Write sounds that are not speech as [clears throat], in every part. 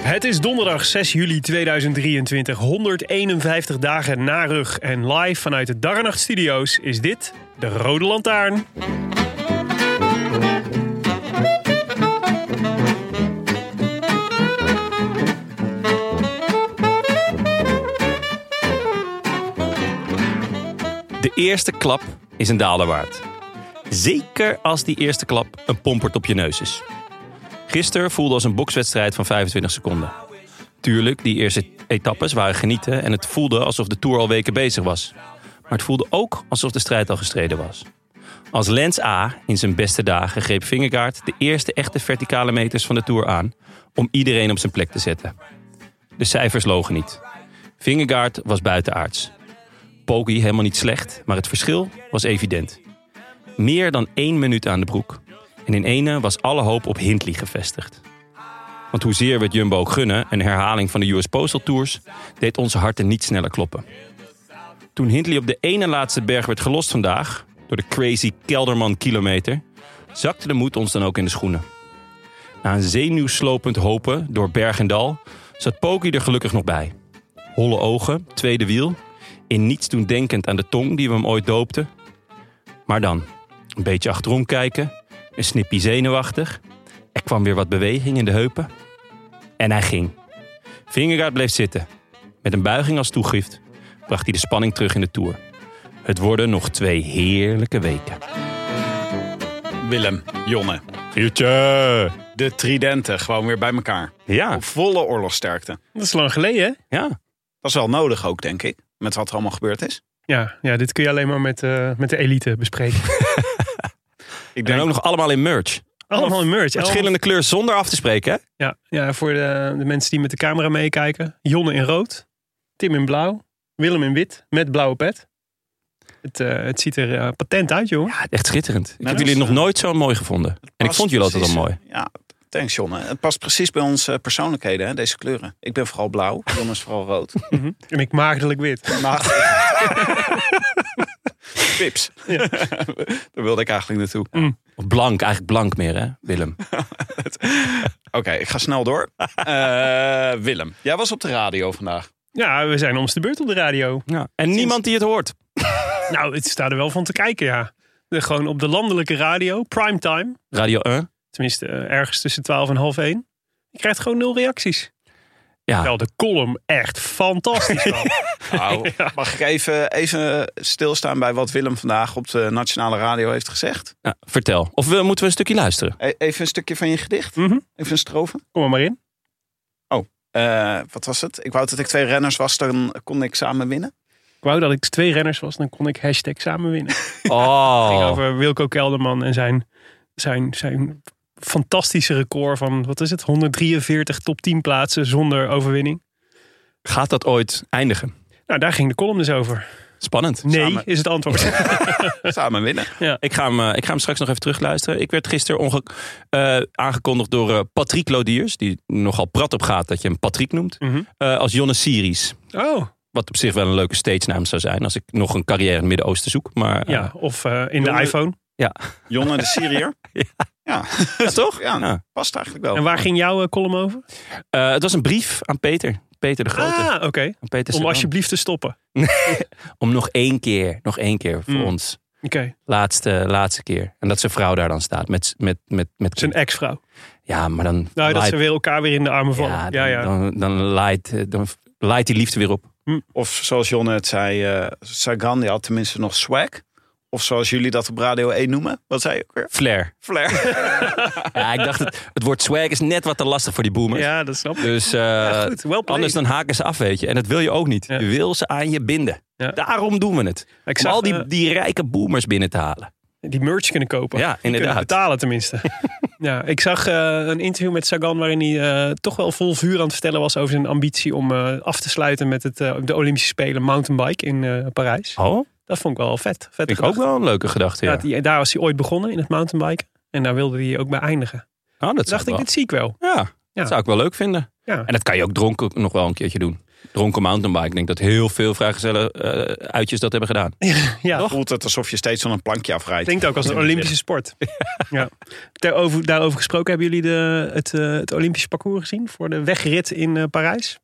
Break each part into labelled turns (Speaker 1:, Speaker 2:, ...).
Speaker 1: Het is donderdag 6 juli 2023, 151 dagen na rug. En live vanuit de Darrenacht Studio's is dit de Rode Lantaarn.
Speaker 2: De eerste klap is een daler waard. Zeker als die eerste klap een pompert op je neus is. Gisteren voelde als een bokswedstrijd van 25 seconden. Tuurlijk, die eerste etappes waren genieten en het voelde alsof de Tour al weken bezig was. Maar het voelde ook alsof de strijd al gestreden was. Als Lens A in zijn beste dagen greep Vingegaard de eerste echte verticale meters van de Tour aan om iedereen op zijn plek te zetten. De cijfers logen niet. Vingegaard was buitenaards. Poggi helemaal niet slecht, maar het verschil was evident. Meer dan één minuut aan de broek. En in ene was alle hoop op Hindley gevestigd. Want hoezeer we het Jumbo ook gunnen, een herhaling van de US Postal Tours, deed onze harten niet sneller kloppen. Toen Hindley op de ene laatste berg werd gelost vandaag, door de crazy Kelderman kilometer, zakte de moed ons dan ook in de schoenen. Na een zenuwslopend hopen door berg en dal, zat Poki er gelukkig nog bij. Holle ogen, tweede wiel, in niets toen denkend aan de tong die we hem ooit doopten. Maar dan, een beetje achterom kijken, een snippie zenuwachtig. Er kwam weer wat beweging in de heupen. En hij ging. Vingegaard bleef zitten. Met een buiging als toegift bracht hij de spanning terug in de Tour. Het worden nog twee heerlijke weken.
Speaker 3: Willem, Jonne.
Speaker 2: Jutje!
Speaker 3: De tridenten gewoon weer bij elkaar.
Speaker 2: Ja,
Speaker 3: Op volle oorlogsterkte.
Speaker 1: Dat is lang geleden, hè?
Speaker 2: ja.
Speaker 3: Dat is wel nodig ook, denk ik. Met wat er allemaal gebeurd is.
Speaker 1: Ja, ja dit kun je alleen maar met, eh, met de elite bespreken.
Speaker 3: Ik
Speaker 2: En ook nog allemaal in merch.
Speaker 1: Allemaal in merch.
Speaker 2: Verschillende kleur zonder af te spreken, hè?
Speaker 1: Ja, ja voor de, de mensen die met de camera meekijken. Jonne in rood, Tim in blauw, Willem in wit, met blauwe pet. Het, eh, het ziet er eh, patent uit, jongen.
Speaker 2: Ja, echt schitterend. Ik heb
Speaker 3: dat
Speaker 2: jullie
Speaker 3: is,
Speaker 2: nog
Speaker 3: eh,
Speaker 2: nooit zo mooi gevonden. En ik
Speaker 3: past
Speaker 2: vond jullie altijd al
Speaker 3: precies-
Speaker 2: mooi.
Speaker 3: Ja, thanks Jonne. Het past precies bij onze persoonlijkheden, hè, deze kleuren. Ik ben vooral blauw, Jonne is vooral rood.
Speaker 1: En ik maagdelijk wit.
Speaker 3: Maar... Pips. Daar wilde ik eigenlijk naartoe.
Speaker 2: Of blank, eigenlijk blank meer, hè, Willem?
Speaker 3: Oké, ik ga snel door. Eh, Willem, jij was op de radio vandaag.
Speaker 1: Ja, we zijn om de beurt op de radio.
Speaker 2: Ja. En niemand die het hoort.
Speaker 1: Nou, het staat er wel van te kijken, ja. De, gewoon op de landelijke radio, primetime.
Speaker 2: Radio 1.
Speaker 1: Tenminste, eh, ergens tussen 12 en half 1. Je krijgt gewoon nul reacties.
Speaker 2: Ja,
Speaker 1: Wel, de column echt fantastisch was.
Speaker 3: Nou, Mag ik even, even stilstaan bij wat Willem vandaag op de nationale radio heeft gezegd?
Speaker 2: Ja, vertel. Of we, moeten we een stukje
Speaker 3: [laughs]
Speaker 2: luisteren?
Speaker 3: E- Even een stukje van je gedicht?
Speaker 1: Mhm.
Speaker 3: Even een strofe?
Speaker 1: Kom er maar in.
Speaker 3: Eh, wat was het? Ik wou dat ik twee renners was, dan kon ik samen winnen.
Speaker 1: Ik wou dat ik twee renners was, dan kon ik hashtag samen winnen. ging
Speaker 2: Oh,
Speaker 1: over Wilco Kelderman en zijn, zijn, zijn fantastische record van, wat is het, 143 top 10 plaatsen zonder overwinning.
Speaker 2: gaat dat ooit eindigen?
Speaker 1: Nou, daar ging de column dus over.
Speaker 2: Spannend.
Speaker 1: Nee,
Speaker 3: Samen.
Speaker 1: is het antwoord.
Speaker 3: Samen winnen.
Speaker 2: Ik ga, hem, eh, ik ga hem straks nog even terugluisteren. Ik werd gisteren onge- eh, aangekondigd door eh, Patrick Lodiers. Die nogal prat op gaat dat je hem Patrick noemt.
Speaker 1: Mhm.
Speaker 2: eh, als Jonne Siris.
Speaker 1: Oh,
Speaker 2: Wat op zich wel een leuke stage naam zou zijn. Als ik nog een carrière in het Midden-Oosten zoek. Maar eh,
Speaker 1: ja. Of eh, in de
Speaker 3: Jongen-
Speaker 1: iPhone.
Speaker 3: Jonne de Syriër. Ja.
Speaker 2: ja, toch?
Speaker 3: Ja.
Speaker 2: Ja.
Speaker 3: [laughs] past eigenlijk wel.
Speaker 1: En waar ging jouw eh, column over?
Speaker 2: Eh, het was een brief aan Peter. Peter de Grote.
Speaker 1: Ah, oké.
Speaker 2: Aan Peter
Speaker 1: Om
Speaker 2: Sagan.
Speaker 1: alsjeblieft te stoppen.
Speaker 2: Om nog één keer. Nog één keer voor
Speaker 1: Mm.
Speaker 2: ons.
Speaker 1: Oké,
Speaker 2: Laatste, laatste keer. En dat zijn vrouw daar dan staat. Met, met, met, met
Speaker 1: zijn ex-vrouw.
Speaker 2: Ja, maar dan.
Speaker 1: Nou, dat
Speaker 2: laait-
Speaker 1: ze weer elkaar weer in de armen vallen. Ja,
Speaker 2: ja,
Speaker 1: ja.
Speaker 2: dan, Dan, dan, laait, eh, dan laait die liefde weer op.
Speaker 3: Of zoals Jonne het zei, eh Sagan die had tenminste nog swag. Of zoals jullie dat op Radio 1 noemen. Wat zei je ook weer?
Speaker 2: Flair.
Speaker 3: Flair.
Speaker 2: [laughs] Ja, ik dacht, het, het woord swag is net wat te lastig voor die boomers.
Speaker 1: Ja, dat snap ik.
Speaker 2: Dus eh,
Speaker 1: Ja, goed, wel played.
Speaker 2: anders dan haken ze af, weet je. En dat wil je ook niet.
Speaker 1: Ja.
Speaker 2: Je wil ze aan je binden.
Speaker 1: Ja.
Speaker 2: Daarom doen we het.
Speaker 1: Ik
Speaker 2: Om
Speaker 1: zag eh,
Speaker 2: al
Speaker 1: die,
Speaker 2: die, die rijke boomers binnen te halen.
Speaker 1: die merch kunnen kopen.
Speaker 2: Ja,
Speaker 1: Die kunnen
Speaker 2: inderdaad.
Speaker 1: betalen
Speaker 2: [laughs]
Speaker 1: tenminste. ja, ik zag eh, een interview met Sagan waarin hij eh, toch wel vol vuur aan het vertellen was over zijn ambitie om eh, af te sluiten met het, eh, de Olympische Spelen mountainbike in eh, Parijs.
Speaker 2: Oh,
Speaker 1: Dat vond ik wel vet. vet
Speaker 2: vind ik ook wel een leuke gedachte. Ja.
Speaker 1: Ja, die- daar was hij ooit begonnen in het mountainbiken. En daar wilde hij ook bij eindigen.
Speaker 2: Oh, dat
Speaker 1: Toen
Speaker 2: zou
Speaker 1: dacht
Speaker 2: ik
Speaker 1: ik,
Speaker 2: wel.
Speaker 1: dit zie ik wel.
Speaker 2: Ja,
Speaker 1: Ja.
Speaker 2: dat zou ik wel leuk vinden.
Speaker 1: Ja.
Speaker 2: En dat kan je ook dronken nog wel een keertje doen. Dronken mountainbike. Ik denk dat heel veel vrijgezellen eh, uitjes dat hebben gedaan.
Speaker 1: Ja,
Speaker 3: Voelt het alsof je steeds van een plankje afrijdt.
Speaker 1: Klinkt ook als een Olympische sport. Ja. Daarover, daarover gesproken, hebben jullie de, het, eh, het Olympische parcours gezien voor de wegrit in eh, Parijs?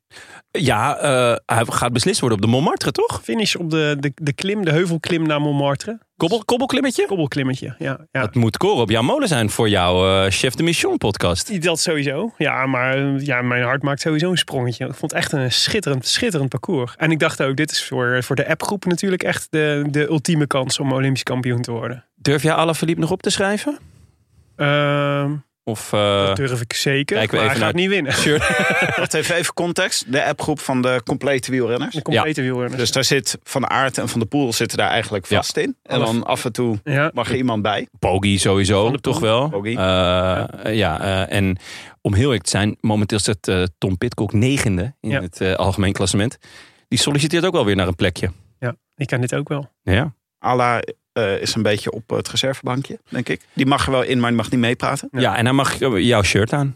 Speaker 2: Ja, eh, hij gaat beslist worden op de Montmartre, toch?
Speaker 1: Finish op de, de, de klim, de heuvelklim naar Montmartre.
Speaker 2: Kobbel, kobbelklimmetje?
Speaker 1: Kobbelklimmetje, ja. ja.
Speaker 2: Dat moet koren op jouw molen zijn voor jouw eh, Chef de Mission podcast.
Speaker 1: Dat sowieso. Ja, maar eh, ja, mijn hart maakt sowieso een sprongetje. Ik vond het echt een schitterend, schitterend parcours. En ik dacht ook, dit is voor, voor de appgroep natuurlijk echt de, de ultieme kans om Olympisch kampioen te worden.
Speaker 2: Durf jij Alaphilippe nog op te schrijven?
Speaker 1: Ehm,
Speaker 2: Of eh
Speaker 1: dat durf ik zeker, maar
Speaker 2: kijken we
Speaker 1: hij
Speaker 2: even
Speaker 1: gaat
Speaker 2: naar-
Speaker 1: niet winnen. [laughs]
Speaker 3: Wacht even, even context. De appgroep van de complete wielrenners.
Speaker 1: De complete wielrenners.
Speaker 3: Dus daar zit Van Aert en Van de Poel zitten daar eigenlijk
Speaker 2: Ja.
Speaker 3: vast in. En dan af en toe
Speaker 1: ja.
Speaker 3: mag er iemand bij.
Speaker 2: Poggi sowieso, toch wel?
Speaker 3: Poggi.
Speaker 2: Eh, ja, eh, en om heel eerlijk te zijn, momenteel staat eh, Tom Pitcock negende in
Speaker 1: Ja.
Speaker 2: het eh, algemeen klassement. Die solliciteert ook wel weer naar een plekje.
Speaker 1: Ik kan dit ook wel.
Speaker 2: Ja.
Speaker 3: Ala eh, is een beetje op het reservebankje, denk ik. Die mag er wel in, maar die mag niet meepraten.
Speaker 2: Ja. en hij mag eh, jouw shirt aan.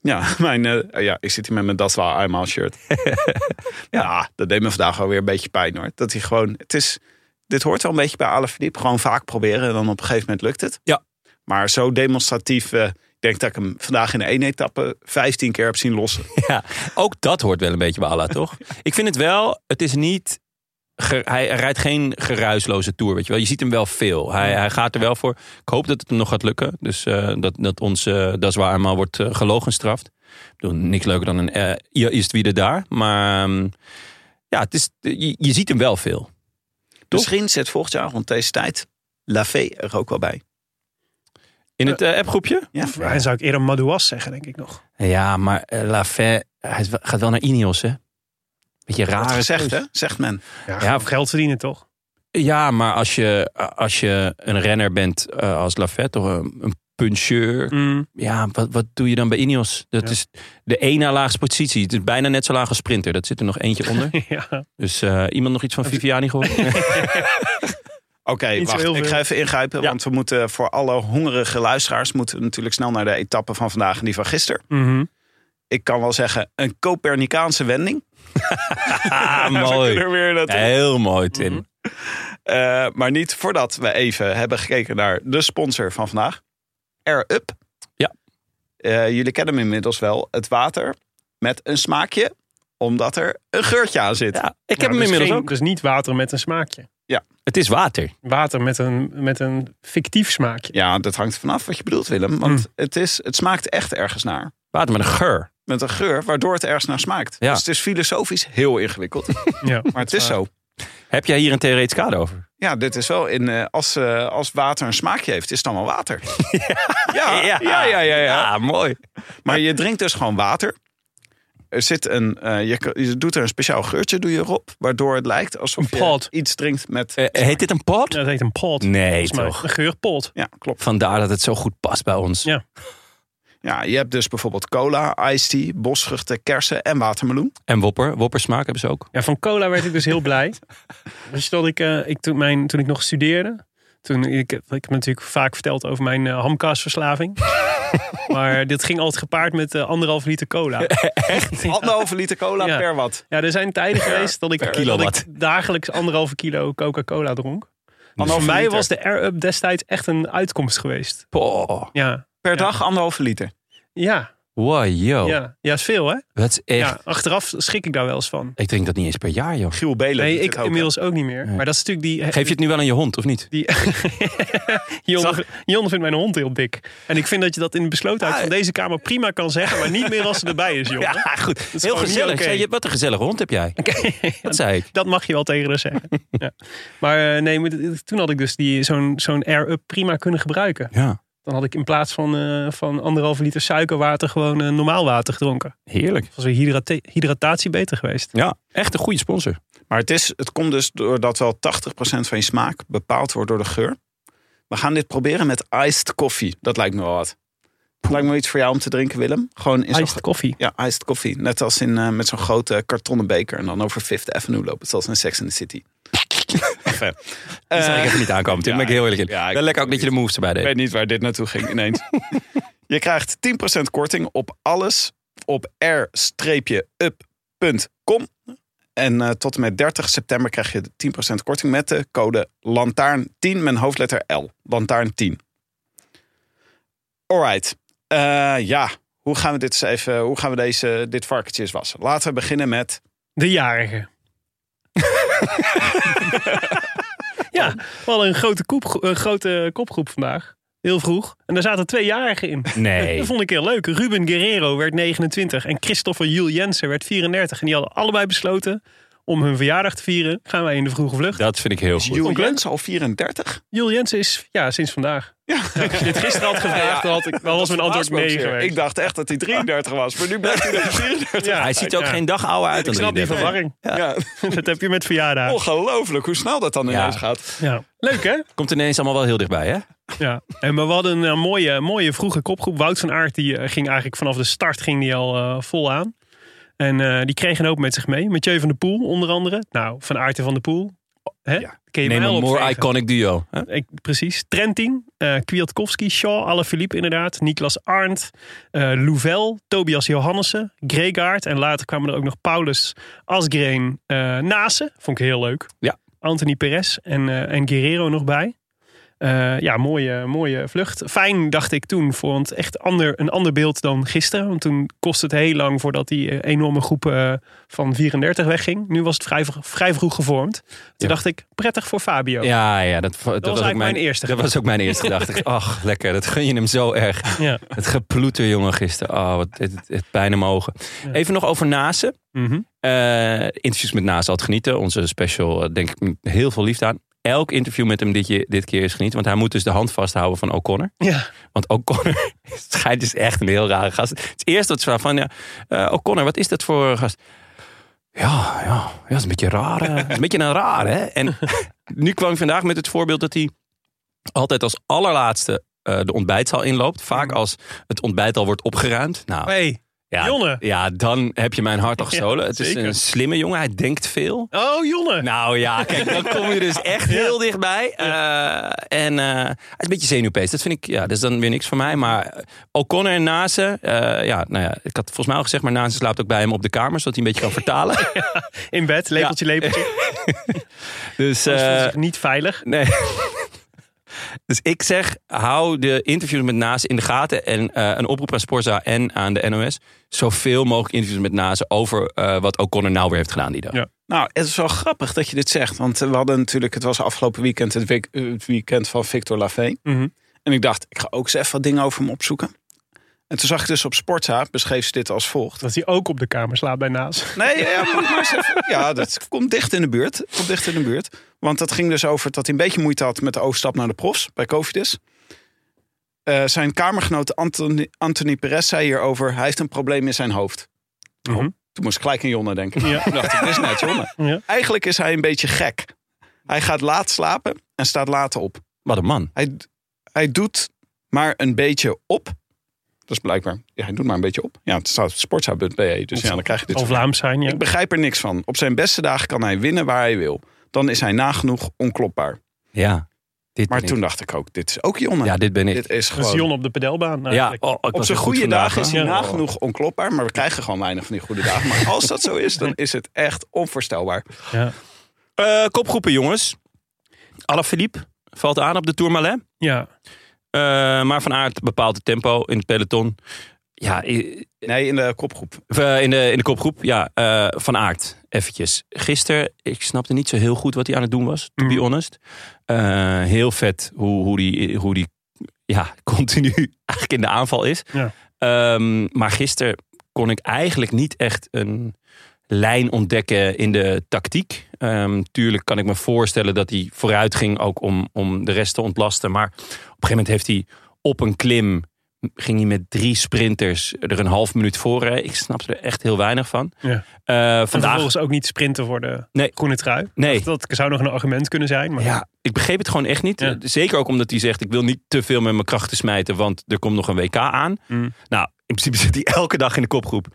Speaker 3: Ja, [laughs] mijn, eh, ja, ik zit hier met mijn Dat Wel Eenmaal shirt. ja. dat deed me vandaag alweer een beetje pijn hoor. Dat hij gewoon, het is, dit hoort wel een beetje bij Alaphilippe. Gewoon vaak proberen en dan op een gegeven moment lukt het.
Speaker 2: Ja.
Speaker 3: Maar zo demonstratief, eh, ik denk dat ik hem vandaag in één etappe 15 keer heb zien lossen.
Speaker 2: Ja, ook dat hoort wel een beetje bij Allah, [laughs] toch? Ik vind het wel, het is niet. ge- hij rijdt geen geruisloze tour, weet je wel. Je ziet hem wel veel. Hij, hij gaat er wel voor. Ik hoop dat het hem nog gaat lukken. Dus eh, dat, dat ons, eh dat is waar, maar wordt eh, gelogenstraft. Ik bedoel, niks leuker dan een eh, ja, is het wie er daar. Maar ehm, ja, het is, je, je ziet hem wel veel.
Speaker 3: Misschien zit volgend jaar rond deze tijd Lafay er ook wel bij.
Speaker 2: In het eh, appgroepje?
Speaker 3: Ja,
Speaker 1: En zou ik eerder Madouas zeggen, denk ik nog.
Speaker 2: Ja, maar eh, Lafay hij is wel- gaat wel naar Ineos, hè? Beetje
Speaker 3: Wordt
Speaker 2: raar
Speaker 3: gezegd hè, zegt men.
Speaker 2: Ja,
Speaker 1: Ja, of geld verdienen toch?
Speaker 2: Ja, maar als je, als je een renner bent eh, als Lafette of een, een puncheur. Ja, wat, wat doe je dan bij Ineos? Dat
Speaker 1: Mm. Ja.
Speaker 2: is de één na laagste positie. Het is bijna net zo laag als sprinter. Dat zit er nog eentje
Speaker 1: [laughs]
Speaker 2: onder.
Speaker 1: [laughs] ja.
Speaker 2: Dus eh, iemand nog iets van Viviani gehoord?
Speaker 3: Oké,
Speaker 1: Niet zo
Speaker 3: wacht.
Speaker 1: heel
Speaker 3: Ik
Speaker 1: veel.
Speaker 3: ga even ingrijpen.
Speaker 2: Ja.
Speaker 3: Want we moeten voor alle hongerige luisteraars... moeten we natuurlijk snel naar de etappe van vandaag en die van gisteren.
Speaker 1: Mm-hmm.
Speaker 3: Ik kan wel zeggen, een Copernicaanse wending.
Speaker 2: ah,
Speaker 3: We
Speaker 2: mooi.
Speaker 3: kunnen weer naartoe.
Speaker 2: Heel mooi, Tim.
Speaker 1: Mhm.
Speaker 3: Eh, maar niet voordat we even hebben gekeken naar de sponsor van vandaag. Air Up.
Speaker 2: Ja.
Speaker 3: Eh, jullie kennen hem inmiddels wel. Het water met een smaakje. Omdat er een geurtje aan zit.
Speaker 2: Ja, ik heb hem inmiddels ook.
Speaker 1: Dus niet water met een smaakje.
Speaker 2: Het is water.
Speaker 1: Water met een, met een fictief smaakje.
Speaker 3: Ja, dat hangt vanaf wat je bedoelt, Willem. Want het, is, het smaakt echt ergens naar.
Speaker 2: Water met een geur.
Speaker 3: met een geur waardoor het ergens naar smaakt.
Speaker 2: Ja.
Speaker 3: Dus het is filosofisch heel ingewikkeld.
Speaker 1: [laughs] Ja.
Speaker 3: [laughs] maar het is zo.
Speaker 2: Heb jij hier een theoretisch kader over?
Speaker 3: Ja, dit is wel in. eh, als, eh, als water een smaakje heeft, is het dan wel water. [laughs] Ja, ja, ja, ja. ja,
Speaker 2: Ja, Ah, mooi.
Speaker 3: Maar je drinkt dus gewoon water. Er zit een, eh, je, kan- je doet er een speciaal geurtje doe je erop, waardoor het lijkt alsof
Speaker 1: Een
Speaker 3: je
Speaker 1: pot.
Speaker 3: iets drinkt met.
Speaker 2: Eh, heet dit een pot?
Speaker 1: Dat heet een pot.
Speaker 2: Nee,
Speaker 1: volgens mij.
Speaker 2: toch?
Speaker 1: Een geurpot.
Speaker 3: Ja, klopt.
Speaker 2: Vandaar dat het zo goed past bij ons.
Speaker 1: Ja.
Speaker 3: Ja, je hebt dus bijvoorbeeld cola, iced tea, bosvruchten, kersen en watermeloen.
Speaker 2: En wopper. Woppersmaak hebben ze ook.
Speaker 1: Ja, van cola werd ik dus heel
Speaker 2: [laughs]
Speaker 1: blij. Dus dat ik, eh, ik toen, mijn, toen ik nog studeerde. Toen, ik, heb- ik heb natuurlijk vaak verteld over mijn eh, hamkaasverslaving.
Speaker 2: [laughs]
Speaker 1: maar dit ging altijd gepaard met eh, anderhalf liter
Speaker 2: [laughs]
Speaker 1: cola. Echt?
Speaker 3: Anderhalve liter cola
Speaker 1: Ja.
Speaker 3: per wat.
Speaker 1: Ja, er zijn tijden geweest dat ik, dat
Speaker 2: kilowatt.
Speaker 1: ik dagelijks anderhalve kilo Coca-Cola dronk. Maar voor
Speaker 3: Anderhalve
Speaker 1: mij
Speaker 3: liter.
Speaker 1: was de Air-Up destijds echt een uitkomst geweest.
Speaker 2: Poh.
Speaker 1: Ja,
Speaker 3: Per
Speaker 1: Ja.
Speaker 3: dag anderhalve liter.
Speaker 1: ja.
Speaker 2: Wow, yo.
Speaker 1: Ja. ja, is veel hè?
Speaker 2: Dat is Oh. echt...
Speaker 1: Ja, achteraf schrik ik daar wel eens van.
Speaker 2: Ik drink dat niet eens per jaar, joh.
Speaker 3: Giel Belen.
Speaker 1: Nee,
Speaker 3: doet
Speaker 1: ik
Speaker 3: het ook, hè?
Speaker 1: inmiddels ook niet meer.
Speaker 2: Nee.
Speaker 1: Maar dat is natuurlijk die...
Speaker 2: Geef je het nu wel aan je hond, of niet?
Speaker 1: Die, [laughs] Jonne, Jonne vindt mijn hond heel dik. En ik vind dat je dat in de beslotenheid van deze kamer prima kan zeggen. Maar niet meer als ze erbij is, Jonne.
Speaker 2: Ah. Ja, goed.
Speaker 1: is
Speaker 2: Heel
Speaker 1: gewoon niet
Speaker 2: gezellig.
Speaker 1: oké.
Speaker 2: Zei je, wat een gezellige hond heb jij. [laughs] Dat zei ik.
Speaker 1: Dat mag je wel tegen haar zeggen. ja. Maar eh, nee, maar dit- toen had ik dus die- zo'n zo'n air-up prima kunnen gebruiken.
Speaker 2: Ja,
Speaker 1: Dan had ik in plaats van, eh, van anderhalve liter suikerwater gewoon eh, normaal water gedronken.
Speaker 2: heerlijk.
Speaker 1: Was weer hydrate- hydratatie beter geweest.
Speaker 2: Ja, echt een goede sponsor.
Speaker 3: Maar het, is, het komt dus doordat wel 80% van je smaak bepaald wordt door de geur. We gaan dit proberen met iced koffie. Dat lijkt me wel wat. Lijkt me iets voor jou om te drinken, Willem. Gewoon in zo'n
Speaker 1: Iced koffie.
Speaker 3: Ja, iced koffie. Net als in, eh, met zo'n grote kartonnen beker. En dan over Fifth Avenue lopen. Zoals in Sex in the City. Enfin,
Speaker 2: Dat zag
Speaker 3: eh,
Speaker 2: ik even niet aankomen. Tim,
Speaker 3: ja,
Speaker 2: ben ik heel eerlijk in.
Speaker 3: ja, ik-
Speaker 2: Wel lekker ook dat je de moves erbij
Speaker 3: ik
Speaker 2: deed.
Speaker 3: weet niet waar dit naartoe ging [laughs] ineens. Je krijgt 10% korting op alles op r-up.com. En eh, tot en met 30 september krijg je 10% korting met de code LANTAARN10 met een hoofdletter L. LANTAARN10. Alright. Eh, ja, hoe gaan we, dit eens even, hoe gaan we deze, dit varkentje eens wassen? Laten we beginnen met...
Speaker 1: De jarige. ja, we hadden een grote, koep, een grote kopgroep vandaag. Heel vroeg. En daar zaten twee jarigen in.
Speaker 2: Nee.
Speaker 1: Dat vond ik heel leuk. Ruben Guerrero werd 29 en Christopher Jules Jensen werd 34. En die hadden allebei besloten om hun verjaardag te vieren. Gaan wij in de vroege vlucht.
Speaker 2: [laughs] Dat vind ik heel goed.
Speaker 3: Jules
Speaker 1: Vond ik leuk.
Speaker 3: Jens al 34?
Speaker 1: Jules Jensen is ja, sinds vandaag.
Speaker 3: Ja.
Speaker 1: Als je dit gisteren had gevraagd, dan, had ik, dan was mijn antwoord
Speaker 3: Verbaast me ook
Speaker 1: nee
Speaker 3: zeer.
Speaker 1: geweest.
Speaker 3: Ik dacht echt dat hij 33 was, maar nu blijkt [laughs] hij dat hij 34
Speaker 1: Ja,
Speaker 2: Hij ziet er ook
Speaker 1: ja.
Speaker 2: geen dag ouder uit dan
Speaker 1: Ik snap die
Speaker 2: 33.
Speaker 1: verwarring.
Speaker 3: Ja.
Speaker 1: [laughs] Dat heb je met verjaardag.
Speaker 3: Ongelooflijk hoe snel dat dan ineens gaat.
Speaker 1: Ja. Leuk hè?
Speaker 2: Komt ineens allemaal wel heel dichtbij, hè?
Speaker 1: Ja, en maar we hadden een eh, mooie, mooie vroege kopgroep. Wout van Aert die eh, ging eigenlijk vanaf de start ging die al eh, vol aan. En eh, die kreeg een hoop met zich mee. Mathieu van der Poel onder andere. Nou, van Aert en van der Poel. Hè?
Speaker 3: Ja.
Speaker 1: Kun je
Speaker 2: Neem
Speaker 1: mij
Speaker 2: een
Speaker 1: al
Speaker 2: more
Speaker 1: opvegen.
Speaker 2: iconic duo. hè?
Speaker 1: Ik, precies. Trentin, eh Kwiatkowski, Shaw, Alaphilippe inderdaad. Niklas Arndt, eh, Louvel, Tobias Johannessen, Gregaard. En later kwamen er ook nog Paulus, Asgreen, eh Nase. Vond ik heel leuk.
Speaker 2: Ja.
Speaker 1: Anthony Perez en, eh, en Guerrero nog bij. Eh, ja, mooie, mooie vlucht. Fijn, dacht ik toen, voor want echt ander, een ander beeld dan gisteren. Want toen kostte het heel lang voordat die eh, enorme groep eh, van 34 wegging. Nu was het vrij, vro- vrij vroeg gevormd. Toen
Speaker 2: Ja.
Speaker 1: dacht ik, prettig voor Fabio.
Speaker 2: Ja, ja, dat, dat, was ook
Speaker 1: eigenlijk
Speaker 2: mijn,
Speaker 1: mijn eerste
Speaker 2: Dat was ook mijn eerste gedachte. Ach, lekker. Dat gun je hem zo erg.
Speaker 1: Ja.
Speaker 2: Het geploeter, jongen, gisteren. Oh, wat, het, het, het pijn in mijn ogen. Even nog over Nase.
Speaker 1: Mhm.
Speaker 2: Eh, interviews met Naast had genieten. Onze special, eh, denk ik, m- heel veel liefde aan. Elk interview met hem dit, je- dit keer is genieten. Want hij moet dus de hand vasthouden van O'Connor.
Speaker 1: Ja.
Speaker 2: Want O'Connor [laughs] schijnt dus echt een heel rare gast. Het eerste wat ze vragen van, ja, eh, O'Connor, wat is dat voor gast? Ja, ja, ja, dat is een beetje raar. hè. Dat is een beetje een raar, hè? En [laughs] nu kwam ik vandaag met het voorbeeld dat hij altijd als allerlaatste eh, de ontbijtzaal inloopt. Vaak als het ontbijt al wordt opgeruimd. Nou,
Speaker 1: Hey.
Speaker 2: ja,
Speaker 1: Oh Jonne.
Speaker 2: Ja, dan heb je mijn hart al gestolen.
Speaker 1: [laughs] Ja,
Speaker 2: het is
Speaker 1: zeker.
Speaker 2: een slimme jongen, hij denkt veel.
Speaker 1: Oh, Jonne.
Speaker 2: Nou ja, kijk, dan kom je dus echt heel dichtbij. Eh, en eh, hij is een beetje zenuwpees. Dat vind ik, ja, dat is dan weer niks voor mij. Maar eh, O'Connor en Nase, eh, ja, nou ja, ik had volgens mij al gezegd, maar Nase slaapt ook bij hem op de kamer, zodat hij een beetje kan vertalen.
Speaker 3: [laughs]
Speaker 1: In bed, lepeltje, [laughs] lepeltje.
Speaker 2: dus,
Speaker 1: Ze voelt
Speaker 2: eh,
Speaker 1: zich niet veilig.
Speaker 2: nee. [laughs] dus ik zeg, hou de interviews met Nase in de gaten en eh, een oproep aan Sporza en aan de NOS. Zoveel mogelijk interviews met Nase over eh, wat O'Connor nou weer heeft gedaan die dag.
Speaker 1: Ja.
Speaker 3: Nou, het is wel grappig dat je dit zegt. Want eh, we hadden natuurlijk, het was afgelopen weekend het, week- eh, het weekend van Victor Lavee.
Speaker 1: Mhm.
Speaker 3: En ik dacht, ik ga ook eens even wat dingen over hem opzoeken. En toen zag ik dus op Sportza, beschreef ze dit als volgt.
Speaker 1: Dat hij ook op de kamer slaapt bij Naas.
Speaker 3: Nee, ja, maar moet ik maar eens even- ja, dat komt dicht in de buurt. Komt dicht in de buurt. Want dat ging dus over dat hij een beetje moeite had met de overstap naar de profs bij Covidis. Eh, zijn kamergenoot Anthony, Anthony Perez zei hierover, hij heeft een probleem in zijn hoofd. Oh,
Speaker 1: Mhm.
Speaker 3: Toen moest ik gelijk aan Jonne denken.
Speaker 1: Ja.
Speaker 3: Toen dacht ik, dit is net Jonne.
Speaker 1: [laughs] Ja.
Speaker 3: Eigenlijk is hij een beetje gek. Hij gaat laat slapen en staat later op.
Speaker 2: Wat een man.
Speaker 3: Hij, hij doet maar een beetje op. Dat is blijkbaar. Ja, hij doet maar een beetje op. Ja, het staat op sportshub.be, dus ja, dan krijg je dit.
Speaker 1: Of Vlaams zijn, ja.
Speaker 3: Ik begrijp er niks van. Op zijn beste dagen kan hij winnen waar hij wil. Dan is hij nagenoeg onklopbaar.
Speaker 2: Ja. Dit
Speaker 3: Maar
Speaker 2: ben ik.
Speaker 3: toen dacht ik ook, dit is ook Jonne.
Speaker 2: Ja, dit ben ik.
Speaker 3: dit is
Speaker 1: Dat is
Speaker 3: gewoon...
Speaker 1: Dus Jon op de pedelbaan.
Speaker 2: Ja,
Speaker 1: eigenlijk.
Speaker 2: oh, ik was
Speaker 3: Op
Speaker 2: weer
Speaker 3: zijn
Speaker 2: goed
Speaker 3: goede
Speaker 2: vandaag,
Speaker 3: dagen is
Speaker 2: hè?
Speaker 3: hij
Speaker 1: Ja.
Speaker 3: nagenoeg onklopbaar. Maar we krijgen gewoon weinig van die goede dagen. Maar als dat zo is,
Speaker 2: [laughs]
Speaker 3: dan is het echt onvoorstelbaar.
Speaker 1: ja.
Speaker 2: Eh, kopgroepen, jongens. Alaphilippe valt aan op de Tourmalet.
Speaker 1: ja.
Speaker 2: Eh maar Van Aert bepaalt het tempo in het peloton. ja, i-
Speaker 3: Nee, in de kopgroep.
Speaker 2: Of, eh, in, de, in de kopgroep, ja. eh, van Aert, eventjes. Gisteren, ik snapte niet zo heel goed wat hij aan het doen was, to be
Speaker 1: Mm.
Speaker 2: honest. Eh, heel vet hoe, hoe die, hoe die ja, [laughs] continu eigenlijk in de aanval is.
Speaker 1: Ja.
Speaker 2: Ehm, maar gisteren kon ik eigenlijk niet echt een lijn ontdekken in de tactiek. Ehm, tuurlijk kan ik me voorstellen dat hij vooruit ging ook om, om de rest te ontlasten. Maar op een gegeven moment heeft hij op een klim ging hij met drie sprinters er een half minuut voor. rijden. Ik snapte er echt heel weinig van.
Speaker 1: Ja. En
Speaker 2: Eh, vandaag,
Speaker 1: vervolgens ook niet sprinten voor de
Speaker 2: Nee.
Speaker 1: groene trui.
Speaker 2: Nee.
Speaker 1: Dat zou nog een argument kunnen zijn. Maar
Speaker 2: ja, ik begreep het gewoon echt niet.
Speaker 1: Ja.
Speaker 2: Zeker ook omdat hij zegt, ik wil niet te veel met mijn krachten smijten, want er komt nog een WK aan.
Speaker 1: Mm.
Speaker 2: Nou, in principe [laughs] zit hij elke dag in de kopgroep.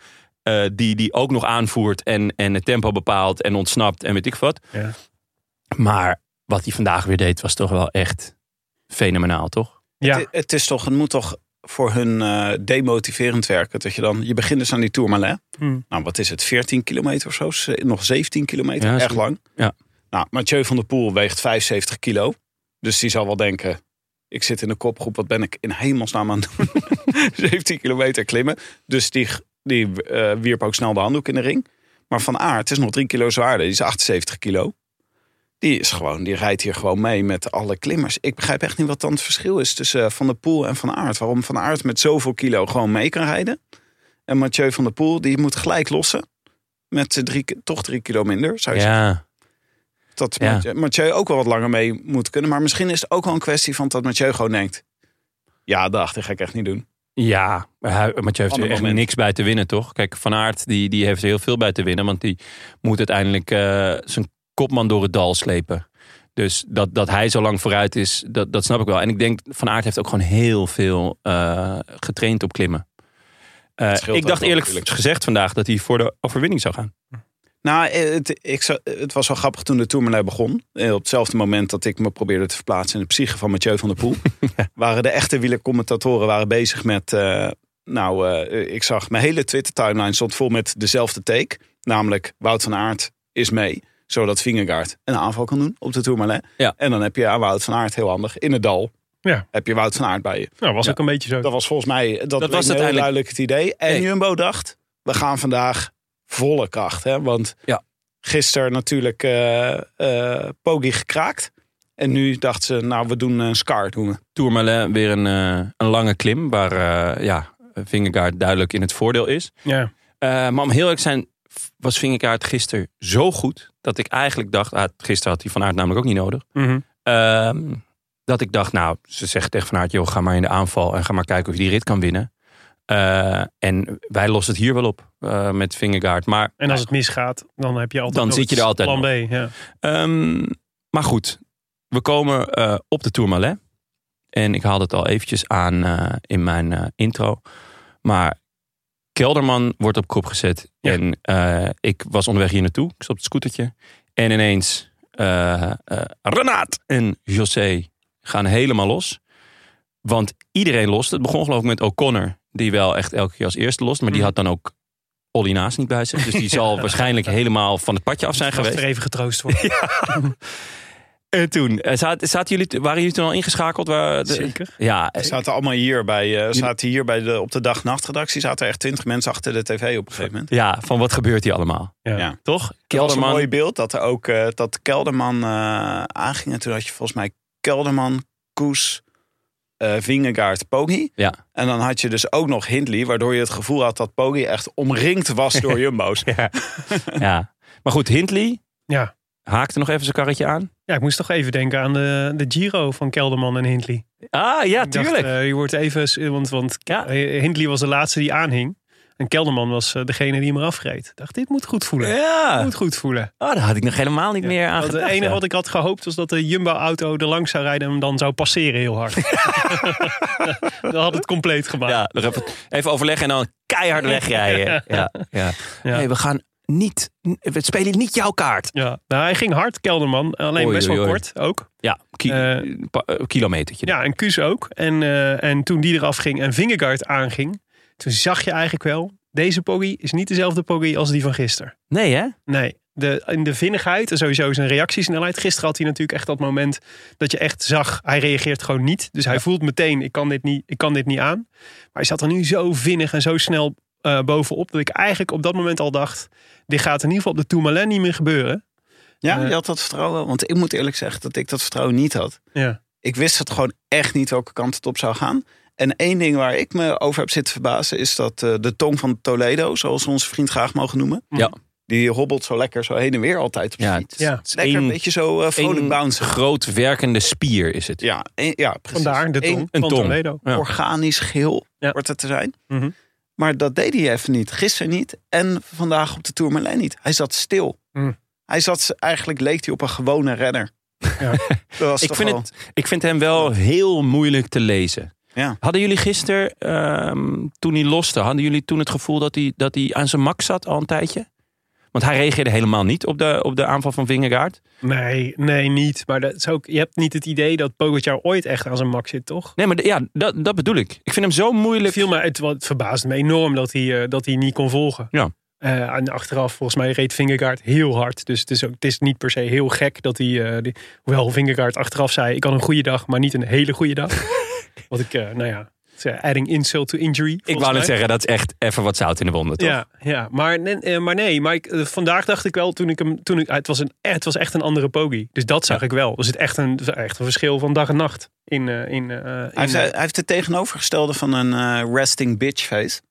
Speaker 2: eh, die, die ook nog aanvoert en, en het tempo bepaalt en ontsnapt en weet ik wat.
Speaker 1: Ja.
Speaker 2: Maar wat hij vandaag weer deed was toch wel echt fenomenaal, toch?
Speaker 1: ja.
Speaker 3: Het, het is toch, het moet toch voor hun eh, demotiverend werken. Dat je dan, je begint dus aan die Tourmalet.
Speaker 1: Hmm.
Speaker 3: Nou, wat is het, 14 kilometer of zo? Ze- Nog 17 kilometer,
Speaker 2: Ja,
Speaker 3: erg
Speaker 2: zo-
Speaker 3: lang.
Speaker 2: ja.
Speaker 3: Nou, Mathieu van der Poel weegt 75 kilo. Dus die zal wel denken, ik zit in de kopgroep, wat ben ik in hemelsnaam aan het doen? [laughs] 17 kilometer klimmen. Dus die, die eh, wierp ook snel de handdoek in de ring. Maar Van Aert is nog 3 kilo zwaarder, die is 78 kilo. Die is gewoon, die rijdt hier gewoon mee met alle klimmers. Ik begrijp echt niet wat dan het verschil is tussen eh, Van der Poel en Van Aert. Waarom Van Aert met zoveel kilo gewoon mee kan rijden. En Mathieu van der Poel, die moet gelijk lossen. Met eh, drie, ki- toch drie kilo minder, zou je zeggen.
Speaker 2: Ja,
Speaker 3: Dat
Speaker 2: Ja.
Speaker 3: Mathieu, Mathieu ook wel wat langer mee moet kunnen. Maar misschien is het ook wel een kwestie van dat Mathieu gewoon denkt... Ja, dag, dat ga ik echt niet doen.
Speaker 2: Ja, maar hij- Mathieu heeft er
Speaker 3: Ander
Speaker 2: echt
Speaker 3: moment.
Speaker 2: niks bij te winnen, toch? Kijk, Van Aert die, die heeft er heel veel bij te winnen. Want die moet uiteindelijk eh, zijn kopman door het dal slepen. Dus dat, dat hij zo lang vooruit is, dat, dat snap ik wel. En ik denk, Van Aert heeft ook gewoon heel veel eh, getraind op klimmen. Eh,
Speaker 3: scheelt
Speaker 2: ik
Speaker 3: ook
Speaker 2: dacht
Speaker 3: wel,
Speaker 2: eerlijk
Speaker 3: natuurlijk.
Speaker 2: gezegd vandaag dat hij voor de overwinning zou gaan.
Speaker 3: Nou, eh, het, ik, zou- het was wel grappig toen de Tourmalet begon. Eh, Op hetzelfde moment dat ik me probeerde te verplaatsen in de psyche van Mathieu van der Poel. waren de echte wielercommentatoren waren bezig met... eh, nou, eh, ik zag mijn hele Twitter-timeline stond vol met dezelfde take. Namelijk, Wout van Aert is mee. Zodat Vingegaard een aanval kan doen op de Tourmalet.
Speaker 2: Ja.
Speaker 3: En dan heb je aan Wout van Aert heel handig. In het dal
Speaker 1: Ja.
Speaker 3: heb je Wout van Aert bij je.
Speaker 1: Nou, was
Speaker 2: Ja.
Speaker 1: ook een beetje zo.
Speaker 3: Dat was volgens mij dat, was
Speaker 2: was
Speaker 3: heel
Speaker 2: uiteindelijk-
Speaker 3: duidelijk het idee. En
Speaker 2: Nee.
Speaker 3: Jumbo dacht, we gaan vandaag volle kracht. Hè? Want
Speaker 2: Ja.
Speaker 3: gisteren natuurlijk eh eh, Poggi gekraakt. En nu dachten ze, nou, we doen een Scar. Doen we.
Speaker 2: Tourmalet weer een, eh, een lange klim waar eh ja, Vingegaard duidelijk in het voordeel is.
Speaker 1: Ja.
Speaker 2: Eh, maar om heel eerlijk te zijn, f- was Vingerkaart gisteren zo goed. Dat ik eigenlijk dacht, ah, gisteren had hij Van Aert namelijk ook niet nodig.
Speaker 1: Mhm.
Speaker 2: Ehm, dat ik dacht, nou, ze zegt tegen Van Aert, joh, ga maar in de aanval. En ga maar kijken of je die rit kan winnen. Eh, en wij lossen het hier wel op eh, met Vingerkaart. Maar,
Speaker 1: En als het misgaat, dan heb je altijd
Speaker 2: Dan
Speaker 1: nog
Speaker 2: zit je er
Speaker 1: het
Speaker 2: altijd
Speaker 1: plan
Speaker 2: nog.
Speaker 1: B. Ja.
Speaker 2: Ehm, maar goed, we komen eh, op de Tourmalet. En ik haalde het al eventjes aan eh, in mijn eh, intro. Maar Kelderman wordt op kop gezet.
Speaker 1: Ja.
Speaker 2: En eh, ik was onderweg hier naartoe. Ik zat op het scootertje. En ineens eh, eh, Renaat en José gaan helemaal los. Want iedereen lost. Het begon geloof ik met O'Connor. Die wel echt elke keer als eerste lost. Maar die
Speaker 1: Mm.
Speaker 2: had dan ook Olly Naast niet bij zich. Dus die zal waarschijnlijk helemaal van het padje af zijn
Speaker 1: Als
Speaker 2: geweest.
Speaker 1: er even getroost
Speaker 2: [laughs]
Speaker 1: wordt.
Speaker 2: En toen, eh, zaten, zaten jullie, waren jullie toen al ingeschakeld? Waar de-
Speaker 1: Zeker.
Speaker 2: Ja, eh,
Speaker 3: Ze zaten allemaal hier, bij, eh zaten hier bij de, op de dag-nachtredactie. Zaten er echt twintig mensen achter de tv op een gegeven moment.
Speaker 2: ja, van wat gebeurt hier allemaal?
Speaker 1: Ja.
Speaker 3: Ja.
Speaker 2: Toch?
Speaker 3: Het was een
Speaker 2: Kelderman.
Speaker 3: mooi beeld dat er ook eh, dat Kelderman eh, aanging. En toen had je volgens mij Kelderman, Koes, eh Vingegaard, Poggi.
Speaker 2: Ja.
Speaker 3: En dan had je dus ook nog Hindley, waardoor je het gevoel had dat Poggi echt omringd was
Speaker 2: [laughs]
Speaker 3: door jumbo's.
Speaker 2: Ja. ja. Maar goed, Hindley
Speaker 1: Ja.
Speaker 2: haakte nog even zijn karretje aan.
Speaker 1: Ja, ik moest toch even denken aan de, de Giro van Kelderman en Hindley.
Speaker 2: Ah, ja,
Speaker 1: Ik dacht,
Speaker 2: tuurlijk.
Speaker 1: eh, die wordt even, want, want
Speaker 2: Ja.
Speaker 1: eh, Hindley was de laatste die aanhing. En Kelderman was eh, degene die hem eraf reed. Ik dacht, dit moet goed voelen.
Speaker 2: ja.
Speaker 1: Moet eh, goed voelen.
Speaker 2: Oh, daar had ik nog helemaal niet meer aan
Speaker 1: Want het
Speaker 2: gedacht.
Speaker 1: enige
Speaker 2: ja.
Speaker 1: wat ik had gehoopt was dat de Jumbo-auto er langs zou rijden en hem dan zou passeren heel
Speaker 2: [laughs]
Speaker 1: hard. dat had het compleet gemaakt.
Speaker 2: Ja, nog even, even overleggen en dan keihard
Speaker 1: [laughs]
Speaker 2: wegrijden. Ja, ja.
Speaker 1: Ja.
Speaker 2: Nee, we gaan niet, we spelen niet jouw kaart.
Speaker 1: Ja. Nou, hij ging hard, Kelderman. Alleen
Speaker 2: Oei,
Speaker 1: best wel
Speaker 2: oei, oei.
Speaker 1: kort ook.
Speaker 2: Ja, ki
Speaker 1: Eh,
Speaker 2: pa- eh, kilometertje.
Speaker 1: Ja, en Kuus ook. En, eh, en toen die eraf ging en Vingegaard aanging, toen zag je eigenlijk wel, deze poggy is niet dezelfde poggy als die van gisteren.
Speaker 2: Nee, hè?
Speaker 1: Nee, de, in de vinnigheid en sowieso zijn reactiesnelheid. Gisteren had hij natuurlijk echt dat moment dat je echt zag, hij reageert gewoon niet. Dus hij voelt meteen, ik kan, dit niet, ik kan dit niet aan. Maar hij zat er nu zo vinnig en zo snel eh, bovenop, dat ik eigenlijk op dat moment al dacht, dit gaat in ieder geval op de Tourmalet niet meer gebeuren.
Speaker 3: Ja,
Speaker 1: Eh.
Speaker 3: je had dat vertrouwen. Want ik moet eerlijk zeggen dat ik dat vertrouwen niet had.
Speaker 1: Ja,
Speaker 3: Ik wist het gewoon echt niet welke kant het op zou gaan. En één ding waar ik me over heb zitten verbazen is dat eh, de tong van Toledo, zoals we onze vriend graag mogen noemen,
Speaker 2: Ja.
Speaker 3: die hobbelt zo lekker zo heen en weer altijd op zijn
Speaker 2: Ja,
Speaker 3: fiets.
Speaker 1: ja.
Speaker 2: Het is
Speaker 3: Lekker
Speaker 2: één-
Speaker 3: een beetje zo eh, vrolijk
Speaker 2: één
Speaker 3: bouncen.
Speaker 2: groot werkende spier is het.
Speaker 3: Ja, één- ja precies.
Speaker 1: vandaar de tong
Speaker 3: Eén
Speaker 2: een
Speaker 1: van
Speaker 2: tong.
Speaker 1: Toledo.
Speaker 2: Ja.
Speaker 3: organisch geheel
Speaker 1: Ja.
Speaker 3: wordt het te zijn.
Speaker 1: Mhm.
Speaker 3: Maar dat deed hij even niet. Gisteren niet en vandaag op de Tourmalet niet. Hij zat stil.
Speaker 1: Mm.
Speaker 3: Hij zat, eigenlijk leek hij op een gewone renner.
Speaker 1: Ja.
Speaker 3: [laughs] Dat was
Speaker 2: Ik
Speaker 3: toch
Speaker 2: vind,
Speaker 3: wel-
Speaker 2: het, ik vind hem wel heel moeilijk te lezen.
Speaker 3: Ja.
Speaker 2: Hadden jullie gisteren, ehm, toen hij loste, hadden jullie toen het gevoel dat hij, dat hij aan zijn max zat al een tijdje? Want hij reageerde helemaal niet op de, op de aanval van Vingegaard.
Speaker 1: Nee, nee, niet. Maar dat is ook, je hebt niet het idee dat Pogacar ooit echt aan zijn max zit, toch?
Speaker 2: Nee, maar d- ja, dat, dat bedoel ik. Ik vind hem zo moeilijk.
Speaker 1: Het, viel me, het, wa- het verbaasde me enorm dat hij, eh, dat hij niet kon volgen.
Speaker 2: Ja.
Speaker 1: Eh, en achteraf, volgens mij, reed Vingegaard heel hard. Dus het is, ook, het is niet per se heel gek dat hij... eh, die- hoewel Vingegaard achteraf zei, ik had een goede dag, maar niet een hele goede
Speaker 2: [laughs]
Speaker 1: dag. Wat ik, eh, nou ja, het is, eh, adding insult to injury.
Speaker 2: ik
Speaker 1: volgens
Speaker 2: wou net
Speaker 1: mij.
Speaker 2: zeggen, dat is echt even wat zout in de wonden, toch?
Speaker 1: Ja, ja. Maar, nee, eh, maar nee, maar ik, eh, vandaag dacht ik wel, toen ik hem, toen ik, het, was een, eh, het was echt een andere pogie. Dus dat zag ik wel. Dus het echt een, echt een verschil van dag en nacht. In, eh, in, eh, in,
Speaker 3: Hij heeft,
Speaker 1: eh,
Speaker 3: hij heeft het tegenovergestelde van een eh, resting bitch face.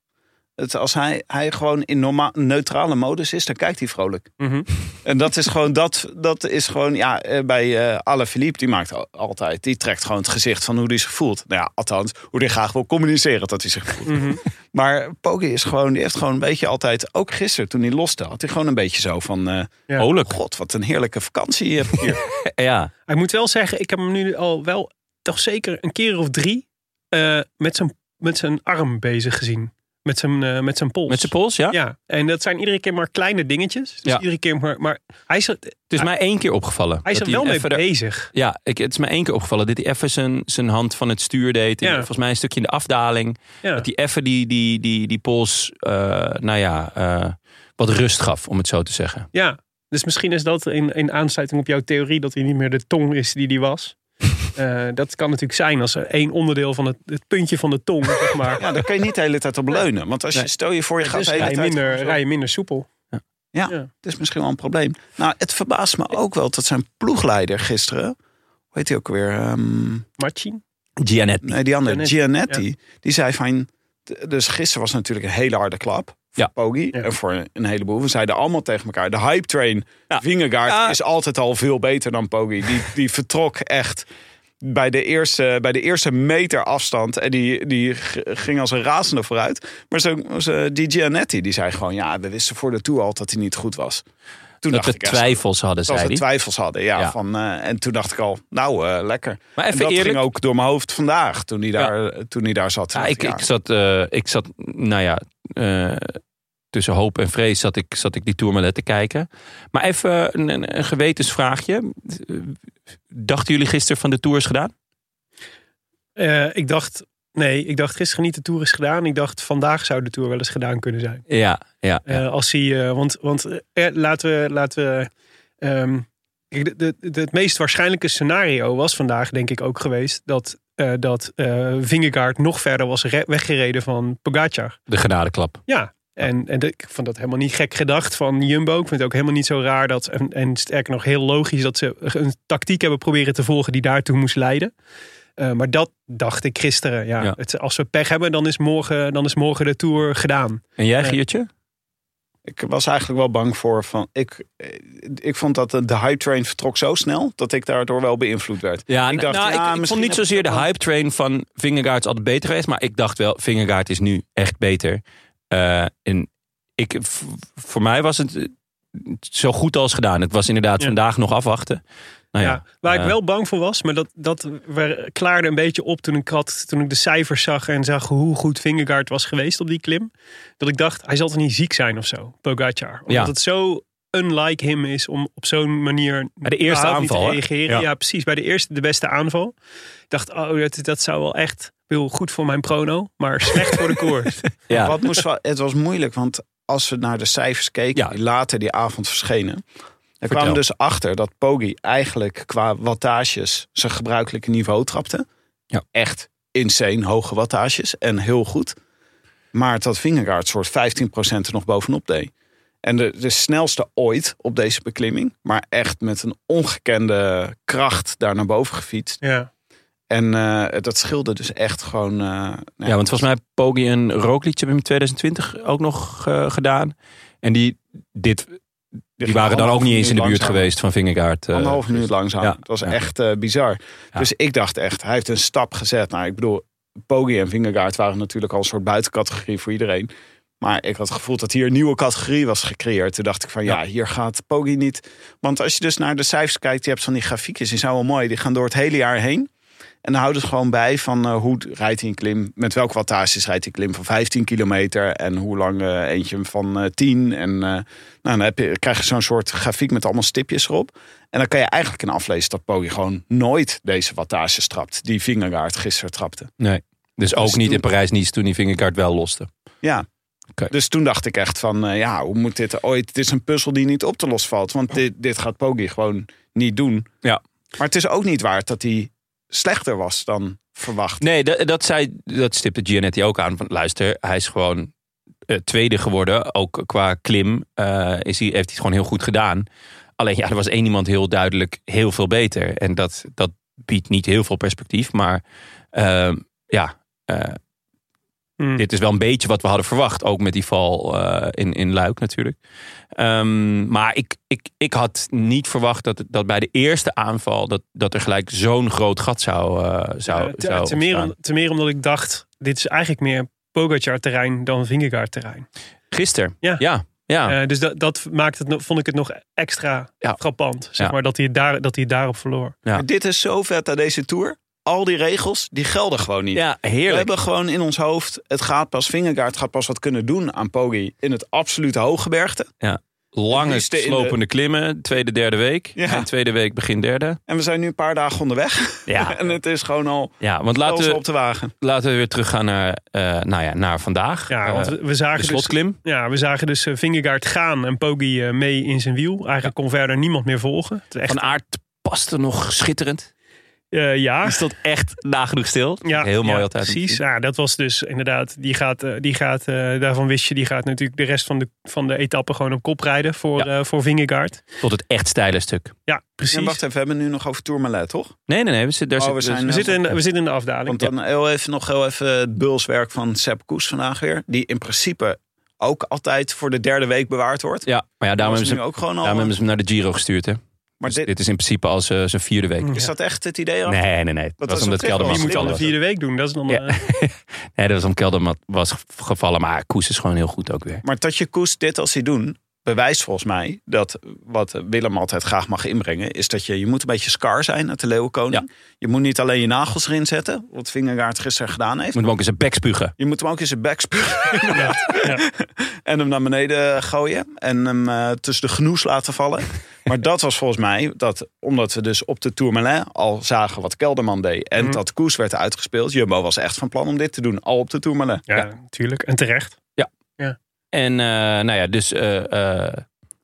Speaker 3: Het, als hij, hij gewoon in norma- neutrale modus is, dan kijkt hij vrolijk.
Speaker 1: mhm.
Speaker 3: En dat is gewoon, dat, dat is gewoon ja, eh, bij eh Alaphilippe, die maakt al- altijd, die trekt gewoon het gezicht van hoe hij zich voelt. Nou ja, althans, hoe hij graag wil communiceren dat hij zich voelt.
Speaker 1: Mhm.
Speaker 3: Maar Poggi is gewoon, die heeft gewoon een beetje altijd, ook gisteren toen hij loste, had hij gewoon een beetje zo van, eh,
Speaker 1: Ja.
Speaker 2: Olijk.
Speaker 3: god, wat een heerlijke vakantie je hebt
Speaker 1: [laughs]
Speaker 3: hier.
Speaker 2: Eh, Ja.
Speaker 1: Ik moet wel zeggen, ik heb hem nu al wel toch zeker een keer of drie eh, met, zijn, met zijn arm bezig gezien. Met zijn, eh, met zijn pols.
Speaker 2: Met zijn pols, ja?
Speaker 1: Ja, en dat zijn iedere keer maar kleine dingetjes. Dus
Speaker 2: Ja.
Speaker 1: iedere keer maar. Maar hij is, er-
Speaker 2: Het is mij één keer opgevallen.
Speaker 1: hij is
Speaker 2: dat
Speaker 1: er wel mee
Speaker 2: even de-
Speaker 1: bezig.
Speaker 2: Ja, ik, het is mij één keer opgevallen. Dat hij even zijn, zijn hand van het stuur deed. En
Speaker 1: Ja.
Speaker 2: Volgens mij een stukje in de afdaling.
Speaker 1: Ja.
Speaker 2: Dat hij even die, die, die, die pols, eh, nou ja, eh, wat rust gaf, om het zo te zeggen.
Speaker 1: ja, dus misschien is dat in, in aansluiting op jouw theorie dat hij niet meer de tong is die hij
Speaker 2: [laughs]
Speaker 1: was. Eh, dat kan natuurlijk zijn als er één onderdeel van het, het puntje van de tong, zeg
Speaker 2: [laughs]
Speaker 1: maar.
Speaker 3: Ja, daar kan je niet de hele tijd op leunen. Want als je,
Speaker 2: Nee.
Speaker 3: stel je voor, je gaat
Speaker 1: Dus
Speaker 3: de hele
Speaker 1: rij je
Speaker 3: tijd...
Speaker 1: minder,
Speaker 3: zo-
Speaker 1: rij je minder soepel.
Speaker 3: Dat is misschien wel een probleem. Nou, het verbaast me ook wel dat zijn ploegleider gisteren. Hoe heet hij ook weer? Ehm,
Speaker 1: Machin.
Speaker 2: Gianet.
Speaker 3: nee, die andere,
Speaker 1: Gianetti,
Speaker 3: Gianetti. Die zei van. d- Dus gisteren was natuurlijk een hele harde klap. Voor
Speaker 2: Ja.
Speaker 3: Poggi
Speaker 1: Ja.
Speaker 3: en voor een heleboel. We zeiden allemaal tegen elkaar. De hype train.
Speaker 2: Ja.
Speaker 3: Vingegaard
Speaker 2: Ja.
Speaker 3: is altijd al veel beter dan Poggi. Die, die vertrok echt bij de, eerste, bij de eerste meter afstand. En die, die g- ging als een razende vooruit. Maar zo, zo- die Gianetti die zei gewoon... Ja, we wisten voor de toe al dat hij niet goed was.
Speaker 2: Dat
Speaker 3: Toen dacht
Speaker 2: we
Speaker 3: ik echt,
Speaker 2: twijfels hadden,
Speaker 3: dat
Speaker 2: zei
Speaker 3: we
Speaker 2: hij.
Speaker 3: twijfels hadden, ja.
Speaker 2: Ja.
Speaker 3: Van, eh, en toen dacht ik al, nou, eh, lekker.
Speaker 2: Maar
Speaker 3: en
Speaker 2: even
Speaker 3: dat
Speaker 2: eerlijk-
Speaker 3: ging ook door mijn hoofd vandaag, toen hij daar, eh, toen hij daar zat. Toen
Speaker 2: Ja,
Speaker 3: dacht
Speaker 2: ik, ik, zat, eh, ik zat, nou ja, eh, tussen hoop en vrees zat ik, zat ik die Tourmalet te kijken. Maar even een, een, een gewetensvraagje. Dachten jullie gisteren van de Tour is gedaan?
Speaker 1: Eh, ik dacht, nee, ik dacht gisteren niet de Tour is gedaan. Ik dacht vandaag zou de Tour wel eens gedaan kunnen zijn.
Speaker 2: Ja, ja. ja.
Speaker 1: Eh, als hij, eh, want want eh, laten we, laten we ehm, kijk, de, de, de- het meest waarschijnlijke scenario was vandaag denk ik ook geweest dat, eh dat eh, Vingegaard nog verder was re- weggereden van Pogacar.
Speaker 2: de genadeklap.
Speaker 1: Ja, en, en dat- ik vond dat helemaal niet gek gedacht van Jumbo. Ik vind het ook helemaal niet zo raar dat, en, en sterker nog heel logisch, dat ze een tactiek hebben proberen te volgen die daartoe moest leiden. Eh, maar dat dacht ik gisteren. Ja.
Speaker 2: Ja.
Speaker 1: Het, als we pech hebben, dan is, morgen, dan is morgen de Tour gedaan.
Speaker 2: En jij,
Speaker 1: Eh,
Speaker 2: Giertje?
Speaker 3: ik was eigenlijk wel bang voor. Van, ik, eh, ik vond dat de, de hype train vertrok zo snel, dat ik daardoor wel beïnvloed werd.
Speaker 2: Ja,
Speaker 3: Ik
Speaker 2: nou,
Speaker 3: dacht,
Speaker 2: nou, ik-
Speaker 3: ja,
Speaker 2: ik,
Speaker 3: misschien
Speaker 2: vond niet
Speaker 3: heb ik
Speaker 2: zozeer de
Speaker 3: dat wel.
Speaker 2: hype train van Vingegaard is altijd beter geweest. Maar ik dacht wel, Vingegaard is nu echt beter. Eh, en ik, v- voor mij was het eh, zo goed als gedaan. Het was inderdaad
Speaker 1: Ja.
Speaker 2: vandaag nog afwachten. Nou ja,
Speaker 1: ja. Waar ik
Speaker 2: eh,
Speaker 1: wel bang voor was, maar dat, dat we- klaarde een beetje op toen ik, had, toen ik de cijfers zag en zag hoe goed Vingegaard was geweest op die klim. Dat ik dacht, hij zal toch niet ziek zijn of zo, Pogacar. Omdat
Speaker 2: Ja.
Speaker 1: het zo unlike hem is om op zo'n manier
Speaker 2: Bij de eerste
Speaker 1: überhaupt niet
Speaker 2: aanval, hè?
Speaker 1: te reageren.
Speaker 2: Ja.
Speaker 1: Ja. precies, bij de eerste de beste aanval. Ik dacht, oh, dat, dat zou wel
Speaker 2: [laughs]
Speaker 1: echt heel goed voor mijn prono, maar slecht voor de koers.
Speaker 2: ja.
Speaker 3: Wat moest, wel- het was moeilijk, want als we naar de cijfers keken
Speaker 2: Ja.
Speaker 3: die later die avond verschenen. Er
Speaker 2: Vertel.
Speaker 3: kwam dus achter dat Poggi eigenlijk qua wattages zijn gebruikelijke niveau trapte.
Speaker 2: Ja.
Speaker 3: Echt insane hoge wattages en heel goed. Maar dat Vingegaard soort 15% er nog bovenop deed. En de, de snelste ooit op deze beklimming. Maar echt met een ongekende kracht daar naar boven gefietst.
Speaker 1: Ja.
Speaker 3: En eh, dat scheelde dus echt gewoon... eh, nou
Speaker 2: Ja, want volgens mij heeft Poggi een rookliedje hebben in 2020 ook nog eh, gedaan. En die, dit, die waren dan ook niet eens in de buurt
Speaker 3: langzamer.
Speaker 2: geweest van Vingegaard. eh.
Speaker 3: Anderhalf minuut dus langzaam.
Speaker 2: Ja,
Speaker 3: Dat was
Speaker 2: ja.
Speaker 3: echt eh, bizar.
Speaker 2: Ja.
Speaker 3: Dus ik dacht echt, hij heeft een stap gezet. Nou, ik bedoel, Poggi en Vingegaard waren natuurlijk al een soort buitencategorie voor iedereen. Maar ik had het gevoel dat hier een nieuwe categorie was gecreëerd. Toen dacht ik van, ja, hier gaat Poggi niet. Want als je dus naar de cijfers kijkt, je hebt van die grafiekjes, die zijn wel mooi. Die gaan door het hele jaar heen. En dan houden ze gewoon bij van eh, hoe rijdt hij een klim. Met welke wattages rijdt hij een klim van 15 kilometer. En hoe lang eh, eentje van eh 10. En eh, nou, dan heb je, krijg je zo'n soort grafiek met allemaal stipjes erop. En dan kan je eigenlijk in aflezen dat Poggi gewoon nooit deze wattages trapt. Die Vingegaard gisteren trapte.
Speaker 2: Nee. Dus ook niet in
Speaker 3: toen-
Speaker 2: Parijs niets toen die Vingegaard wel loste.
Speaker 3: Ja.
Speaker 2: Oké.
Speaker 3: Dus toen dacht ik echt van, eh, ja, hoe moet dit ooit... Dit is een puzzel die niet op te lossen valt. Want dit, dit gaat Poggi gewoon niet doen.
Speaker 2: Ja.
Speaker 3: Maar het is ook niet waard dat hij slechter was dan verwacht.
Speaker 2: Nee, dat, dat, zei, dat stipte Gianetti ook aan. Van, luister, hij is gewoon eh, tweede geworden. Ook qua klim eh, is hij, heeft hij het gewoon heel goed gedaan. Alleen ja, er was één iemand heel duidelijk heel veel beter. En dat, dat biedt niet heel veel perspectief. Maar eh, ja, eh,
Speaker 1: Hm.
Speaker 2: dit is wel een beetje wat we hadden verwacht. Ook met die val eh, in, in Luik natuurlijk. Ehm, maar ik, ik, ik had niet verwacht dat, dat bij de eerste aanval... dat, dat er gelijk zo'n groot gat zou, eh zou,
Speaker 1: Ja, te,
Speaker 2: zou
Speaker 1: te meer
Speaker 2: ontstaan.
Speaker 1: om- te meer omdat ik dacht, dit is eigenlijk meer Pogacar terrein dan Vingegaard terrein.
Speaker 2: Gisteren.
Speaker 1: Ja.
Speaker 2: Ja. ja.
Speaker 1: Eh, dus dat, dat maakt het, nog- vond ik het nog extra
Speaker 2: Ja.
Speaker 1: frappant. Zeg
Speaker 2: Ja.
Speaker 1: maar, dat hij, het daar, dat hij het daarop verloor.
Speaker 2: Ja.
Speaker 3: Maar Dit is zo vet aan deze Tour. Al die regels, die gelden gewoon niet.
Speaker 2: ja,
Speaker 3: We
Speaker 2: heerlijk.
Speaker 3: hebben gewoon in ons hoofd, het gaat pas, Vingegaard gaat pas wat kunnen doen aan Poggi in het absolute hooggebergte. het
Speaker 2: Lange
Speaker 3: liefst in de-
Speaker 2: slopende klimmen. Tweede, derde week.
Speaker 3: Ja.
Speaker 2: En tweede week begin derde.
Speaker 3: En we zijn nu een paar dagen onderweg.
Speaker 1: [laughs]
Speaker 2: Ja.
Speaker 3: [laughs] en het is gewoon al
Speaker 2: Ja, want laten
Speaker 3: laten op
Speaker 2: we,
Speaker 3: de wagen.
Speaker 2: laten we weer teruggaan naar, eh, nou ja, naar vandaag.
Speaker 1: Ja,
Speaker 2: Eh,
Speaker 1: want we, we
Speaker 2: de
Speaker 1: zagen dus,
Speaker 2: slotklim.
Speaker 1: ja, we zagen dus eh, Vingegaard gaan en Poggi eh, mee in zijn wiel. Eigenlijk kon verder niemand meer volgen. Het is echt,
Speaker 2: Van Aert paste nog schitterend.
Speaker 1: eh, ja.
Speaker 2: Die stond echt nagenoeg stil.
Speaker 1: Ja,
Speaker 2: Heel mooi
Speaker 1: ja,
Speaker 2: altijd.
Speaker 1: Precies. Ja, dat was dus inderdaad. Die gaat, eh, die gaat eh, daarvan wist je, die gaat natuurlijk de rest van de, van de etappe gewoon op kop rijden voor, eh voor Vingegaard.
Speaker 2: Tot het echt steile stuk.
Speaker 1: Ja, precies.
Speaker 3: En wacht even, we hebben nu nog over Tourmalet, toch?
Speaker 2: Nee, nee, nee. We zitten, daar
Speaker 3: Oh, we
Speaker 2: zitten- eh,
Speaker 3: zijn-
Speaker 1: we, zitten in, de- we zitten in de afdaling.
Speaker 3: Want dan heel even, nog heel even het bulswerk van Sepp Koes vandaag weer. Die in principe ook altijd voor de derde week bewaard wordt.
Speaker 2: ja, maar ja, daarom
Speaker 3: Dat
Speaker 2: hebben,
Speaker 3: is
Speaker 2: ze,
Speaker 3: nu ook gewoon al.
Speaker 2: daarom hebben ze hem naar de Giro gestuurd. Hè.
Speaker 3: maar
Speaker 2: Dus
Speaker 3: dit,
Speaker 2: dit is in principe als eh, zijn vierde week.
Speaker 3: is dat echt het idee?
Speaker 2: Nee, nee, nee. Dat was omdat
Speaker 3: was een prikkel.
Speaker 2: Kelderman
Speaker 1: Die moet
Speaker 3: dan
Speaker 1: al
Speaker 2: gevallen
Speaker 1: de
Speaker 2: was.
Speaker 1: vierde week doen. Dat is dan.
Speaker 2: Ja.
Speaker 1: eh,
Speaker 2: Nee, dat was om Kelderman was ge- gevallen. Maar Koes is gewoon heel goed ook weer.
Speaker 3: Maar dat je Koes dit als hij doen, bewijst volgens mij dat wat Willem altijd graag mag inbrengen, is dat je, je moet een beetje scar zijn uit de Leeuwenkoning. Je moet niet alleen je nagels erin zetten, wat Vingegaard gisteren gedaan heeft.
Speaker 2: Moet hem ook eens een bek spugen.
Speaker 3: Je moet hem ook in zijn bek spugen
Speaker 1: ja.
Speaker 3: [laughs] en hem naar beneden gooien en hem eh, tussen de genoes laten vallen. Maar dat was volgens mij dat, omdat we dus op de Tourmalet al zagen wat Kelderman deed en
Speaker 1: Mhm.
Speaker 3: dat Koes werd uitgespeeld. Jumbo was echt van plan om dit te doen, al op de Tourmalet.
Speaker 1: Ja, natuurlijk. En terecht.
Speaker 2: En eh, nou ja, dus eh, eh,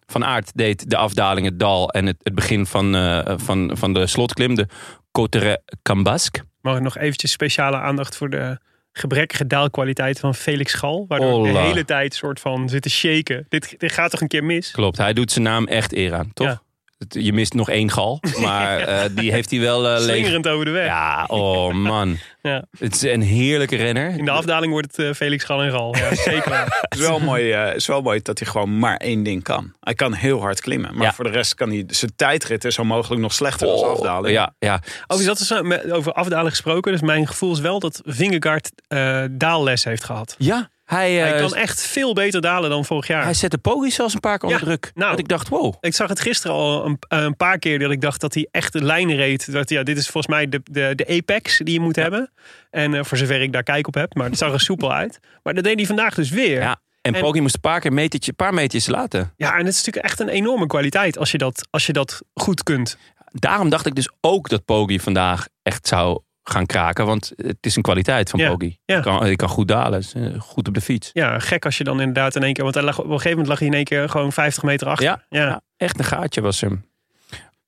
Speaker 2: Van Aert deed de afdaling, het dal en het, het begin van, eh, van, van de slotklim, de Cotere Cambasque.
Speaker 1: Mag ik nog eventjes speciale aandacht voor de gebrekkige daalkwaliteit van Felix Gal. Waardoor ik de
Speaker 2: Ola.
Speaker 1: hele tijd soort van zit te shaken. Dit, dit gaat toch een keer mis?
Speaker 2: Klopt, hij doet zijn naam echt eer aan, toch?
Speaker 1: Ja.
Speaker 2: Het- Je mist nog één
Speaker 1: [laughs]
Speaker 2: gal, maar eh, die heeft hij wel eh, leeg.
Speaker 1: Slingerend over de weg.
Speaker 2: Ja, oh man.
Speaker 1: [laughs] Ja.
Speaker 2: Het is een heerlijke renner.
Speaker 1: In de afdaling wordt het eh, Felix Gal en Gal.
Speaker 2: [laughs]
Speaker 1: Ja, zeker. waar.
Speaker 3: Het is wel mooi, eh, is wel mooi dat hij gewoon maar één ding kan. Hij kan heel hard klimmen, maar
Speaker 2: Ja.
Speaker 3: voor de rest kan hij zijn tijdrit is zo mogelijk nog slechter als
Speaker 2: Oh,
Speaker 3: afdaling.
Speaker 2: ja, ja.
Speaker 1: Overigens, dat is zo- met- over afdalen gesproken. Dus mijn gevoel is wel dat Vingegaard eh, daalles heeft gehad.
Speaker 2: ja hij, eh,
Speaker 1: Hij kan echt veel beter dalen dan vorig jaar.
Speaker 2: hij zet de pogie zelfs een paar keer onder
Speaker 1: Ja,
Speaker 2: druk.
Speaker 1: nou.
Speaker 2: dat ik dacht, wow.
Speaker 1: Ik zag het gisteren al een, eh, een paar keer dat ik dacht dat hij echt de lijn reed. Dat, ja, dit is volgens mij de, de, de apex die je moet hebben. En eh, voor zover ik daar kijk op heb, maar het zag er
Speaker 2: [laughs]
Speaker 1: soepel uit. Maar dat deed hij vandaag dus weer.
Speaker 2: Ja, en,
Speaker 1: En-
Speaker 2: Poggi moest een paar keer metertje, een paar metertjes laten.
Speaker 1: Ja, en het is natuurlijk echt een enorme kwaliteit als je dat, als je dat goed kunt.
Speaker 2: daarom dacht ik dus ook dat Poggi vandaag echt zou gaan kraken. Want het is een kwaliteit van
Speaker 1: Ja,
Speaker 2: Bogie.
Speaker 1: ja.
Speaker 2: Hij kan, hij kan goed dalen. is, eh, Goed op de fiets.
Speaker 1: Ja, gek als je dan inderdaad in één keer... Want hij lag, op een gegeven moment lag hij in één keer gewoon 50 meter achter.
Speaker 2: Ja,
Speaker 1: Ja.
Speaker 2: ja, echt een gaatje was hem.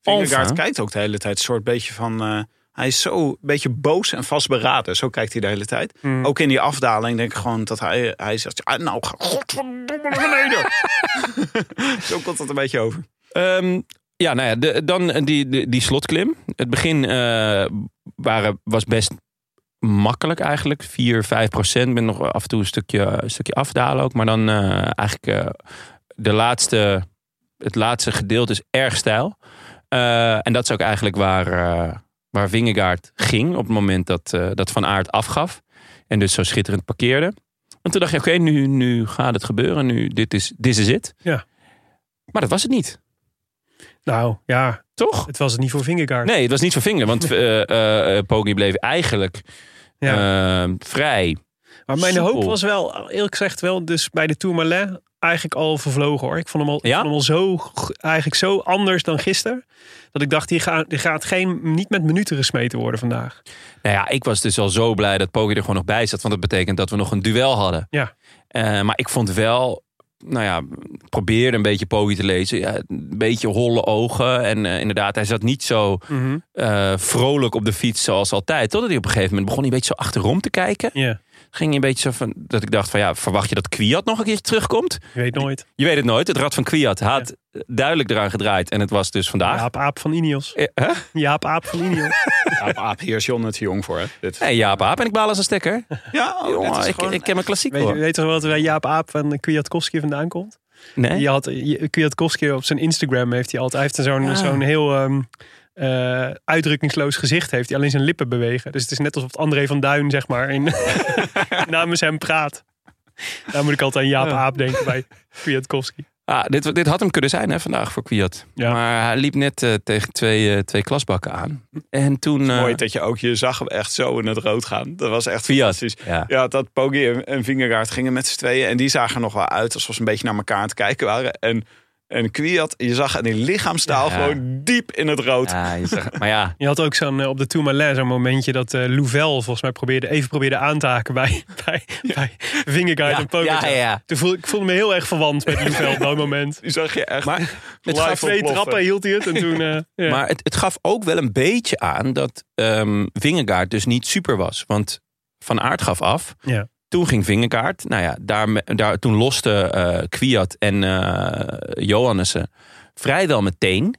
Speaker 3: Vingegaard
Speaker 2: Alfa.
Speaker 3: kijkt ook de hele tijd een soort beetje van... eh, hij is zo een beetje boos en vastberaden. Zo kijkt hij de hele tijd.
Speaker 1: Hmm.
Speaker 3: Ook in die afdaling denk ik gewoon dat hij, hij zegt... "Ah, nou, ga godverdomme naar beneden. [laughs] zo komt dat een beetje over.
Speaker 2: Ehm, ja, nou ja, de, dan die, die, die slotklim. Het begin eh, waren, was best makkelijk eigenlijk. 4, 5 procent. Met nog af en toe een stukje, een stukje afdalen ook. Maar dan eh, eigenlijk eh, de laatste, het laatste gedeelte is erg stijl. Eh, en dat is ook eigenlijk waar, eh waar Vingegaard ging. Op het moment dat, eh, dat Van Aert afgaf. En dus zo schitterend parkeerde. En toen dacht je, oké, nu, nu gaat het gebeuren. Nu, dit is, dit is het.
Speaker 1: Ja.
Speaker 2: Maar dat was het niet.
Speaker 1: Nou, ja.
Speaker 2: Toch?
Speaker 1: Het was het niet voor Vingegaard.
Speaker 2: Nee, het was niet van
Speaker 1: [laughs]
Speaker 2: vinger, want eh eh, eh, Poggi bleef eigenlijk
Speaker 1: Ja.
Speaker 2: eh, vrij.
Speaker 1: Maar mijn
Speaker 2: Soepel.
Speaker 1: hoop was wel, eerlijk gezegd wel, dus bij de Tourmalet eigenlijk al vervlogen hoor. Ik vond hem al, ik
Speaker 2: Ja?
Speaker 1: vond hem al zo, g- eigenlijk zo anders dan gisteren. Dat ik dacht, die, ga, die gaat geen, niet met minuten gesmeten worden vandaag.
Speaker 2: Nou ja, ik was dus al zo blij dat Poggi er gewoon nog bij zat, want dat betekent dat we nog een duel hadden.
Speaker 1: Ja.
Speaker 2: Eh, maar ik vond wel, nou ja, ik probeerde een beetje Poggi te lezen. Ja, een beetje holle ogen en eh, inderdaad, hij zat niet zo eh, vrolijk op de fiets zoals altijd. Totdat hij op een gegeven moment begon hij een beetje zo achterom te kijken.
Speaker 1: Ja,
Speaker 2: Ging hij een beetje zo van, dat ik dacht van ja, verwacht je dat Kwiat nog een keertje terugkomt?
Speaker 1: je weet nooit.
Speaker 2: Je weet het nooit. Het Rad van Kwiat had duidelijk eraan gedraaid. En het was dus vandaag.
Speaker 1: Jaap Aap van Ineos.
Speaker 2: Eh, hè?
Speaker 1: Jaap Aap van
Speaker 2: [laughs]
Speaker 1: Ineos.
Speaker 3: Aap, aap, hier is Jon het te jong voor. Hè? Dit.
Speaker 2: Nee, Jaap Aap. En ik baal als een stekker.
Speaker 3: Ja, oh,
Speaker 2: Jongen,
Speaker 3: dit is
Speaker 2: ik,
Speaker 3: gewoon-
Speaker 2: ik ken mijn klassiek
Speaker 1: Weet je
Speaker 2: hoor.
Speaker 1: weet toch wel dat bij Jaap Aap van Kwiatkowski vandaan komt?
Speaker 2: Nee?
Speaker 1: Je had, je- Kwiatkowski op zijn Instagram heeft hij altijd, hij heeft zo'n
Speaker 2: Ja.
Speaker 1: zo'n heel ehm, eh, uitdrukkingsloos gezicht heeft. Hij alleen zijn lippen bewegen. Dus het is net alsof het André van Duin, zeg maar, in,
Speaker 2: [laughs]
Speaker 1: [laughs] namens hem praat. Daar moet ik altijd aan Jaap Aap denken bij Kwiatkowski.
Speaker 2: Ah, dit, dit had hem kunnen zijn hè, vandaag voor Kwiat.
Speaker 1: Ja.
Speaker 2: Maar hij liep net eh, tegen twee, eh, twee klasbakken aan. En toen... eh,
Speaker 3: Mooi dat je ook je zag hem echt zo in het rood gaan. Dat was echt
Speaker 2: Fiat.
Speaker 3: fantastisch.
Speaker 2: Ja.
Speaker 3: Ja, dat Poggi en- en Vingegaard gingen met z'n tweeën. En die zagen er nog wel uit alsof ze een beetje naar elkaar aan het kijken waren. En, en Kwiat, je zag aan die lichaamstaal
Speaker 2: Ja.
Speaker 3: gewoon diep in het rood.
Speaker 2: Ja, je zag- maar ja,
Speaker 1: Je had ook zo'n, eh, op de Tourmalet zo'n momentje dat eh, Louvel volgens mij probeerde, even probeerde aan te haken bij, [laughs] bij, bij Vingegaard
Speaker 2: Ja,
Speaker 1: en Pogacar.
Speaker 2: ja, ja.
Speaker 1: Toen voelde, ik voelde me heel erg verwant met Louvel op dat moment.
Speaker 3: Die zag je echt.
Speaker 2: Maar [laughs] het
Speaker 3: live
Speaker 2: gaat
Speaker 1: Twee
Speaker 3: ontploffen.
Speaker 1: trappen hield hij het en toen...
Speaker 2: [laughs]
Speaker 1: eh, ja.
Speaker 2: Maar het, het gaf ook wel een beetje aan dat ehm Vingegaard dus niet super was. Want Van Aert gaf af.
Speaker 1: Ja.
Speaker 2: Toen ging Vingegaard. Nou ja, daar, daar, toen loste eh Kwiat en eh Johannessen vrijwel meteen.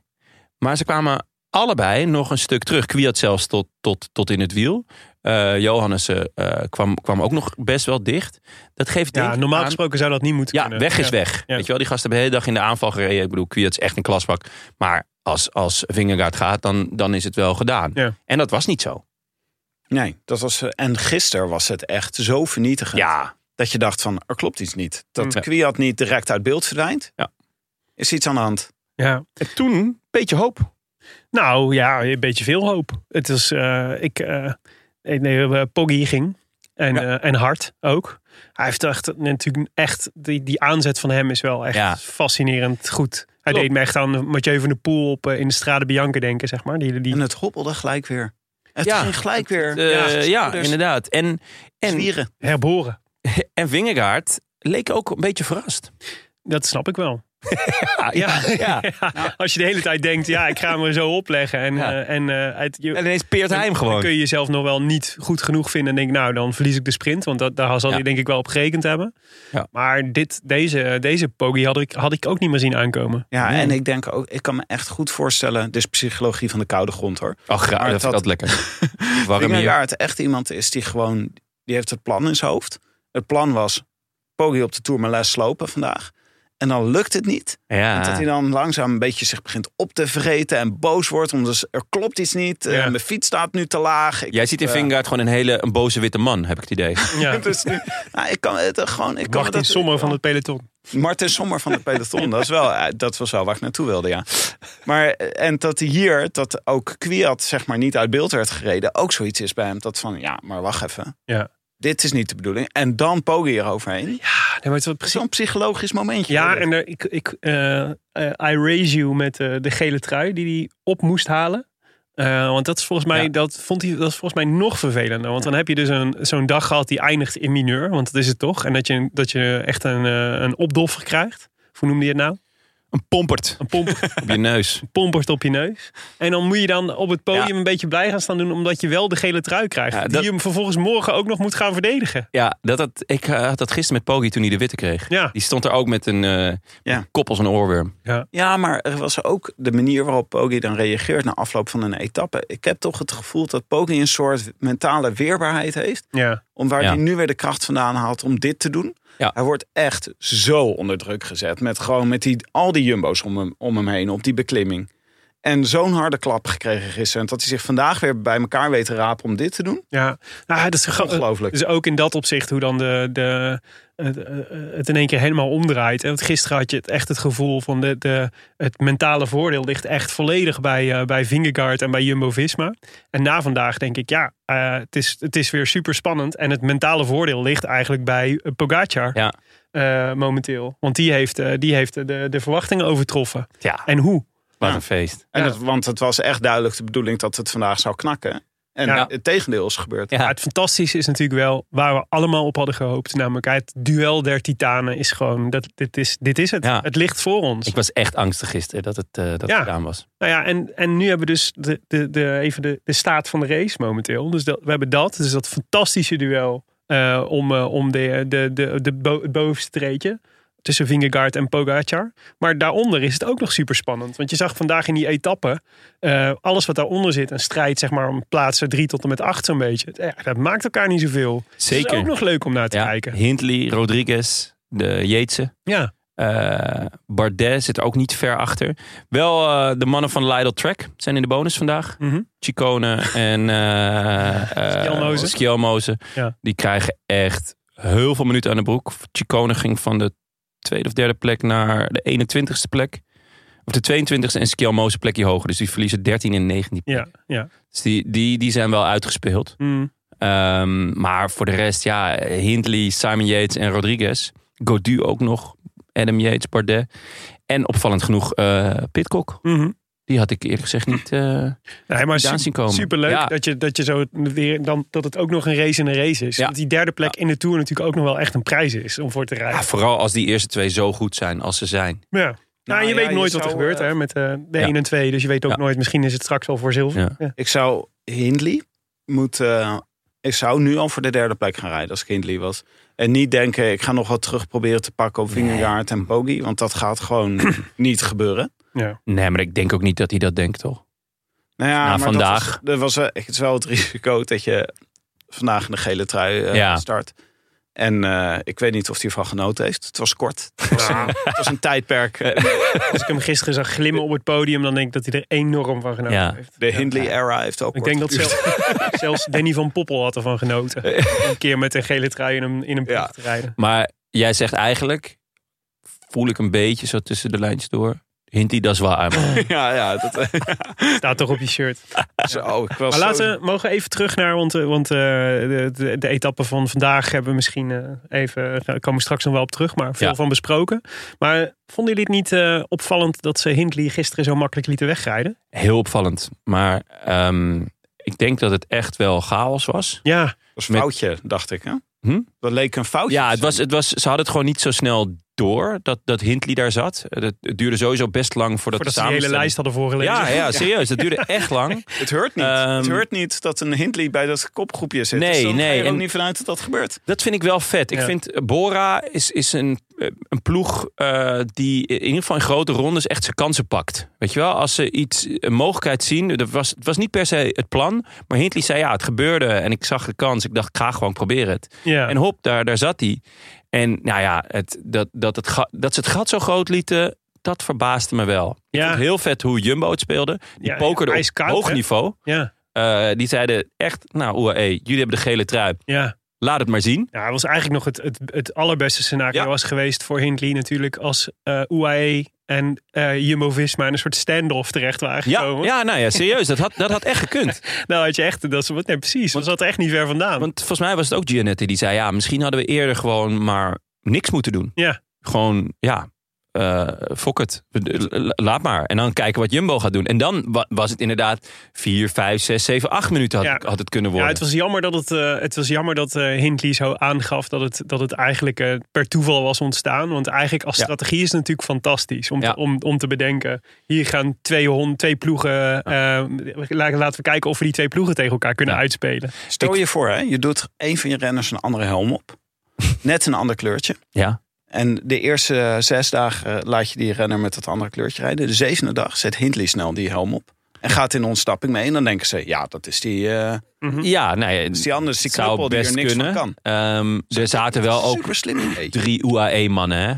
Speaker 2: Maar ze kwamen allebei nog een stuk terug. Kwiat zelfs tot, tot, tot in het wiel. Eh Johannessen eh, kwam, kwam ook nog best wel dicht. Dat geeft denk
Speaker 1: Ja,
Speaker 2: ik
Speaker 1: normaal
Speaker 2: aan-
Speaker 1: gesproken zou dat niet moeten
Speaker 2: ja,
Speaker 1: kunnen.
Speaker 2: weg is
Speaker 1: Ja.
Speaker 2: weg.
Speaker 1: Ja.
Speaker 2: Weet je wel, die gasten hebben de hele dag in de aanval gereden. Ik bedoel, Kwiat is echt een klasbak. Maar als, als Vingegaard gaat, dan, dan is het wel gedaan.
Speaker 1: Ja.
Speaker 2: En dat was niet zo.
Speaker 3: Nee, dat was. eh, En gisteren was het echt zo vernietigend.
Speaker 2: Ja,
Speaker 3: Dat je dacht van er klopt iets niet. Dat
Speaker 2: Ja.
Speaker 3: Kwiat niet direct uit beeld verdwijnt.
Speaker 2: Ja.
Speaker 3: Is iets aan de hand.
Speaker 1: Ja.
Speaker 2: en toen een beetje hoop.
Speaker 1: Nou ja, een beetje veel hoop. Het is, eh, ik, eh ik nee, eh, Poggi ging. En, eh, en hard ook. Hij heeft echt, natuurlijk echt die, die aanzet van hem is wel echt
Speaker 2: Ja.
Speaker 1: fascinerend goed. Hij
Speaker 2: Klopt.
Speaker 1: deed me echt aan Mathieu van der Poel op, eh, in de Strade Bianca denken, zeg maar. Die, die,
Speaker 3: En het hobbelde gelijk weer. Het
Speaker 2: Ja.
Speaker 3: ging gelijk weer.
Speaker 2: Eh, ja,
Speaker 3: schouders,
Speaker 2: inderdaad. En, en,
Speaker 3: zwieren.
Speaker 1: herboren.
Speaker 2: en Vingegaard leek ook een beetje verrast.
Speaker 1: Dat snap ik wel.
Speaker 2: Ja,
Speaker 1: [laughs]
Speaker 2: [laughs] Nou.
Speaker 1: Ja. Als je de hele tijd denkt, ja, ik ga me zo opleggen. En,
Speaker 2: Ja.
Speaker 1: eh, en eh, het, je-
Speaker 2: En ineens peert hij hem
Speaker 1: Dan
Speaker 2: gewoon.
Speaker 1: kun je jezelf nog wel niet goed genoeg vinden en denk nou, dan verlies ik de sprint. Want dat, daar zal
Speaker 2: Ja.
Speaker 1: hij denk ik wel op gerekend hebben.
Speaker 2: Ja.
Speaker 1: Maar dit, deze, deze pogie had ik, had ik ook niet meer zien aankomen.
Speaker 3: Ja, en ik denk ook, ik kan me echt goed voorstellen, dit is psychologie van de koude grond hoor.
Speaker 2: Oh, graag.
Speaker 3: Maar
Speaker 2: Dat,
Speaker 3: dat-
Speaker 2: dat [laughs] lekker. Warm hier.
Speaker 3: Vingegaard echt iemand is die gewoon, die heeft het plan in zijn hoofd. Het plan was, Poggi op de Tourmalet slopen vandaag. En dan lukt het niet. En Dat
Speaker 1: Eh.
Speaker 2: Ja.
Speaker 3: hij dan langzaam een beetje zich begint op te vreten en boos wordt. Omdat er klopt iets niet. eh,
Speaker 1: Ja.
Speaker 3: mijn fiets staat nu te laag. Ik, [laughs]
Speaker 2: Jij ziet in
Speaker 3: eh,
Speaker 2: Vingegaard gewoon een hele een boze witte man, heb ik het idee.
Speaker 1: [laughs] Ja.
Speaker 3: dus nu, nou, ik kan het eh, gewoon. Ik kan
Speaker 1: Martin
Speaker 3: dat-
Speaker 1: Sommer van het peloton.
Speaker 3: Martin Sommer van de peloton. dat, is wel, eh, dat was wel waar ik naartoe wilde, ja. Maar, eh, en dat hij hier, dat ook Kwiat zeg maar niet uit beeld werd gereden, ook zoiets is bij hem. Dat van, ja, maar wacht even.
Speaker 1: Ja.
Speaker 3: Dit is niet de bedoeling. En dan Poggi
Speaker 1: Ja,
Speaker 3: eroverheen.
Speaker 1: nee, maar het was precies.
Speaker 3: Zo'n psychologisch momentje.
Speaker 1: Ja,
Speaker 3: hoor.
Speaker 1: en er, ik, ik, eh, eh, I raise you met eh, de gele trui die hij op moest halen. Eh, want dat is volgens mij,
Speaker 2: Ja.
Speaker 1: dat vond hij, dat is volgens mij nog vervelender. Want dan heb je dus een, zo'n dag gehad die eindigt in mineur. Want dat is het toch. En dat je, dat je echt een, eh, een opdoffer krijgt. Hoe noemde je het
Speaker 2: [laughs]
Speaker 1: nou?
Speaker 2: Een pompert
Speaker 1: Een pomp,
Speaker 2: op je neus.
Speaker 1: pompert op je neus. En dan moet je dan op het podium
Speaker 2: Ja.
Speaker 1: een beetje blij gaan staan doen. Omdat je wel de gele trui krijgt.
Speaker 2: Ja,
Speaker 1: die
Speaker 2: dat-
Speaker 1: je hem vervolgens morgen ook nog moet gaan verdedigen.
Speaker 2: Ja, dat, dat, ik eh, had dat gisteren met Pogi toen hij de witte kreeg.
Speaker 1: Ja.
Speaker 2: Die stond er ook met een eh
Speaker 3: Ja.
Speaker 2: kop als een oorworm.
Speaker 3: Ja, maar er was ook de manier waarop Poggi dan reageert na afloop van een etappe. Ik heb toch het gevoel dat Poggi een soort mentale weerbaarheid heeft.
Speaker 1: Ja.
Speaker 3: Om waar
Speaker 2: Ja.
Speaker 3: hij nu weer de kracht vandaan haalt om dit te doen.
Speaker 2: Ja.
Speaker 3: Hij wordt echt zo onder druk gezet. Met gewoon met die, al die jumbo's om hem, om hem heen op die beklimming. En zo'n harde klap gekregen gisteren. Dat hij zich vandaag weer bij elkaar weet te rapen om dit te doen.
Speaker 1: Ja, nou, dat is gewoon-
Speaker 3: Ongelooflijk.
Speaker 1: Dus ook in dat opzicht hoe dan de, de, het, eh, het in één keer helemaal omdraait. En Want gisteren had je het echt het gevoel van de, de, het mentale voordeel ligt echt volledig bij, eh bij Vingegaard en bij Jumbo-Visma. En na vandaag denk ik, ja, eh, het, is, het is weer super spannend. En het mentale voordeel ligt eigenlijk bij eh, Pogacar
Speaker 2: Ja.
Speaker 1: eh, momenteel. Want die heeft, eh, die heeft de, de verwachtingen overtroffen.
Speaker 2: Ja,
Speaker 1: En hoe?
Speaker 2: wat
Speaker 3: Ja.
Speaker 2: een feest.
Speaker 3: En
Speaker 1: Ja.
Speaker 3: het- want het was echt duidelijk de bedoeling dat het vandaag zou knakken. En
Speaker 2: Ja.
Speaker 3: het tegendeel is gebeurd.
Speaker 2: Ja.
Speaker 1: Maar het fantastische is natuurlijk wel waar we allemaal op hadden gehoopt. Namelijk het duel der titanen is gewoon, dat, dit, is, dit is het.
Speaker 2: Ja.
Speaker 1: Het ligt voor ons.
Speaker 2: Ik was echt angstig gisteren dat het, eh, dat
Speaker 1: Ja.
Speaker 2: het gedaan was.
Speaker 1: Nou ja, en, en nu hebben we dus de, de, de, even de, de staat van de race momenteel. Dus dat, we hebben dat, dus dat fantastische duel eh, om, eh, om de, de, de, de bo- het bovenste treetje. Tussen Vingegaard en Pogacar. Maar daaronder is het ook nog super spannend. Want je zag vandaag in die etappe. eh, alles wat daaronder zit. Een strijd zeg maar om plaatsen drie tot en met acht zo'n beetje. Ja, dat maakt elkaar niet zoveel. Dus Het is ook
Speaker 2: Zeker.
Speaker 1: nog leuk om naar te
Speaker 2: Ja.
Speaker 1: kijken.
Speaker 2: Hindley, Rodriguez, de Jeetse.
Speaker 1: Ja,
Speaker 2: Eh, Bardet zit er ook niet ver achter. Wel eh, de mannen van Lidl Track zijn in de bonus vandaag.
Speaker 1: mhm.
Speaker 2: Chicone en eh, eh,
Speaker 1: Skjelmozen.
Speaker 2: Skjelmozen.
Speaker 1: Ja.
Speaker 2: Die krijgen echt heel veel minuten aan de broek. Chicone ging van de tweede of derde plek naar de 21ste plek. Of de 22ste en Skjelmozen plekje hoger. Dus die verliezen 13 en 19.
Speaker 1: ja, ja.
Speaker 2: Dus die, die, die zijn wel uitgespeeld.
Speaker 1: Mm.
Speaker 2: Ehm, maar voor de rest, ja, Hindley, Simon Yates en Rodriguez. Godu ook nog. Adam Yates, Bardet. En opvallend genoeg eh Pitcock.
Speaker 1: Mhm.
Speaker 2: Die had ik eerlijk gezegd niet eh
Speaker 1: Nee, maar
Speaker 2: gedaan zien komen.
Speaker 1: Superleuk
Speaker 2: Ja,
Speaker 1: dat, je, dat, je zo weer, dan, dat het ook nog een race in een race is.
Speaker 2: Ja.
Speaker 1: Want die derde plek in de Tour natuurlijk ook nog wel echt een prijs is om voor te
Speaker 2: ja,
Speaker 1: rijden.
Speaker 2: vooral als die eerste twee zo goed zijn als ze zijn.
Speaker 1: Ja. Nou,
Speaker 3: Nou
Speaker 1: je
Speaker 3: ja,
Speaker 1: weet
Speaker 3: je
Speaker 1: nooit wat er
Speaker 3: zou,
Speaker 1: gebeurt
Speaker 3: eh,
Speaker 1: hè, met eh, de
Speaker 2: Ja.
Speaker 1: 1 en 2. Dus je weet ook
Speaker 2: Ja.
Speaker 1: nooit, misschien is het straks al voor zilver.
Speaker 2: Ja.
Speaker 1: Ja.
Speaker 3: Ik zou Hindley moeten. eh, ik zou nu al voor de derde plek gaan rijden als ik Hindley was. En niet denken, ik ga nog wat terug proberen te pakken op Vingegaard en Bogie. Want dat gaat gewoon
Speaker 2: [clears throat]
Speaker 3: niet gebeuren.
Speaker 2: Nee, maar ik denk ook niet dat hij dat denkt, toch?
Speaker 3: Nou ja,
Speaker 2: Nou,
Speaker 3: maar
Speaker 2: vandaag.
Speaker 3: Dat was, er was, eh, het is wel het risico dat je vandaag in de gele trui eh,
Speaker 2: Ja.
Speaker 3: start. En eh, ik weet niet of hij ervan genoten heeft. Het was kort. Het was een,
Speaker 2: [laughs]
Speaker 3: het was een tijdperk. eh,
Speaker 1: [laughs] Als ik hem gisteren zag glimmen op het podium, dan denk ik dat hij er enorm van genoten
Speaker 2: Ja.
Speaker 1: heeft.
Speaker 3: De Hindley-era heeft ook
Speaker 1: Ik
Speaker 3: kort
Speaker 1: denk dat
Speaker 3: geduurd.
Speaker 1: zelfs, [laughs] zelfs Danny van Poppel had ervan
Speaker 3: [laughs]
Speaker 1: genoten. Een keer met een gele trui in een, in een ploeg
Speaker 3: Ja.
Speaker 1: te rijden.
Speaker 2: Maar jij zegt eigenlijk, voel ik een beetje zo tussen de lijntjes door. Hindley, dat is wel aan.
Speaker 3: [laughs] Ja, ja.
Speaker 1: [laughs]
Speaker 3: Dat, eh,
Speaker 1: Staat toch op je shirt.
Speaker 3: zo, oh, ik was
Speaker 1: Maar
Speaker 3: zo-
Speaker 1: laten we mogen we even terug naar, want, eh, want eh, de, de, de etappe van vandaag hebben we misschien eh, even, daar komen we straks nog wel op terug, maar veel
Speaker 2: Ja.
Speaker 1: van besproken. Maar eh, vonden jullie het niet eh, opvallend dat ze Hindley gisteren zo makkelijk lieten wegrijden?
Speaker 2: [laughs] Heel opvallend. Maar ehm, ik denk dat het echt wel chaos was.
Speaker 1: Ja,
Speaker 3: Dat was een
Speaker 2: Met-
Speaker 3: foutje, dacht ik. Hè?
Speaker 2: Hm?
Speaker 3: Dat leek een foutje.
Speaker 2: Ja,
Speaker 3: te
Speaker 2: het was, het was, ze hadden het gewoon niet zo snel door dat, dat Hindley daar zat. Eh, dat- Het duurde sowieso best lang voordat,
Speaker 1: voordat ze
Speaker 2: de
Speaker 1: die hele
Speaker 2: samenstelling-
Speaker 1: lijst hadden voorgelezen.
Speaker 2: [laughs] Ja, ja, serieus. Dat duurde echt [laughs] lang.
Speaker 3: Het heurt niet. het
Speaker 2: Ehm,
Speaker 3: heurt niet dat een Hindley bij dat kopgroepje zit.
Speaker 2: Nee,
Speaker 3: dus dan Ga
Speaker 2: nee,
Speaker 3: je er ook
Speaker 2: en-
Speaker 3: niet vanuit dat dat gebeurt.
Speaker 2: Dat vind ik wel vet. Ik
Speaker 1: Ja.
Speaker 2: vind eh, Bora is, is een, eh, een ploeg eh, die in ieder geval in grote rondes echt zijn kansen pakt. Weet je wel, als ze iets, een mogelijkheid zien. Dat was, het was niet per se het plan. Maar Hindley zei ja, het gebeurde. En ik zag de kans. Ik dacht, ik ga gewoon proberen het.
Speaker 1: Ja.
Speaker 2: En hop, daar, daar zat hij. En nou ja, het, dat, dat, het, ga- dat ze het gat zo groot lieten, dat verbaasde me wel. Ik
Speaker 1: Ja.
Speaker 2: vond het heel vet hoe Jumbo het speelde. Die
Speaker 1: Ja,
Speaker 2: pokerde op
Speaker 1: ijskoud,
Speaker 2: hoog
Speaker 1: hè?
Speaker 2: niveau.
Speaker 1: ja,
Speaker 2: Eh, die zeiden echt, nou UAE, jullie hebben de gele trui.
Speaker 1: ja.
Speaker 2: Laat het maar zien.
Speaker 1: Ja, het was eigenlijk nog het, het, het allerbeste scenario
Speaker 2: Ja.
Speaker 1: was geweest voor Hindley natuurlijk als eh UAE en eh Jumbo-Visma in een soort standoff terecht waren
Speaker 2: Ja,
Speaker 1: gekomen.
Speaker 2: ja nou ja, serieus. Dat had, dat had echt
Speaker 1: [laughs]
Speaker 2: gekund.
Speaker 1: Nou had je echt, dat, is- nee, precies, dat zat echt niet ver vandaan.
Speaker 2: Want volgens mij was het ook Giannetti die zei... ja, misschien hadden we eerder gewoon maar niks moeten doen.
Speaker 1: Ja.
Speaker 2: Gewoon, ja, eh fok het, eh, laat maar. En dan kijken wat Jumbo gaat doen. En dan wa- was het inderdaad 4, 5, 6, 7, 8 minuten had,
Speaker 1: Ja.
Speaker 2: het- had het kunnen
Speaker 1: Ja,
Speaker 2: worden.
Speaker 1: het was jammer dat, het, eh, het was jammer dat eh, Hindley zo aangaf dat het, dat het eigenlijk eh, per toeval was ontstaan. Want eigenlijk als
Speaker 2: Ja.
Speaker 1: strategie is het natuurlijk fantastisch om,
Speaker 2: Ja.
Speaker 1: te, om, om te bedenken. Hier gaan twee, hon, twee ploegen, eh, la- laten we kijken of we die twee ploegen tegen elkaar kunnen
Speaker 2: Ja.
Speaker 1: uitspelen.
Speaker 3: Stel je voor, hè, je doet een van je renners een andere helm [laughs] op. Net een ander kleurtje.
Speaker 2: Ja.
Speaker 3: En de eerste eh, zes dagen eh, laat je die renner met dat andere kleurtje rijden. De zevende dag zet Hindley snel die helm op. En gaat in ontsnapping mee. En dan denken ze, ja, dat is die, eh,
Speaker 2: Ja, nou ja,
Speaker 3: dat is die anders, die
Speaker 2: het zou
Speaker 3: knuppel die er
Speaker 2: best
Speaker 3: niks
Speaker 2: kunnen.
Speaker 3: van kan.
Speaker 2: Ehm, er zaten wel ook
Speaker 3: Super slim idee.
Speaker 2: drie UAE-mannen, hè?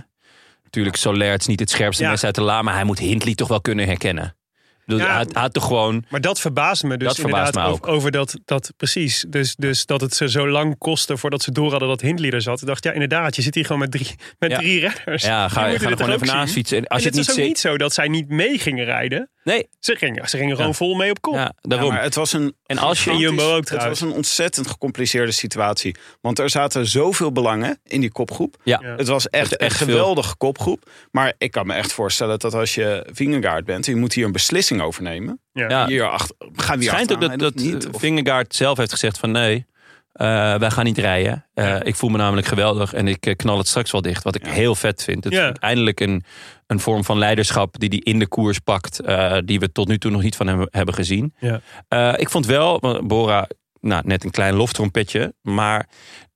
Speaker 2: Natuurlijk, Soler, het is niet het scherpste
Speaker 1: Ja.
Speaker 2: mes uit de la, maar hij moet Hindley toch wel kunnen herkennen. Ik bedoel,
Speaker 1: Ja.
Speaker 2: Hij had- hij had toch gewoon...
Speaker 1: Maar dat verbaasde me dus
Speaker 2: Dat verbaast
Speaker 1: inderdaad
Speaker 2: me
Speaker 1: over, over dat, dat precies. Dus, dus dat het ze zo lang kostte voordat ze door hadden dat Hindley er zat. Ik dacht, ja inderdaad, je zit hier gewoon met drie, met
Speaker 2: Ja.
Speaker 1: drie redders.
Speaker 2: Ja, ga,
Speaker 1: Die
Speaker 2: ga er
Speaker 1: moeten dit
Speaker 2: gewoon
Speaker 1: toch
Speaker 2: even
Speaker 1: ook
Speaker 2: naast
Speaker 1: zien?
Speaker 2: fietsen. En
Speaker 1: en
Speaker 2: als je
Speaker 1: het
Speaker 2: het niet
Speaker 1: is ook
Speaker 2: ziet...
Speaker 1: niet zo dat zij niet mee gingen rijden.
Speaker 2: Nee,
Speaker 1: Ze gingen, ze gingen gewoon
Speaker 2: Ja.
Speaker 1: vol mee op kop.
Speaker 2: ja, daarom.
Speaker 3: Ja, maar het was een
Speaker 2: En als je-
Speaker 3: gigantisch-
Speaker 1: Jumbo ook
Speaker 3: Het
Speaker 1: trouwens.
Speaker 3: was een ontzettend gecompliceerde situatie. Want er zaten zoveel belangen in die kopgroep.
Speaker 2: ja.
Speaker 1: Ja.
Speaker 3: Het was echt,
Speaker 2: Het is echt
Speaker 3: een geweldige kopgroep. Maar ik kan me echt voorstellen dat als je Vingegaard bent... je moet hier een beslissing over nemen.
Speaker 2: Ja.
Speaker 3: Hier achter, gaan we
Speaker 2: Het
Speaker 3: hier
Speaker 2: Ah. schijnt ook
Speaker 3: achteraan
Speaker 2: dat, dat eh,
Speaker 3: rijden of niet? Of-
Speaker 2: Vingegaard zelf heeft gezegd van nee, eh, wij gaan niet rijden. Eh, Ik voel me namelijk geweldig en ik eh, knal het straks wel dicht. Wat ik heel vet vind. Het
Speaker 1: Ja.
Speaker 2: is eindelijk een, een vorm van leiderschap die hij in de koers pakt. eh, die we tot nu toe nog niet van hem hebben gezien.
Speaker 1: Ja.
Speaker 2: Eh, ik vond wel, want Bora, nou, net een klein loftrompetje. Maar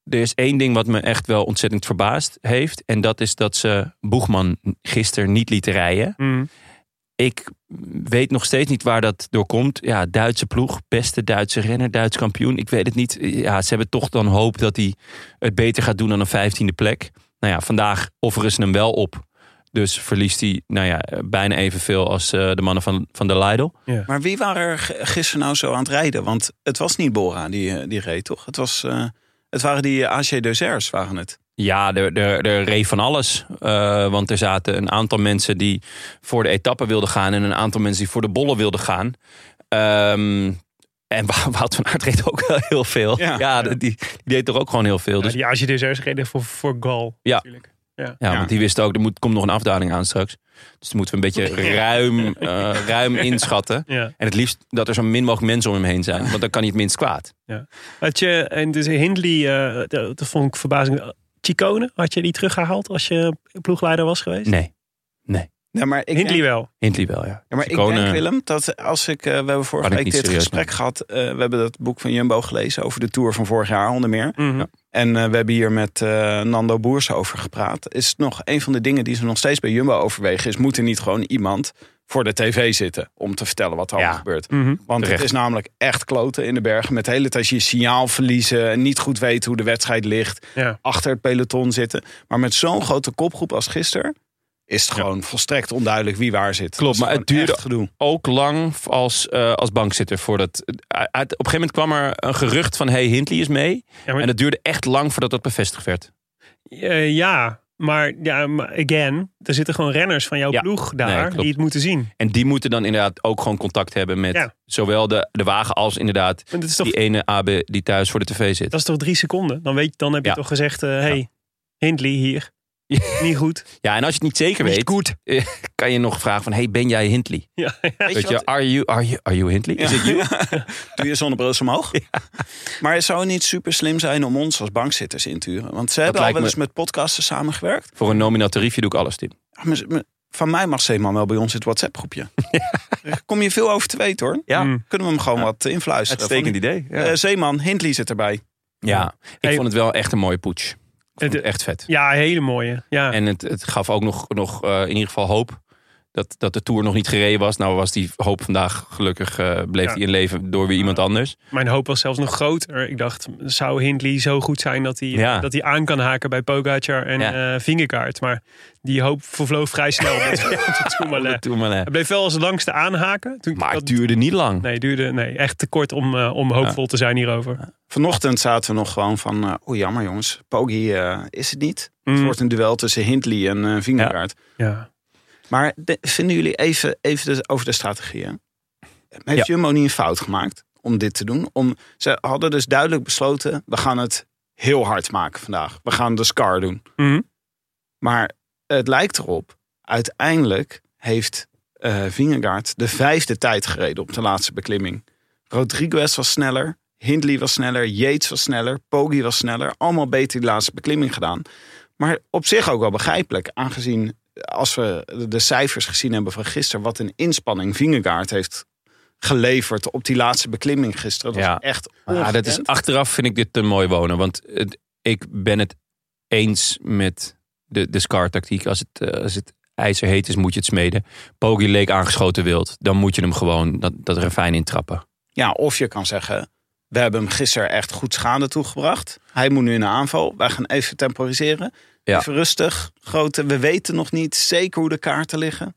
Speaker 2: er is één ding wat me echt wel ontzettend verbaasd heeft. En dat is dat ze Boegman gisteren niet lieten rijden.
Speaker 1: Mm.
Speaker 2: Ik weet nog steeds niet waar dat door komt. Ja, Duitse ploeg, beste Duitse renner, Duits kampioen. Ik weet het niet. Ja, ze hebben toch dan hoop dat hij het beter gaat doen dan een vijftiende plek. Nou ja, vandaag offeren ze hem wel op. Dus verliest hij nou ja, bijna evenveel als eh, de mannen van, van de Lidl.
Speaker 3: Maar wie waren er g- gisteren nou zo aan het rijden? Want het was niet Bora die, eh, die reed, toch? Het, was, eh, het waren die eh, AG Deusers, waren het.
Speaker 2: Ja, er, er, er reed van alles. Eh, want er zaten een aantal mensen die voor de etappe wilden gaan... en een aantal mensen die voor de bollen wilden gaan. Ehm, en Wa- [laughs] Wout van Aert reed ook wel heel veel. Ja,
Speaker 3: Ja.
Speaker 2: Die, die deed er ook gewoon heel veel.
Speaker 1: Ja,
Speaker 2: Dus, ja,
Speaker 1: die AG Desserts reden voor, voor Gal.
Speaker 2: Ja.
Speaker 1: natuurlijk.
Speaker 3: ja.
Speaker 2: Want die wist ook, er moet, komt nog een afdaling aan straks. Dus dan moeten we een beetje
Speaker 1: [laughs]
Speaker 2: ruim, eh, ruim inschatten.
Speaker 1: Ja.
Speaker 2: En het liefst dat er zo min mogelijk mensen om hem heen
Speaker 1: [laughs]
Speaker 2: zijn. Want dan kan hij het minst kwaad.
Speaker 1: Had je, en dus Hindley, eh, dat dat vond ik verbazing. Chicone, had je die teruggehaald als je ploegleider was geweest?
Speaker 2: Nee,
Speaker 3: Ja, maar ik
Speaker 1: Hindley wel.
Speaker 2: Hindley wel, ja.
Speaker 3: Ja, maar ik
Speaker 2: Chicone-
Speaker 3: denk, Willem, dat als ik. eh, we hebben vorige
Speaker 2: Kan ik
Speaker 3: week
Speaker 2: niet
Speaker 3: dit
Speaker 2: serieus
Speaker 3: gesprek gehad. eh, we hebben dat boek van Jumbo gelezen over de tour van vorig jaar onder meer.
Speaker 1: Mhm.
Speaker 2: Ja.
Speaker 3: En eh, we hebben hier met eh, Nando Boers over gepraat. Is nog een van de dingen die ze nog steeds bij Jumbo overwegen. Is moet er niet gewoon iemand voor de tv zitten om te vertellen wat er
Speaker 2: Ja.
Speaker 3: allemaal gebeurt.
Speaker 1: Mhm.
Speaker 3: Want
Speaker 2: Terecht.
Speaker 3: het is namelijk echt kloten in de bergen. Met de hele tijd je signaal verliezen. En niet goed weten hoe de wedstrijd ligt.
Speaker 1: Ja.
Speaker 3: Achter het peloton zitten. Maar met zo'n grote kopgroep als gisteren. Is het gewoon volstrekt onduidelijk wie waar zit.
Speaker 2: Klopt,
Speaker 3: Dat is
Speaker 2: maar het
Speaker 3: gewoon
Speaker 2: duurde-
Speaker 3: echt gedoe.
Speaker 2: ook lang als, eh, als bankzitter. Voordat, eh, uit, op een gegeven moment kwam er een gerucht van... hey, Hindley is mee.
Speaker 1: Ja, maar-
Speaker 2: En dat duurde echt lang voordat dat bevestigd werd.
Speaker 1: Eh, ja, maar ja, maar again, er zitten gewoon renners van jouw
Speaker 2: Ja.
Speaker 1: ploeg daar
Speaker 2: klopt.
Speaker 1: die het moeten zien.
Speaker 2: En die moeten dan inderdaad ook gewoon contact hebben... met
Speaker 1: Ja.
Speaker 2: zowel de, de wagen als inderdaad
Speaker 1: Want dat is toch,
Speaker 2: die ene AB die thuis voor de tv zit.
Speaker 1: dat is toch drie seconden? Dan, weet, je- dan heb je
Speaker 2: Ja.
Speaker 1: toch gezegd, eh, hey, Hindley hier.
Speaker 2: [laughs]
Speaker 1: Niet goed.
Speaker 2: Ja, en als je het niet zeker weet... eh,
Speaker 1: goed.
Speaker 2: kan je nog vragen van... hey, ben jij Hindley?
Speaker 1: Ja, [laughs]
Speaker 3: Weet
Speaker 2: Weet
Speaker 3: wat-
Speaker 2: je, are you, are you, are you Hindley? Dus Is it you?
Speaker 3: [laughs] Doe je zonnebril omhoog. Maar het zou niet super slim zijn om ons als bankzitters in te huren. Want ze hebben al
Speaker 2: lijkt
Speaker 3: wel
Speaker 2: me-
Speaker 3: eens met podcasten samengewerkt.
Speaker 2: Voor een nominaal tariefje doe ik alles, Tim.
Speaker 3: Ah, maar- maar Van mij mag Zeeman wel bij ons in het
Speaker 2: [laughs]
Speaker 3: WhatsApp groepje. Kom je veel over te weten hoor.
Speaker 2: Ja.
Speaker 1: Mm.
Speaker 3: Kunnen we hem gewoon wat eh, influisteren.
Speaker 2: idee.
Speaker 3: Van- eh, Zeeman, Hindley zit erbij.
Speaker 2: Ja, ik
Speaker 1: Hey.
Speaker 2: vond het wel echt een mooie poets. Ik vond
Speaker 1: Het-
Speaker 2: het echt vet.
Speaker 1: Ja, hele mooie. Ja.
Speaker 2: En het, het gaf ook nog, nog eh, in ieder geval hoop dat, dat de Tour nog niet gereden was. Nou was die hoop vandaag gelukkig, eh, bleef
Speaker 1: Ja.
Speaker 2: die in leven door weer iemand anders.
Speaker 1: Mijn hoop was zelfs nog groter. Ik dacht, zou Hindley zo goed zijn dat hij,
Speaker 2: Ja.
Speaker 1: dat hij aan kan haken bij Pogacar en
Speaker 2: Ja.
Speaker 1: eh Vingegaard. Maar die hoop vervloog vrij snel.
Speaker 2: [laughs]
Speaker 1: met- met Tourmalet.
Speaker 2: Toen maar, eh,
Speaker 1: Hij bleef wel als langste aanhaken. Toen
Speaker 2: Maar het
Speaker 1: dat-
Speaker 2: duurde niet lang.
Speaker 1: Nee, duurde, nee, echt te kort om, eh, om hoopvol te zijn hierover.
Speaker 3: Vanochtend zaten we nog gewoon van... eh oh jammer jongens, Poggi eh, is het niet. Het
Speaker 1: Mm.
Speaker 3: wordt een duel tussen Hindley en eh Vingegaard.
Speaker 1: Ja.
Speaker 3: Maar de- vinden jullie even, even de- over de strategieën? Heeft
Speaker 2: Ja.
Speaker 3: Jumbo niet een fout gemaakt om dit te doen? Om, ze hadden dus duidelijk besloten, we gaan het heel hard maken vandaag. We gaan de Scar doen.
Speaker 1: Mhm.
Speaker 3: Maar het lijkt erop Uiteindelijk heeft eh Vingegaard de vijfde tijd gereden op de laatste beklimming. Rodriguez was sneller, Hindley was sneller, Yates was sneller, Poggi was sneller. Allemaal beter die laatste beklimming gedaan. Maar op zich ook wel begrijpelijk, aangezien eh, als we de cijfers gezien hebben van gisteren, wat een inspanning Vingegaard heeft geleverd op die laatste beklimming gisteren. Dat
Speaker 2: Ja.
Speaker 3: was echt
Speaker 2: Ja, dat is,
Speaker 3: ongekend.
Speaker 2: achteraf vind ik dit te mooi wonen. Want het- ik ben het eens met de, de SCAR-tactiek. Als het, eh, als het ijzer heet is, moet je het smeden. Poggi leek aangeschoten wild. Dan moet je hem gewoon dat, dat refijn intrappen.
Speaker 3: Ja, of je kan zeggen, we hebben hem gisteren echt goed schade toegebracht. Hij moet nu in de aanval. Wij gaan even temporiseren.
Speaker 2: Ja.
Speaker 3: Even rustig. Grote, we weten nog niet zeker hoe de kaarten liggen.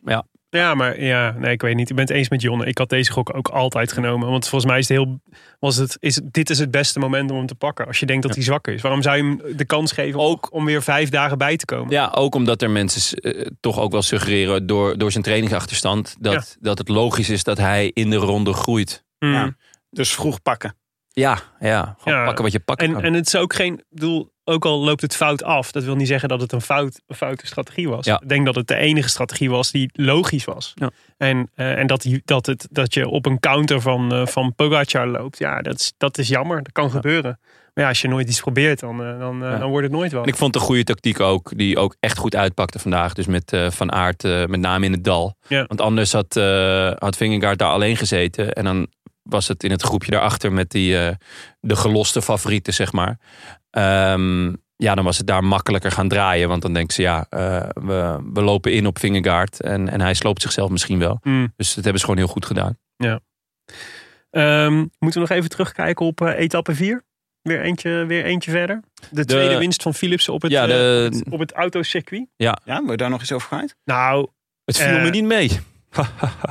Speaker 1: Ja, maar ja, nee, ik weet niet. Ik ben het eens met Jonne. Ik had deze gok ook altijd genomen. Want volgens mij is het heel. Was het, is, het- dit is het beste moment om hem te pakken. Als je denkt dat hij zwakker is. Waarom zou je hem de kans geven om,
Speaker 2: Ook-
Speaker 1: om weer vijf dagen bij te komen?
Speaker 2: Ja, ook omdat er mensen eh, toch ook wel suggereren door, door zijn trainingsachterstand... Dat, dat het logisch is dat hij in de ronde groeit.
Speaker 1: Hmm.
Speaker 3: Ja. Dus vroeg pakken.
Speaker 2: Ja, ja. Gewoon
Speaker 1: Ja.
Speaker 2: pakken wat je pakken
Speaker 1: En,
Speaker 2: kan.
Speaker 1: en het is ook geen doel, ook al loopt het fout af, dat wil niet zeggen dat het een, fout, een foute strategie was.
Speaker 2: Ja.
Speaker 1: Ik denk dat het de enige strategie was die logisch was.
Speaker 2: Ja.
Speaker 1: En, eh, en dat, die- dat, het, dat je op een counter van, eh, van Pogacar loopt, ja, dat is, dat is jammer. Dat kan gebeuren. Maar ja, als je nooit iets probeert, dan, eh, dan, eh,
Speaker 2: Ja.
Speaker 1: dan wordt het nooit wat.
Speaker 2: En ik vond het een goede tactiek ook, die ook echt goed uitpakte vandaag. Dus met eh, Van Aert, eh, met name in het dal.
Speaker 1: Ja.
Speaker 2: Want anders had, eh had Vingegaard daar alleen gezeten. En dan was het in het groepje daarachter met die, eh, de geloste favorieten, zeg maar. Ehm, ja, dan was het daar makkelijker gaan draaien. Want dan denken ze, ja, eh, we, we lopen in op Vingegaard. En, en hij sloopt zichzelf misschien wel.
Speaker 1: Hmm.
Speaker 2: Dus dat hebben ze gewoon heel goed gedaan.
Speaker 1: Ehm, moeten we nog even terugkijken op eh, etappe 4? Weer eentje, weer eentje verder. De, tweede winst van Philipsen op het,
Speaker 2: ja,
Speaker 1: eh,
Speaker 2: de-
Speaker 1: op het autocircuit.
Speaker 3: Ja, moet je daar nog eens over kwijt?
Speaker 1: Nou,
Speaker 2: het viel
Speaker 1: eh,
Speaker 2: me niet mee.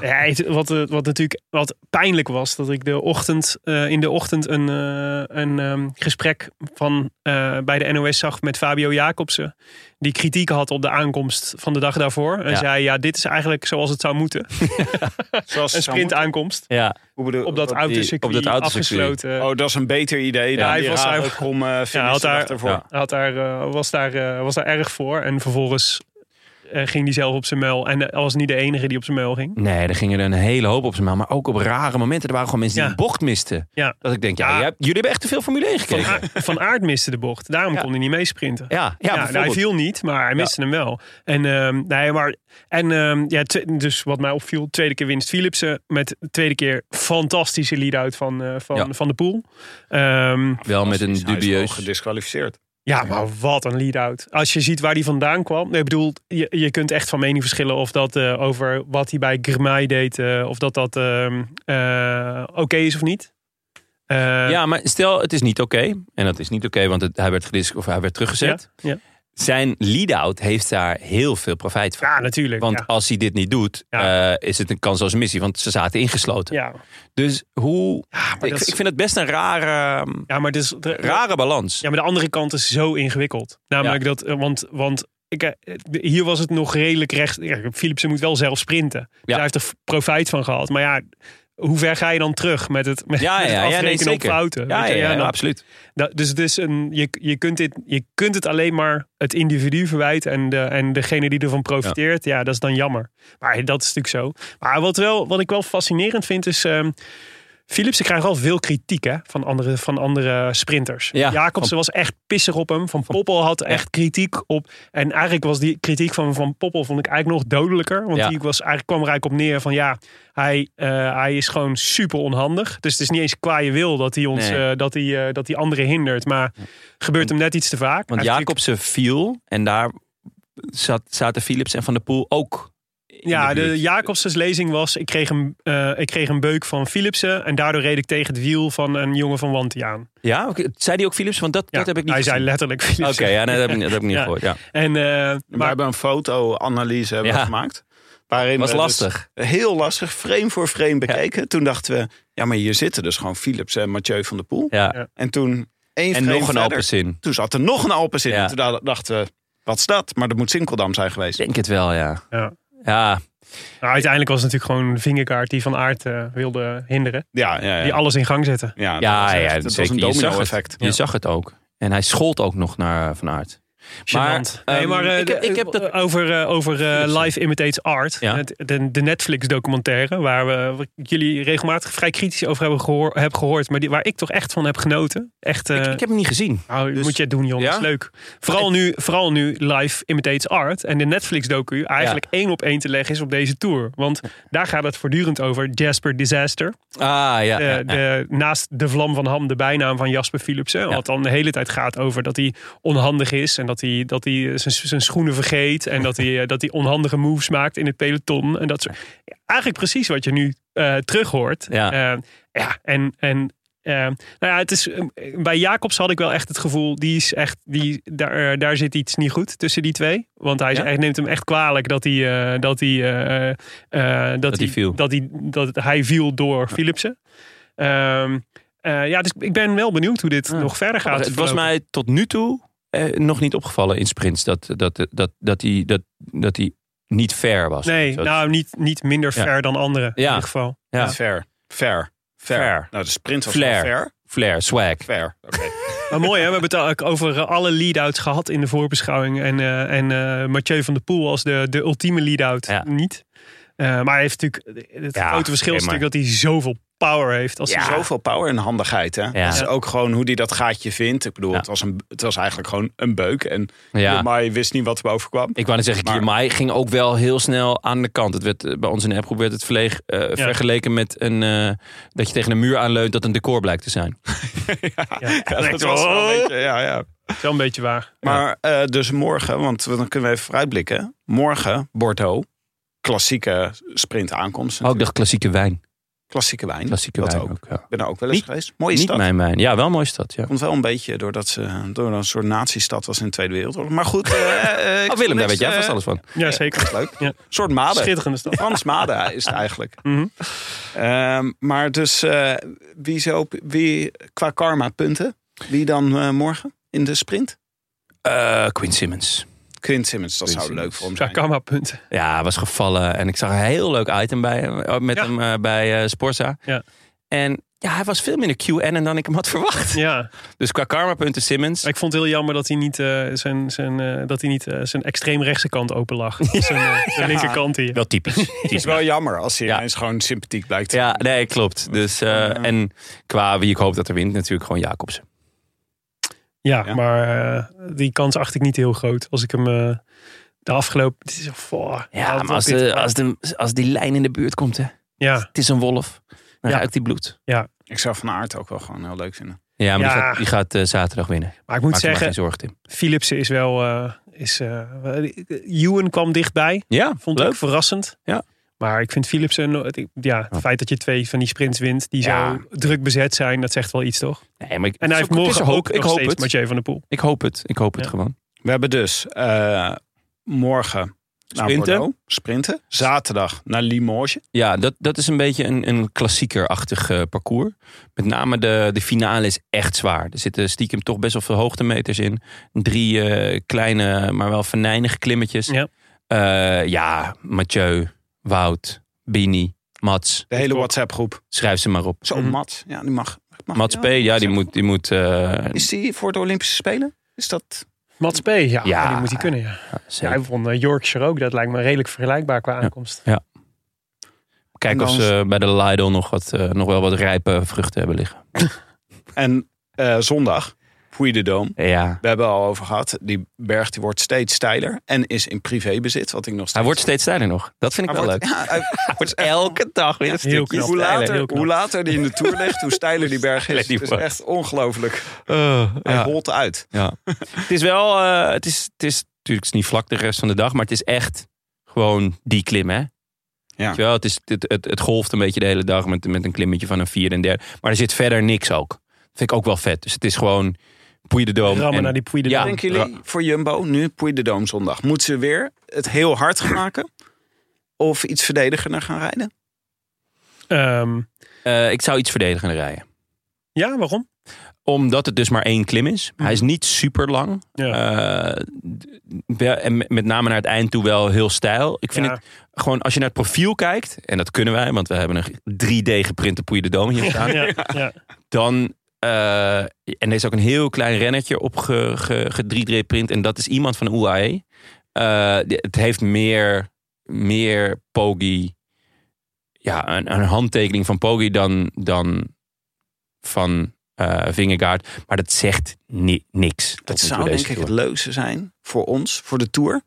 Speaker 1: Ja, het- wat, eh, wat natuurlijk wat pijnlijk was, dat ik de ochtend, eh, in de ochtend een, eh, een ehm, gesprek van, eh, bij de NOS zag met Fabio Jacobsen. Die kritiek had op de aankomst van de dag daarvoor. En
Speaker 2: Ja.
Speaker 1: zei, ja, dit is eigenlijk zoals het zou moeten.
Speaker 3: Zoals
Speaker 1: Een sprintaankomst
Speaker 2: Ja,
Speaker 3: Hoe bedoel-
Speaker 1: op dat
Speaker 3: wat-
Speaker 1: autocircuit
Speaker 2: op dat autocircuit.
Speaker 1: afgesloten.
Speaker 3: Oh, dat is een beter idee dan
Speaker 1: Ja, hij
Speaker 3: die
Speaker 1: was
Speaker 3: rare
Speaker 1: daar-
Speaker 3: krom, eh, finish
Speaker 1: Ja, had
Speaker 3: de dag
Speaker 1: daar-
Speaker 3: ervoor.
Speaker 2: ja.
Speaker 1: Had daar, eh, was, daar, eh, was daar erg voor. En vervolgens eh, ging hij zelf op zijn muil. En hij was niet de enige die op zijn muil ging.
Speaker 2: Nee, er gingen er een hele hoop op zijn maal. Maar ook op rare momenten. Er waren gewoon mensen die
Speaker 1: Ja.
Speaker 2: een bocht misten.
Speaker 1: Ja.
Speaker 2: Dat ik denk, ja,
Speaker 1: Ja.
Speaker 2: jij hebt- jullie hebben echt te veel Formule 1
Speaker 1: Van,
Speaker 2: gekeken.
Speaker 1: Aert- van Aert miste de bocht. Daarom
Speaker 2: Ja.
Speaker 1: kon hij niet meesprinten.
Speaker 2: ja, ja,
Speaker 1: Ja, nou, hij
Speaker 2: bijvoorbeeld.
Speaker 1: viel niet, maar hij miste hem wel. En, ehm, nee, maar, en ehm, ja, twe- dus wat mij opviel, tweede keer winst Philipsen. Met de tweede keer fantastische lead-out van, eh, van,
Speaker 2: Ja.
Speaker 1: van de pool. Ehm,
Speaker 2: Wel met een
Speaker 3: Hij is gewoon
Speaker 2: dubieus.
Speaker 3: gedisqualificeerd.
Speaker 1: ja, maar wat een lead-out. Als je ziet waar die vandaan kwam. Nee, ik bedoel, je, je kunt echt van mening verschillen of dat eh, over wat hij bij Grimay deed. eh, of dat dat ehm, eh, oké is of niet. Eh,
Speaker 2: Ja, maar stel, het is niet oké. En dat is niet oké, want het, hij, werd gedis- of hij werd teruggezet.
Speaker 1: Ja, ja.
Speaker 2: Zijn lead-out heeft daar heel veel profijt van.
Speaker 1: Ja, natuurlijk.
Speaker 2: Want
Speaker 1: ja. als
Speaker 2: als hij dit niet doet,
Speaker 1: Ja.
Speaker 2: eh, is het een kansloze missie. Want ze zaten ingesloten.
Speaker 1: ja.
Speaker 2: Dus hoe...
Speaker 1: maar
Speaker 2: ik,
Speaker 1: dat is-
Speaker 2: ik vind het best een rare, ehm,
Speaker 1: ja, maar het is,
Speaker 2: rare balans.
Speaker 1: Ja, maar de andere kant is zo ingewikkeld. Namelijk dat, eh, want, want ik, eh, hier was het nog redelijk recht. Ja, Philipsen moet wel zelf sprinten. Dus hij heeft er f- profijt van gehad. Maar ja, hoe ver ga je dan terug met het, met,
Speaker 2: Ja,
Speaker 1: met het
Speaker 2: ja, ja, nee,
Speaker 1: afrekenen op
Speaker 2: zeker.
Speaker 1: fouten?
Speaker 2: Ja,
Speaker 1: Weet
Speaker 2: ja,
Speaker 1: je,
Speaker 2: ja,
Speaker 1: dan-
Speaker 2: absoluut.
Speaker 1: da- dus het is een, je, je, kunt dit, je kunt het alleen maar het individu verwijten. En, de, en degene die ervan profiteert, ja. dat is dan jammer. Maar dat is natuurlijk zo. Maar wat, wel, wat ik wel fascinerend vind is... ehm Philipsen krijgt al veel kritiek hè, van, andere, van andere sprinters.
Speaker 2: Ja,
Speaker 1: Jacobsen
Speaker 2: van-
Speaker 1: was echt pissig op hem. Van Poppel had echt kritiek op. En eigenlijk was die kritiek van Van Poppel vond ik eigenlijk nog dodelijker. Want
Speaker 2: Ja.
Speaker 1: die was, eigenlijk kwam er eigenlijk op neer van ja, hij, eh, hij is gewoon super onhandig. Dus het is niet eens qua je wil dat hij, ons,
Speaker 2: Nee.
Speaker 1: eh, dat hij, eh, dat hij anderen hindert. Maar gebeurt hem net iets te vaak.
Speaker 2: Want
Speaker 1: Hij heeft natuurlijk-
Speaker 2: Jacobsen viel en daar zat, zaten Philips en Van der Poel ook. in
Speaker 1: Ja,
Speaker 2: buurt.
Speaker 1: de Jacobsens lezing was, ik kreeg, een, eh, ik kreeg een beuk van Philipsen. En daardoor reed ik tegen het wiel van een jongen van Wanty aan.
Speaker 2: Ja, oké. zei die ook Philips? Want dat,
Speaker 1: Ja,
Speaker 2: dat heb ik niet
Speaker 1: hij
Speaker 2: gezien.
Speaker 1: zei letterlijk Philipsen.
Speaker 2: Oké, ja, nee, dat, heb ik, niet- dat heb ik niet
Speaker 1: Ja.
Speaker 2: gehoord. Ja.
Speaker 1: En, eh,
Speaker 3: We
Speaker 1: maar
Speaker 3: hebben een foto-analyse hebben we
Speaker 2: Ja.
Speaker 3: gemaakt. Waarin
Speaker 2: Was
Speaker 3: we dus-
Speaker 2: lastig.
Speaker 3: heel lastig, frame voor frame bekeken. Toen dachten we, ja, maar hier zitten dus gewoon Philips en Mathieu van der Poel.
Speaker 2: Ja.
Speaker 1: Ja.
Speaker 3: En toen
Speaker 2: En
Speaker 3: één frame
Speaker 2: nog een
Speaker 3: verder,
Speaker 2: Alpecin.
Speaker 3: Toen zat er nog een Alpes in.
Speaker 2: Ja.
Speaker 3: En Toen da- dachten we, wat is dat? Maar dat moet Sinkeldam zijn
Speaker 2: Ik
Speaker 3: geweest.
Speaker 2: denk het wel, ja.
Speaker 1: Ja.
Speaker 2: Ja,
Speaker 1: nou, uiteindelijk was het natuurlijk gewoon vingerkaart die Van Aert eh, wilde hinderen.
Speaker 3: Ja, ja, ja.
Speaker 1: Die alles in gang zette.
Speaker 3: ja, dat
Speaker 2: ja,
Speaker 3: was
Speaker 2: ja,
Speaker 3: echt- dat was
Speaker 2: zeker.
Speaker 3: een
Speaker 2: Je zag het.
Speaker 3: domino-effect.
Speaker 2: je zag het ook. En hij schold ook nog naar Van Aert.
Speaker 1: Gênant.
Speaker 2: Maar,
Speaker 1: nee,
Speaker 2: ehm,
Speaker 1: maar eh,
Speaker 2: ik heb- ik heb dat-
Speaker 1: over, eh, over eh, Live Imitates Art,
Speaker 2: Ja.
Speaker 1: het- de, de Netflix documentaire, waar we waar ik jullie regelmatig vrij kritisch over hebben gehoor, heb gehoord, maar die, waar ik toch echt van heb genoten. Echt, eh,
Speaker 2: ik, ik heb hem niet gezien.
Speaker 1: nou,
Speaker 2: dus-
Speaker 1: moet je het doen, jongens.
Speaker 2: Ja?
Speaker 1: Leuk. Vooral nu, vooral nu Live Imitates Art en de Netflix-docu eigenlijk één op één te leggen is op deze tour. Want daar gaat het voortdurend over Jasper Disaster.
Speaker 2: Ah, ja. ja,
Speaker 1: De-
Speaker 2: ja.
Speaker 1: de- naast de vlam van Ham, de bijnaam van Jasper Philipsen. Wat dan de hele tijd gaat over dat hij onhandig is. En dat hij, dat hij eh, zijn, zijn schoenen vergeet. En dat
Speaker 2: [laughs]
Speaker 1: hij, eh, dat hij onhandige moves maakt in het peloton. En dat soort. Eigenlijk precies wat je nu eh, terug hoort.
Speaker 2: Ja.
Speaker 1: Eh, ja, en. en eh, nou ja, het is, eh, bij Jacobs had ik wel echt het gevoel, die is echt, die, daar, eh, daar zit iets niet goed tussen die twee. Want hij, is-
Speaker 2: Ja?
Speaker 1: hij neemt hem echt kwalijk dat hij, eh, dat hij, eh, eh, dat
Speaker 2: hij viel.
Speaker 1: dat hij, dat hij viel door Philipsen. Ehm, eh, ja, dus ik ben wel benieuwd hoe dit
Speaker 2: Ja.
Speaker 1: nog verder gaat.
Speaker 2: Oh, het was
Speaker 1: verlopen.
Speaker 2: mij tot nu toe eh, nog niet opgevallen in sprints dat, dat, dat, dat, die, dat, dat die niet fair was.
Speaker 1: Nee,
Speaker 2: Dat-
Speaker 1: nou niet, niet minder
Speaker 2: Ja.
Speaker 1: ver dan anderen in
Speaker 2: Ja.
Speaker 1: ieder geval.
Speaker 2: Ja.
Speaker 3: Fair. Fair. Fair.
Speaker 2: Fair.
Speaker 3: Nou, de sprint was
Speaker 2: Flair.
Speaker 3: wel fair.
Speaker 2: Flair, swag.
Speaker 3: Fair. Oké.
Speaker 1: Maar mooi hè, we hebben het ook over eh, alle lead-outs gehad in de voorbeschouwing. En, eh, en eh, Mathieu van der Poel als de, de ultieme lead-out
Speaker 2: Ja.
Speaker 1: niet. Eh, maar hij heeft natuurlijk, eh, het
Speaker 2: Ja,
Speaker 1: grote verschil is
Speaker 2: nee, maar-
Speaker 1: natuurlijk dat hij zoveel power heeft. Als hij zo-
Speaker 3: Zoveel power en handigheid. Hè?
Speaker 2: Ja.
Speaker 3: Dat is ook gewoon hoe die dat gaatje vindt. Ik bedoel,
Speaker 2: Ja.
Speaker 3: het, was een, het was eigenlijk gewoon een beuk. En
Speaker 2: Ja.
Speaker 3: maar je wist niet wat er boven kwam.
Speaker 2: Ik wou net zeggen,
Speaker 3: Maar-
Speaker 2: Kiermaai ging ook wel heel snel aan de kant. Het werd, eh, bij ons in de appgroep werd het verleeg, eh, vergeleken met een, eh, dat je tegen een muur aanleunt dat een decor blijkt te zijn.
Speaker 3: [laughs] Ja, dat was wel een beetje, ja, ja.
Speaker 1: is wel een beetje waar.
Speaker 3: Maar eh, dus morgen, want we- dan kunnen we even vooruitblikken. Morgen, Bordeaux. Klassieke sprint aankomst.
Speaker 2: Oh, ik dacht klassieke wijn.
Speaker 3: Klassieke wijn.
Speaker 2: Klassieke
Speaker 3: dat
Speaker 2: wijn
Speaker 3: ook.
Speaker 2: ook. ja.
Speaker 3: Ik ben daar ook wel eens
Speaker 2: Niet-
Speaker 3: geweest. Mooie
Speaker 2: Niet
Speaker 3: stad.
Speaker 2: mijn wijn. Ja, wel een mooie stad. Ja.
Speaker 3: Komt wel een beetje doordat ze door een soort nazi-stad was in de Tweede Wereldoorlog. Maar goed. eh, eh,
Speaker 2: [laughs]
Speaker 3: ik
Speaker 2: Oh, Willem, daar weet
Speaker 3: niks,
Speaker 2: jij
Speaker 3: eh,
Speaker 2: vast alles van.
Speaker 1: Ja, zeker.
Speaker 3: Leuk.
Speaker 1: Ja.
Speaker 3: Een soort maden.
Speaker 1: Schitterende stad.
Speaker 3: Frans maden is het eigenlijk.
Speaker 1: Mhm.
Speaker 3: Ehm, maar dus eh, wie, zo, wie qua karma punten? Wie dan eh, morgen in de sprint?
Speaker 2: Eh, Quinn Simmons.
Speaker 3: Quint Simmons, dat
Speaker 2: Quinn
Speaker 3: zou leuk
Speaker 2: Simmons.
Speaker 3: voor hem zijn.
Speaker 1: Zakama punten.
Speaker 2: Ja, hij was gevallen. En ik zag een heel leuk item bij, hem- met
Speaker 1: Ja.
Speaker 2: hem eh, bij eh Sporza.
Speaker 1: Ja.
Speaker 2: En ja, hij was veel minder QN dan ik hem had verwacht.
Speaker 1: Ja.
Speaker 2: Dus qua karma punten Simmons.
Speaker 3: Oh,
Speaker 1: Maar Ik vond het heel jammer dat hij niet, eh, zijn, zijn, eh, dat hij niet eh, zijn extreemrechtse kant open lag.
Speaker 2: [laughs]
Speaker 1: Zijn eh, de linkerkant hier.
Speaker 2: Wel
Speaker 3: [laughs]
Speaker 2: typisch.
Speaker 3: Het is wel jammer als hij
Speaker 2: Ja.
Speaker 3: ineens gewoon sympathiek blijkt. te
Speaker 2: Ja,
Speaker 3: zijn.
Speaker 2: nee, klopt. Dus, eh, En qua wie ik hoop dat er wint, natuurlijk gewoon Jacobsen.
Speaker 1: Ja,
Speaker 3: Ja.
Speaker 1: maar eh, die kans acht ik niet heel groot. Als ik hem eh, de afgelopen... Het is, oh,
Speaker 2: Ja, maar als,
Speaker 1: dit-
Speaker 2: de, als, de, als die lijn in de buurt komt, hè,
Speaker 1: ja,
Speaker 2: het is een wolf. Dan
Speaker 1: Ja.
Speaker 2: ruikt die bloed.
Speaker 3: Ik zou Van Aert ook wel gewoon heel leuk vinden.
Speaker 2: Ja, maar
Speaker 1: Ja.
Speaker 2: die gaat, die gaat eh, zaterdag winnen. Maak
Speaker 1: maar ik moet
Speaker 2: je maar geen
Speaker 1: zeggen,
Speaker 2: zorgen, Tim.
Speaker 1: Philipsen is wel... eh is, eh Ewan kwam dichtbij.
Speaker 2: Ja,
Speaker 1: Vond ik
Speaker 2: leuk.
Speaker 1: verrassend.
Speaker 2: Ja.
Speaker 1: Maar ik vind Philipsen... no- het- ik- Ja, het
Speaker 2: Ja.
Speaker 1: feit dat je twee van die sprints wint... die
Speaker 2: Ja.
Speaker 1: zo druk bezet zijn, dat zegt wel iets, toch?
Speaker 2: Nee, maar ik,
Speaker 1: En hij heeft
Speaker 2: het is
Speaker 1: morgen
Speaker 2: een hoop.
Speaker 1: ook
Speaker 2: Ik
Speaker 1: nog
Speaker 2: hoop
Speaker 1: steeds
Speaker 2: het.
Speaker 1: Mathieu van der Poel.
Speaker 2: Ik hoop het. Ik hoop het
Speaker 1: Ja.
Speaker 2: gewoon.
Speaker 3: We hebben dus eh, morgen naar
Speaker 2: Sprinten.
Speaker 3: Bordeaux. Sprinten. Zaterdag naar Limoges.
Speaker 2: Ja, dat, dat is een beetje een, een klassiekerachtig eh, parcours. Met name de, de finale is echt zwaar. Er zitten stiekem toch best wel veel hoogtemeters in. Drie eh, kleine, maar wel venijnige klimmetjes.
Speaker 1: Ja.
Speaker 2: Eh, ja, Mathieu, Wout, Bini, Mats.
Speaker 3: De hele WhatsApp-groep.
Speaker 2: Schrijf ze maar op.
Speaker 3: Zo,
Speaker 1: Mhm.
Speaker 3: Mats. Ja, die mag. mag
Speaker 2: Mats
Speaker 3: die
Speaker 2: P,
Speaker 3: wel?
Speaker 2: ja, die moet... Die moet eh,
Speaker 3: Is die voor de Olympische Spelen? Is dat...
Speaker 1: Mats P, ja,
Speaker 2: Ja.
Speaker 1: die moet hij kunnen, ja. Ja,
Speaker 2: nou, zeker.
Speaker 1: hij won eh, Yorkshire ook. Dat lijkt me redelijk vergelijkbaar qua aankomst.
Speaker 2: Kijk of ze bij de Lidl nog, wat, eh, nog wel wat rijpe vruchten hebben liggen.
Speaker 3: En eh, zondag, Puy de Dome.
Speaker 2: Ja.
Speaker 3: We hebben al over gehad. Die berg die wordt steeds steiler en is in privébezit, wat ik nog
Speaker 2: Hij
Speaker 3: steeds.
Speaker 2: wordt steeds steiler nog. Dat vind ik
Speaker 3: Hij
Speaker 2: wel
Speaker 3: wordt-
Speaker 2: leuk.
Speaker 3: Ja, [laughs] hij wordt echt-
Speaker 2: Elke dag weer een
Speaker 1: Heel
Speaker 2: stukje
Speaker 1: knap.
Speaker 3: hoe,
Speaker 2: steiler.
Speaker 3: later,
Speaker 1: heel knap.
Speaker 3: hoe later die in de tour ligt, hoe steiler die berg is.
Speaker 2: Steiler
Speaker 3: Het
Speaker 2: die
Speaker 3: is
Speaker 2: wordt.
Speaker 3: echt ongelooflijk.
Speaker 2: Eh,
Speaker 3: Hij
Speaker 2: ja.
Speaker 3: holt uit.
Speaker 2: Ja. [laughs] het is wel, eh, het, is, het is natuurlijk het is niet vlak de rest van de dag, maar het is echt gewoon die klim, hè? Weet je wel, het, is, het, het, het golft een beetje de hele dag met, met een klimmetje van een vierde en derde. Maar er zit verder niks ook. Dat vind ik ook wel vet. Dus het is gewoon poeie de doom.
Speaker 1: Rammen
Speaker 2: en-
Speaker 1: naar die Puy de
Speaker 2: Ja.
Speaker 1: Dome.
Speaker 3: Denken jullie voor Jumbo nu Puy de Dome zondag? Moeten ze weer het heel hard
Speaker 2: [clears throat]
Speaker 3: gaan maken? Of iets verdedigender gaan rijden?
Speaker 1: Ehm,
Speaker 2: Eh, ik zou iets verdedigender rijden.
Speaker 1: ja, waarom?
Speaker 2: Omdat het dus maar één klim is. Hij is niet super lang.
Speaker 1: Mhm. Ja.
Speaker 2: Eh, d- wel- en met- met name naar het eind toe wel heel stijl. Ik vind
Speaker 1: Ja.
Speaker 2: het gewoon, als je naar het profiel kijkt, en dat kunnen wij, want we hebben een 3D geprinte Poeie de Dome hier staan.
Speaker 1: Ja, ja.
Speaker 2: dan Eh, en er is ook een heel klein rennetje op ge, ge, 3D print. En dat is iemand van UAE. Eh, die- het heeft meer, meer Pogi. Ja, een, een handtekening van Pogi dan, dan van eh Vingegaard. Maar dat zegt ni- niks. tot
Speaker 3: Dat
Speaker 2: nu toe
Speaker 3: zou
Speaker 2: deze
Speaker 3: denk ik
Speaker 2: Tour.
Speaker 3: het leukste zijn voor ons, voor de Tour.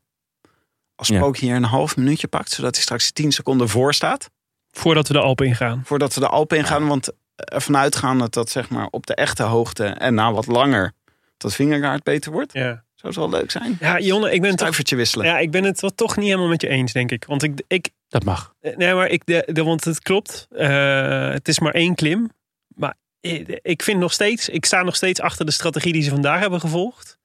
Speaker 3: Als
Speaker 2: Ja.
Speaker 3: Spook hier een half minuutje pakt, zodat hij straks 10 seconden voor staat.
Speaker 1: Voordat we de Alpen ingaan.
Speaker 3: Voordat we de Alpen ingaan. Want ervan uitgaan dat dat zeg maar op de echte hoogte en na wat langer dat vingergaard beter wordt.
Speaker 1: Ja,
Speaker 3: Zou het wel leuk zijn.
Speaker 1: ja Jonne, ik ben, het toch,
Speaker 3: Stuivertje wisselen.
Speaker 1: ja, ik ben het wel toch niet helemaal met je eens, denk ik. Want ik, ik,
Speaker 2: Dat mag.
Speaker 1: Eh, Nee, maar ik, de, de- want het klopt. Eh, het is maar één klim. Maar ik, ik vind nog steeds, ik sta nog steeds achter de strategie die ze vandaag hebben gevolgd.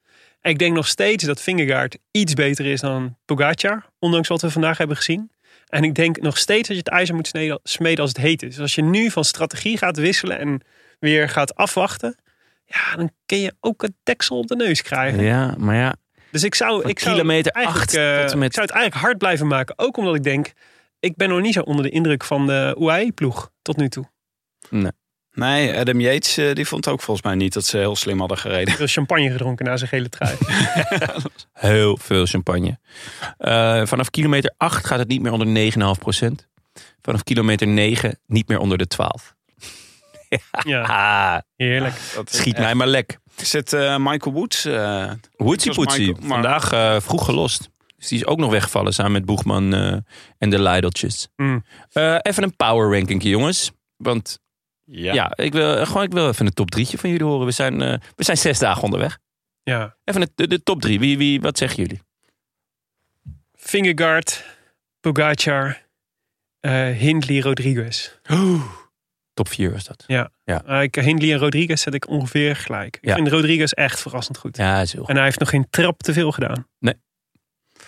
Speaker 1: Ik denk nog steeds dat Vingegaard iets beter is dan Pogacar, ondanks wat we vandaag hebben gezien. En ik denk nog steeds dat je het ijzer moet sneden- smeden als het heet is. Dus als je nu van strategie gaat wisselen en weer gaat afwachten, ja, dan kun je ook het deksel op de neus krijgen.
Speaker 2: Ja, maar ja.
Speaker 1: Dus ik zou,
Speaker 2: Van
Speaker 1: ik zou
Speaker 2: kilometer
Speaker 1: eigenlijk,
Speaker 2: acht
Speaker 1: eh,
Speaker 2: tot en met-
Speaker 1: ik zou het eigenlijk hard blijven maken. Ook omdat ik denk, ik ben nog niet zo onder de indruk van de UAE-ploeg tot nu toe.
Speaker 3: Nee, Adam Yates eh, die vond ook volgens mij niet dat ze heel slim hadden gereden.
Speaker 1: Veel champagne gedronken na zijn gele
Speaker 2: [laughs]
Speaker 1: trui.
Speaker 2: Heel veel champagne. Eh, vanaf kilometer 8 gaat het niet meer onder 9,5 procent. Vanaf kilometer 9 niet meer onder de 12.
Speaker 1: ja,
Speaker 2: Ah,
Speaker 1: heerlijk.
Speaker 3: Dat
Speaker 2: schiet mij maar lek.
Speaker 3: Zit eh, Michael Woods. eh,
Speaker 2: Hoetsie
Speaker 3: Het was
Speaker 2: poetsie.
Speaker 3: Michael, maar-
Speaker 2: Vandaag eh, vroeg gelost. Dus die is ook nog weggevallen samen met Boegman eh, en de Leideltjes.
Speaker 1: Mm.
Speaker 2: Eh, even een power ranking, jongens. Want
Speaker 3: ja.
Speaker 2: ja, ik, wil, eh, gewoon, ik wil even een top drietje van jullie horen. We zijn, eh, we zijn zes dagen onderweg.
Speaker 1: Ja.
Speaker 2: Even het- de, de top drie. Wie, wie, wat zeggen jullie?
Speaker 1: Fingergaard, Pogacar, eh, Hindley, Rodriguez.
Speaker 2: Top vier was dat.
Speaker 1: Eh, ik, Hindley en Rodriguez zet ik ongeveer gelijk. Ik
Speaker 2: Ja.
Speaker 1: vind Rodriguez echt verrassend goed.
Speaker 2: Ja, is heel goed.
Speaker 1: En hij heeft nog geen trap te veel gedaan.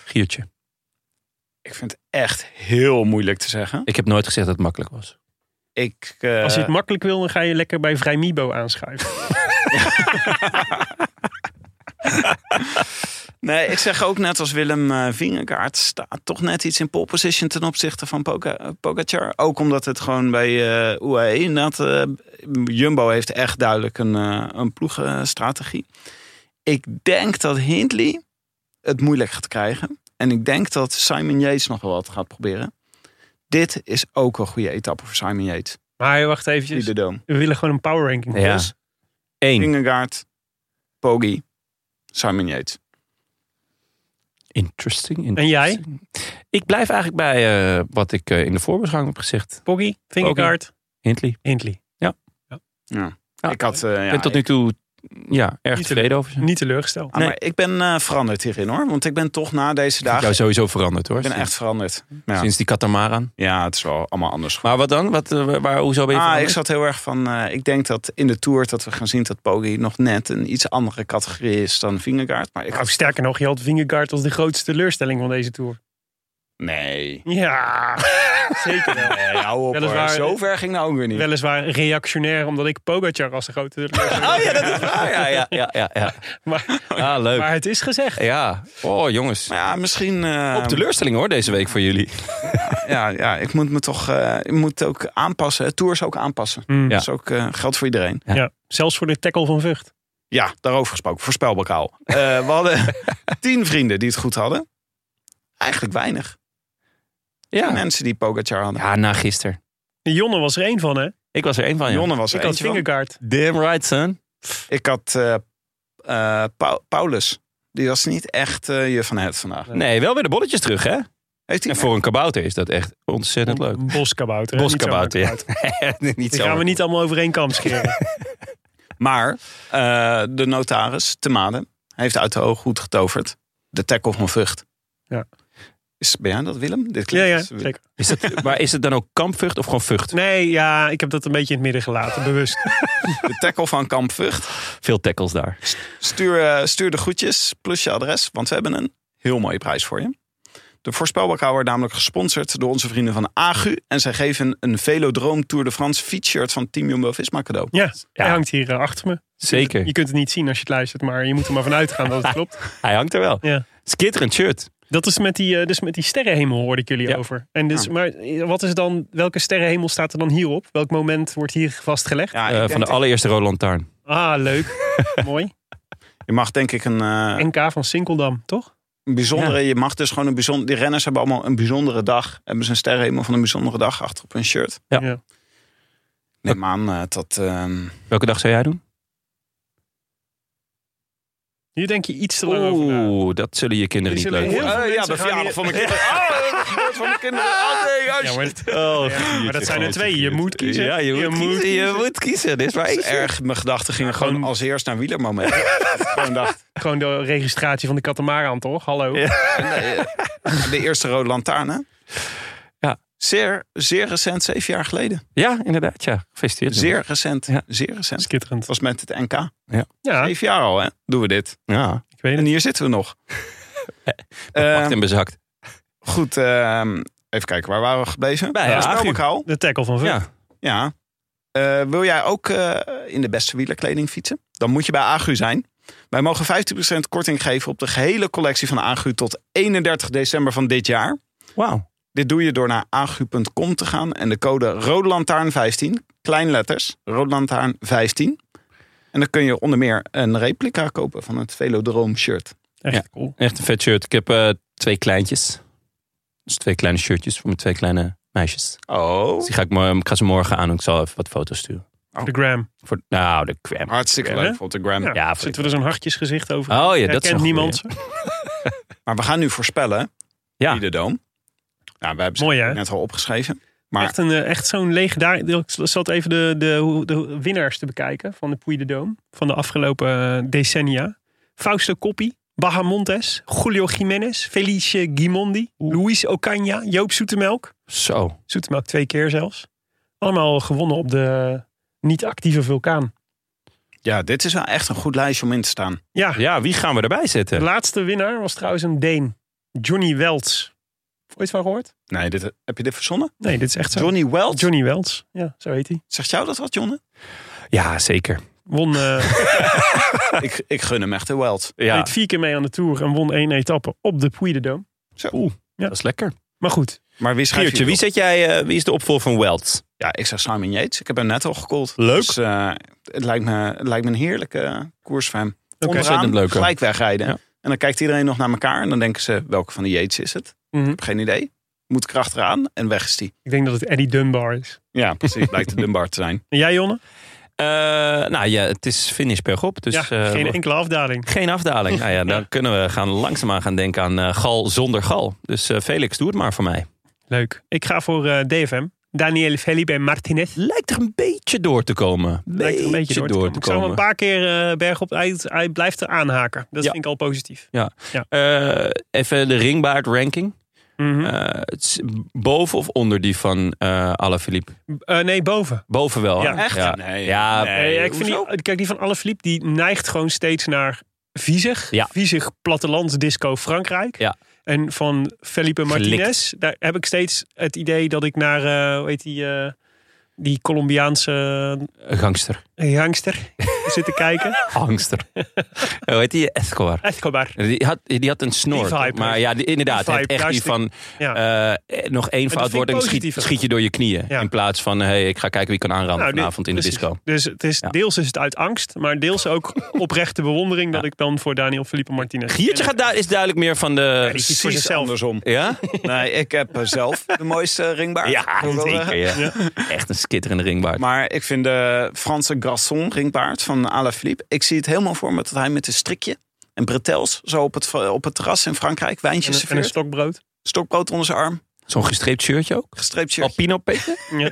Speaker 2: Giertje.
Speaker 3: [gasps] Ik vind het echt heel moeilijk te zeggen.
Speaker 2: Ik heb nooit gezegd dat het makkelijk was.
Speaker 3: Ik, eh,
Speaker 1: Als je het makkelijk wil, dan ga je lekker bij Vrijmibo
Speaker 2: [laughs]
Speaker 1: aanschuiven.
Speaker 3: Nee, ik zeg ook net als Willem eh Vingegaard staat toch net iets in pole position ten opzichte van Poga- eh, Pogacar. Ook omdat het gewoon bij eh UAE inderdaad, eh, Jumbo heeft echt duidelijk een, eh, een ploegenstrategie. Ik denk dat Hindley het moeilijk gaat krijgen. En ik denk dat Simon Yates nog wel wat gaat proberen. Dit is ook een goede etappe voor Simon Yates.
Speaker 1: Maar wacht
Speaker 3: Die
Speaker 1: eventjes.
Speaker 3: de Dome.
Speaker 1: We willen gewoon een power ranking.
Speaker 2: Ja.
Speaker 1: Dus
Speaker 2: Eén.
Speaker 3: Vingegaard, Poggi, Simon Yates.
Speaker 2: Interesting.
Speaker 1: En jij?
Speaker 2: interesting. Ik blijf eigenlijk bij eh, wat ik eh, in de voorbeschouwing heb gezegd.
Speaker 1: Poggi, Fingergaard,
Speaker 2: Hindley.
Speaker 1: Hindley.
Speaker 2: Ja.
Speaker 3: ik had, eh, ja,
Speaker 2: Ik ben tot nu toe ja, erg
Speaker 1: Niet
Speaker 2: tevreden over ze.
Speaker 1: Niet teleurgesteld.
Speaker 3: Ah, maar ik ben eh, veranderd hierin hoor. Want ik ben toch na deze
Speaker 2: Ik heb
Speaker 3: dagen.
Speaker 2: jou sowieso veranderd hoor.
Speaker 3: Ik ben
Speaker 2: sinds,
Speaker 3: echt veranderd. ja.
Speaker 2: sinds die katamaran.
Speaker 3: Ja, het is wel allemaal anders.
Speaker 2: Maar wat dan? Wat, eh, waar, hoezo ben je
Speaker 3: Ah, ik
Speaker 2: veranderd?
Speaker 3: zat heel erg van. eh, ik denk dat in de tour dat we gaan zien dat Poggi nog net een iets andere categorie is dan Vingegaard. Maar ik
Speaker 1: Nou,
Speaker 3: had.
Speaker 1: sterker nog, je had Vingegaard als de grootste teleurstelling van deze tour.
Speaker 3: Nee.
Speaker 2: [laughs]
Speaker 1: Ja, zeker wel.
Speaker 3: Nee, hou op.
Speaker 1: Weliswaar-
Speaker 3: Hoor. Zo ver ging nou ook weer niet.
Speaker 1: Weliswaar reactionair, omdat ik Pogacar als de grote teleurstelling
Speaker 2: Oh ja, dat is
Speaker 3: Ah,
Speaker 2: waar. Ja, ja, ja, ja, ja.
Speaker 1: Maar,
Speaker 2: [laughs] Ah, leuk.
Speaker 1: maar het is gezegd.
Speaker 2: Ja. Oh, jongens.
Speaker 3: Maar ja, misschien. eh,
Speaker 2: Op teleurstelling hoor, deze week voor jullie.
Speaker 3: ja, ja, ik moet me toch. eh, ik moet ook aanpassen. Tours ook aanpassen.
Speaker 1: Mm.
Speaker 2: Ja.
Speaker 3: Dat is ook eh, geldt voor iedereen.
Speaker 1: Ja. Zelfs voor de tackle van Vught.
Speaker 3: Ja, daarover gesproken. Voorspelbokaal. Eh, we hadden [laughs] tien vrienden die het goed hadden. Eigenlijk weinig. Ja.
Speaker 2: Ja,
Speaker 3: Mensen die Pogacar hadden.
Speaker 2: ja na gisteren.
Speaker 1: Jonne was er één van, hè?
Speaker 2: Ik was er één van, ja.
Speaker 3: Jonne was er
Speaker 1: Ik had
Speaker 3: eentje van.
Speaker 1: Vingegaard.
Speaker 2: Damn right, son.
Speaker 3: Ik had eh, eh, Pau- Paulus. Die was niet echt eh, je van het vandaag.
Speaker 2: Nee, wel weer de bolletjes terug, hè?
Speaker 3: Heeft hij
Speaker 2: En voor een kabouter is dat echt ontzettend
Speaker 3: [laughs]
Speaker 2: leuk.
Speaker 1: Boskabouter. hè?
Speaker 2: Boskabouter,
Speaker 1: Niet
Speaker 2: ja.
Speaker 1: zomaar
Speaker 2: [laughs] Niet
Speaker 1: Die
Speaker 2: zo.
Speaker 1: gaan we niet allemaal over één
Speaker 2: [laughs]
Speaker 1: kam scheren.
Speaker 3: Maar eh, de notaris, Te Maden, heeft uit de oog goed getoverd. De tackle van Vught.
Speaker 1: Ja.
Speaker 3: Is, ben jij dat, Willem? Dit
Speaker 1: ja,
Speaker 3: klinkt,
Speaker 1: ja, zeker.
Speaker 2: Is dat, maar is het dan ook kampvucht of gewoon vucht?
Speaker 1: Nee, ja, ik heb dat een beetje in het midden
Speaker 2: [laughs]
Speaker 1: gelaten, bewust.
Speaker 3: De tackle van Kamp Vught.
Speaker 2: Veel tackles daar.
Speaker 3: Stuur, eh, stuur de groetjes plus je adres, want we hebben een heel mooie prijs voor je. De voorspelbokaal wordt namelijk gesponsord door onze vrienden van Agu. En zij geven een Velodroom Tour de France fietsshirt van Team Jumbo-Visma cadeau.
Speaker 1: Ja, hij
Speaker 2: Ja.
Speaker 1: hangt hier eh, achter me.
Speaker 2: Zeker.
Speaker 1: Je kunt het niet zien als je het luistert, maar je moet er maar vanuit gaan
Speaker 2: [laughs]
Speaker 1: dat het klopt.
Speaker 2: Hij hangt er wel.
Speaker 1: Ja.
Speaker 2: Skitterend shirt.
Speaker 1: Dat is met die, eh, dus met die sterrenhemel hoorde ik jullie
Speaker 2: Ja. Ah.
Speaker 1: over. En dus,
Speaker 3: Ja.
Speaker 1: Maar eh, wat is dan, welke sterrenhemel staat er dan hierop? Welk moment wordt hier vastgelegd?
Speaker 3: Ja, ik
Speaker 2: eh,
Speaker 3: denk
Speaker 2: van de
Speaker 3: dat-
Speaker 2: allereerste Roland Lantaarn.
Speaker 1: Ah,
Speaker 2: [laughs]
Speaker 1: leuk. Mooi.
Speaker 3: Je mag denk ik een, eh,
Speaker 1: NK van Sinkeldam, toch?
Speaker 3: een bijzondere... Je mag dus gewoon een bijzonder... Die renners hebben allemaal een bijzondere dag. Hebben ze een sterrenhemel van een bijzondere dag achter op hun shirt.
Speaker 2: Ja.
Speaker 1: Ja.
Speaker 3: Neem aan eh, dat... ehm,
Speaker 2: Welke dag zou jij doen?
Speaker 1: Hier denk je iets te lang over na.
Speaker 2: Oeh, dat zullen je kinderen
Speaker 1: Die
Speaker 2: niet
Speaker 1: zullen
Speaker 2: leuk
Speaker 1: heel
Speaker 2: vinden.
Speaker 1: veel
Speaker 3: eh, ja,
Speaker 1: mensen
Speaker 3: de
Speaker 1: gaan
Speaker 3: verjaardag
Speaker 1: hier- [laughs]
Speaker 3: van mijn kinderen. Oh, de geboorte van mijn kinderen. Oh, nee, oh,
Speaker 1: Ja,
Speaker 3: shit.
Speaker 1: maar,
Speaker 2: Oh,
Speaker 1: Ja, maar dat zijn er twee. Je moet kiezen.
Speaker 2: Ja, je moet, kiezen. Je moet kiezen. Dit is maar
Speaker 3: Het
Speaker 2: één.
Speaker 3: is erg. Mijn gedachten gingen gewoon,
Speaker 1: Gewoon-
Speaker 3: als eerst naar wielermoment. [laughs] gewoon dacht,
Speaker 1: Gewoon de registratie van de Katamaran, toch? Hallo.
Speaker 2: Ja.
Speaker 3: nee, eh, de eerste rode lantaarn, hè?
Speaker 2: Ja.
Speaker 3: Zeer, zeer recent, zeven jaar geleden.
Speaker 2: Ja, inderdaad. Ja, gefeliciteerd.
Speaker 3: Zeer recent,
Speaker 2: Ja.
Speaker 3: zeer recent. Het
Speaker 1: Schitterend.
Speaker 3: was met het NK.
Speaker 1: Ja,
Speaker 3: Zeven jaar al, hè? Doen we dit.
Speaker 2: Ja.
Speaker 1: ik weet
Speaker 3: En
Speaker 1: het.
Speaker 3: hier zitten we
Speaker 2: [laughs]
Speaker 3: nog.
Speaker 2: Pakt
Speaker 3: Ehm,
Speaker 2: en bezakt.
Speaker 3: goed, ehm, even kijken. Waar waren we gebleven?
Speaker 2: Bij
Speaker 3: ja,
Speaker 2: Agu.
Speaker 1: De tackle van Vught.
Speaker 2: Ja.
Speaker 3: Ja. Eh, wil jij ook eh, in de beste wielerkleding fietsen? Dan moet je bij Agu zijn. Wij mogen 15% korting geven op de gehele collectie van Agu tot 31 december van dit jaar.
Speaker 2: Wauw.
Speaker 3: Dit doe je door naar agu.com te gaan en de code ROODLANTAARN15, kleinletters, ROODLANTAARN15. En dan kun je onder meer een replica kopen van het Velodroom shirt.
Speaker 1: Echt
Speaker 2: Ja.
Speaker 1: cool.
Speaker 2: Echt een vet shirt. Ik heb eh, twee kleintjes. Dus twee kleine shirtjes voor mijn twee kleine meisjes. Dus
Speaker 3: Oh,
Speaker 2: die ga ik, mo- ik ga ze morgen aan en ik zal even wat foto's sturen.
Speaker 1: De gram.
Speaker 2: Voor, nou, de
Speaker 1: Ah,
Speaker 2: kwam.
Speaker 3: hartstikke
Speaker 1: Oké, hè?
Speaker 3: leuk op de gram.
Speaker 1: Ja.
Speaker 2: Ja, voor
Speaker 1: Zitten we er zo'n hartjesgezicht over?
Speaker 2: Oh ja, dat is
Speaker 1: Herkent
Speaker 2: een goeie.
Speaker 1: niemand ze?
Speaker 3: Maar we gaan nu voorspellen,
Speaker 2: Ja.
Speaker 3: wie de doom. Nou, we hebben ze
Speaker 1: Mooi, hè?
Speaker 3: net al opgeschreven. Maar
Speaker 1: Echt, een, eh, echt zo'n legendarisch... Ik zat even de, de, hoe- de winnaars te bekijken van de Puy de Dôme. Van de afgelopen eh, decennia. Fausto Coppi, Bahamontes, Julio Jiménez, Felice Gimondi, Luis Ocaña, Joop Zoetemelk.
Speaker 2: Zo.
Speaker 1: Zoetemelk twee keer zelfs. Allemaal gewonnen op de niet-actieve vulkaan.
Speaker 3: ja, dit is wel echt een goed lijstje om in te staan.
Speaker 1: Ja,
Speaker 2: Ja, wie gaan we erbij
Speaker 1: de
Speaker 2: zetten?
Speaker 1: laatste winnaar was trouwens een Deen. Johnny Welts. Ooit van gehoord?
Speaker 3: Nee, dit, heb je dit verzonnen?
Speaker 1: Nee, dit is echt zo.
Speaker 3: Johnny Welch.
Speaker 1: Johnny Welts. Ja, zo heet hij.
Speaker 3: Zegt jou dat wat, Jonne?
Speaker 2: Ja, zeker.
Speaker 1: Won... eh,
Speaker 3: ik, ik gun hem echt de Welch.
Speaker 2: Ja,
Speaker 1: Deed vier keer mee aan de Tour en won één etappe op de Puy de Dôme.
Speaker 2: dat is lekker.
Speaker 1: Maar goed,
Speaker 3: Maar wie schrijft
Speaker 2: Giertje, wie, zet jij, eh, wie is de opvolger van Welts?
Speaker 3: Ja, ik zeg Simon Yates. Ik heb hem net al gekold.
Speaker 2: Leuk.
Speaker 3: Dus, eh, het, lijkt me, het lijkt me een heerlijke eh, koers van hem. Onderaan
Speaker 2: ontzettend leuk, hè?
Speaker 3: gelijk wegrijden.
Speaker 2: Ja.
Speaker 3: En dan kijkt iedereen nog naar elkaar. En dan denken ze, welke van de Yates is het?
Speaker 1: Mhm.
Speaker 3: Ik heb geen idee. Moet kracht eraan en weg is die.
Speaker 1: ik denk dat het Eddie Dunbar is.
Speaker 3: Ja, precies. Blijkt de Dunbar te [laughs] zijn.
Speaker 1: En jij, Jonne?
Speaker 2: Eh, nou ja, het is finish bergop. Dus,
Speaker 1: ja,
Speaker 2: eh,
Speaker 1: geen enkele afdaling.
Speaker 2: Geen afdaling. Nou ja, dan kunnen we gaan langzaamaan gaan denken aan eh, gal zonder gal. Dus eh, Felix, doe het maar voor mij.
Speaker 1: Leuk. Ik ga voor eh, DFM. Daniel Felipe Martinez.
Speaker 2: Lijkt er een beetje door te komen.
Speaker 1: Lijkt er een beetje door te komen. Ik zou hem een paar keer eh berg op. Hij, hij blijft er aanhaken. Dat
Speaker 2: Ja.
Speaker 1: vind ik al positief.
Speaker 2: Eh, even de ringbaard ranking. Eh,
Speaker 1: Mhm.
Speaker 2: boven of onder die van eh Alaphilippe?
Speaker 1: Eh, nee, boven.
Speaker 2: Boven wel. hè?
Speaker 1: Ja, echt?
Speaker 2: Ja,
Speaker 3: Nee.
Speaker 2: ja,
Speaker 1: Eh, ik vind die, kijk, die van Alaphilippe die neigt gewoon steeds naar viezig.
Speaker 2: Ja.
Speaker 1: Viezig plattelandsdisco Frankrijk.
Speaker 2: Ja.
Speaker 1: En van Felipe
Speaker 2: Gelikt.
Speaker 1: Martinez, daar heb ik steeds het idee dat ik naar, eh, hoe heet die, eh, die Colombiaanse
Speaker 2: gangster.
Speaker 1: gangster zit te
Speaker 2: [laughs]
Speaker 1: kijken.
Speaker 2: Angster. Hoe heet die? Escobar.
Speaker 1: Escobar.
Speaker 2: Die had, die had een snor.
Speaker 1: Die vibe,
Speaker 2: toch? maar
Speaker 1: hè?
Speaker 2: ja, die- inderdaad.
Speaker 1: Die vibe,
Speaker 2: het echt die
Speaker 1: juist die-
Speaker 2: van
Speaker 1: Ja.
Speaker 2: eh, eh, nog één
Speaker 1: dat
Speaker 2: fout
Speaker 1: vind
Speaker 2: wordt
Speaker 1: ik
Speaker 2: en schiet,
Speaker 1: positiever.
Speaker 2: schiet je door je knieën.
Speaker 1: Ja.
Speaker 2: In plaats van, hé, hey, ik ga kijken wie ik kan aanraden
Speaker 1: Nou, dit-
Speaker 2: vanavond in
Speaker 1: precies.
Speaker 2: de disco.
Speaker 1: Dus het is,
Speaker 2: Ja.
Speaker 1: deels is het uit angst, maar deels
Speaker 2: [laughs]
Speaker 1: ook oprechte bewondering dat ik dan voor Daniel Felipe Martinez.
Speaker 2: Giertje
Speaker 1: En-
Speaker 2: gaat daar is duidelijk meer van de...
Speaker 1: die kiest voor
Speaker 3: Precies
Speaker 1: zichzelf.
Speaker 3: andersom.
Speaker 1: [laughs]
Speaker 2: Ja?
Speaker 3: Nee, ik heb eh, zelf de mooiste ringbaard. Ik wil wel zeggen.
Speaker 2: zeker. Ja. Echt een skitterende ringbaard.
Speaker 3: Maar ik vind de Franse Grasson ringbaard van Alaphilippe. Ik zie het helemaal voor me dat hij met een strikje en bretels zo op het, op het terras in Frankrijk
Speaker 1: en,
Speaker 3: wijntjes
Speaker 1: een- en een
Speaker 3: serveert.
Speaker 1: stokbrood.
Speaker 3: Stokbrood onder zijn arm,
Speaker 2: Zo'n gestreept shirtje ook.
Speaker 3: gestreept shirt.
Speaker 2: Alpino Peter.
Speaker 1: [laughs] Ja.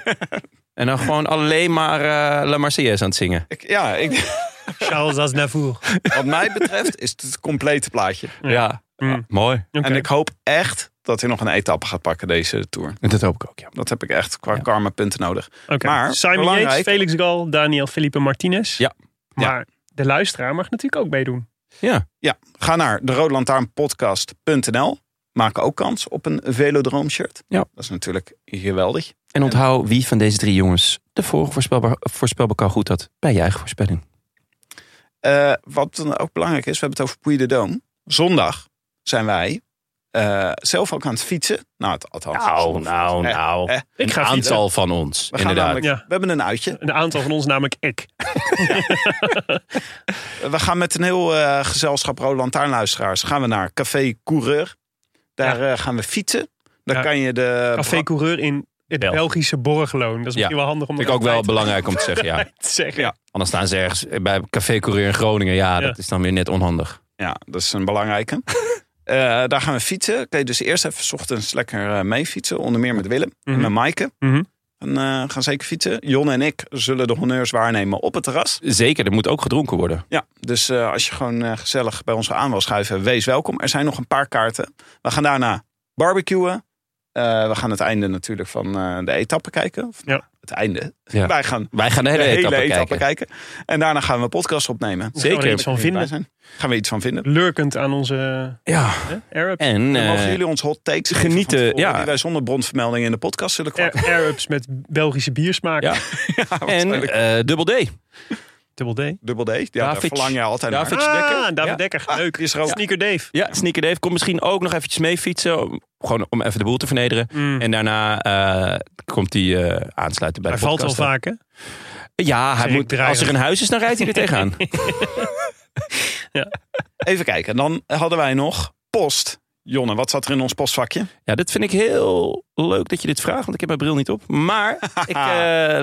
Speaker 2: En dan gewoon alleen maar eh, La Marseillaise aan het zingen.
Speaker 3: Ik-
Speaker 2: [laughs]
Speaker 3: ja, ik,
Speaker 1: Charles Aznavour.
Speaker 2: Oh.
Speaker 3: wat mij betreft is het het complete plaatje.
Speaker 2: Ja.
Speaker 1: Ja. Mm.
Speaker 2: Ja, mooi.
Speaker 1: Oké.
Speaker 3: En ik hoop echt dat hij nog een etappe gaat pakken deze Tour.
Speaker 2: Dat hoop ik ook, ja.
Speaker 3: Dat heb ik echt qua karma punten nodig.
Speaker 1: Oké.
Speaker 3: Maar,
Speaker 1: Simon
Speaker 3: belangrijk-
Speaker 1: Yates, Felix Gal, Daniel Felipe Martinez.
Speaker 2: Ja.
Speaker 3: Ja.
Speaker 1: Maar de luisteraar mag natuurlijk ook meedoen.
Speaker 3: Ja, ga naar de roodlantaarnpodcast.nl. Maak ook kans op een Velodroom shirt.
Speaker 2: Ja.
Speaker 3: Dat is natuurlijk geweldig.
Speaker 2: En onthoud wie van deze drie jongens de vorige voorspelbaar, voorspelbokaal goed had bij je eigen voorspelling.
Speaker 3: Eh, wat dan ook belangrijk is, we hebben het over Puy de Dôme. Zondag zijn wij eh, zelf ook aan het fietsen. Nou, het, althans.
Speaker 2: Nou, nou,
Speaker 3: Eh,
Speaker 2: nou.
Speaker 3: eh,
Speaker 1: Ik ga
Speaker 2: een
Speaker 1: fietsen.
Speaker 2: aantal van ons,
Speaker 3: we, gaan
Speaker 2: inderdaad.
Speaker 3: namelijk,
Speaker 1: Ja.
Speaker 3: we hebben een uitje.
Speaker 1: Een aantal van ons, namelijk ik.
Speaker 3: We gaan met een heel eh, gezelschap Rode Lantaarnluisteraars gaan we naar Café Coureur. Daar eh, gaan we fietsen. Daar
Speaker 1: Ja.
Speaker 3: kan je de...
Speaker 1: Café Coureur in het
Speaker 2: Bel.
Speaker 1: Belgische Borgloon. Dat is misschien
Speaker 2: Ja.
Speaker 1: wel handig om
Speaker 2: Vind ik
Speaker 1: er
Speaker 2: ook wel
Speaker 1: bij [laughs] te-
Speaker 2: belangrijk om te zeggen, ja.
Speaker 1: te zeggen.
Speaker 3: Ja.
Speaker 2: Anders staan ze ergens bij Café Coureur in Groningen. Ja,
Speaker 1: Ja.
Speaker 2: dat is dan weer net onhandig.
Speaker 3: [laughs] Ja, dat is een
Speaker 1: [laughs]
Speaker 3: belangrijke. Eh, daar gaan we fietsen. Kun je dus eerst even 's ochtends lekker eh, mee fietsen. Onder meer met Willem
Speaker 1: Mhm.
Speaker 3: en met Maaike.
Speaker 1: Mhm.
Speaker 3: En eh, gaan zeker fietsen. Jon en ik zullen de honneurs waarnemen op het terras.
Speaker 2: Zeker, er moet ook gedronken worden.
Speaker 3: Ja, dus eh, als je gewoon eh, gezellig bij ons aan wil schuiven, wees welkom. Er zijn nog een paar kaarten. We gaan daarna barbecuen. Eh, we gaan het einde natuurlijk van eh, de etappe kijken. Of,
Speaker 1: Ja.
Speaker 3: Het einde.
Speaker 2: Ja.
Speaker 3: Wij gaan
Speaker 2: Wij gaan de hele,
Speaker 3: de hele
Speaker 2: etappe, kijken.
Speaker 3: kijken. En daarna gaan we een podcast opnemen.
Speaker 1: Daar gaan we er
Speaker 2: Zeker.
Speaker 1: iets van
Speaker 3: Kun je erbij
Speaker 1: vinden.
Speaker 3: zijn? Gaan we iets van vinden.
Speaker 1: Lurkend aan onze
Speaker 2: Ja,
Speaker 1: hè, Arab.
Speaker 2: en
Speaker 3: Dan mogen
Speaker 2: eh,
Speaker 3: jullie ons hot takes geven
Speaker 2: genieten,
Speaker 3: van tevoren,
Speaker 2: ja.
Speaker 3: Die wij zonder bronvermelding in de podcast zullen
Speaker 1: Ar-
Speaker 3: kwakken. [laughs]
Speaker 1: Arabs met Belgische biersmaak.
Speaker 2: Ja. en
Speaker 3: waarschijnlijk.
Speaker 2: eh, Dubbel D.
Speaker 1: Dubbel D.
Speaker 3: Dubbel D. Ja, daar
Speaker 2: David-
Speaker 3: verlang je altijd naar. [laughs]
Speaker 2: David Dekker.
Speaker 1: Ah, David
Speaker 2: Ja.
Speaker 1: Dekker.
Speaker 3: Ah,
Speaker 1: Leuk.
Speaker 3: die is er ook.
Speaker 1: Sneaker Dave.
Speaker 2: Ja, Sneaker Dave. Kom misschien ook nog eventjes mee fietsen. om- Gewoon om even de boel te vernederen.
Speaker 1: Mm.
Speaker 2: En daarna eh, komt hij eh, aansluiten bij
Speaker 1: Hij
Speaker 2: de
Speaker 1: valt wel
Speaker 2: podcast. dan.
Speaker 1: vaak, hè?
Speaker 2: Ja, hij
Speaker 1: Zeg ik
Speaker 2: moet,
Speaker 1: dreigend.
Speaker 2: als er een huis is, dan rijdt
Speaker 3: [laughs]
Speaker 2: hij er tegenaan.
Speaker 3: Even kijken. En dan hadden wij nog post. Jonne, wat zat er in ons postvakje?
Speaker 2: Ja, dit vind ik heel leuk dat je dit vraagt, want ik heb mijn bril niet op.
Speaker 3: [laughs]
Speaker 2: Maar ik, eh,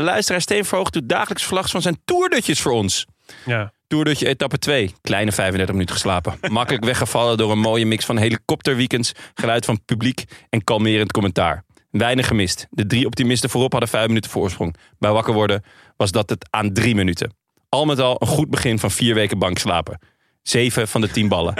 Speaker 2: luisteraar Steen Verhoogd doet dagelijks verslag van zijn toerdutjes voor ons.
Speaker 1: Ja.
Speaker 2: Toerdutje etappe 2. Kleine 35 minuten geslapen.
Speaker 3: [laughs]
Speaker 2: Makkelijk weggevallen door een mooie mix van helikopterweekends, geluid van publiek en kalmerend commentaar. Weinig gemist. De drie optimisten voorop hadden vijf minuten voorsprong. Bij wakker worden was dat het aan drie minuten. Al met al een goed begin van vier weken bank slapen. Zeven van de tien
Speaker 3: [laughs]
Speaker 2: ballen.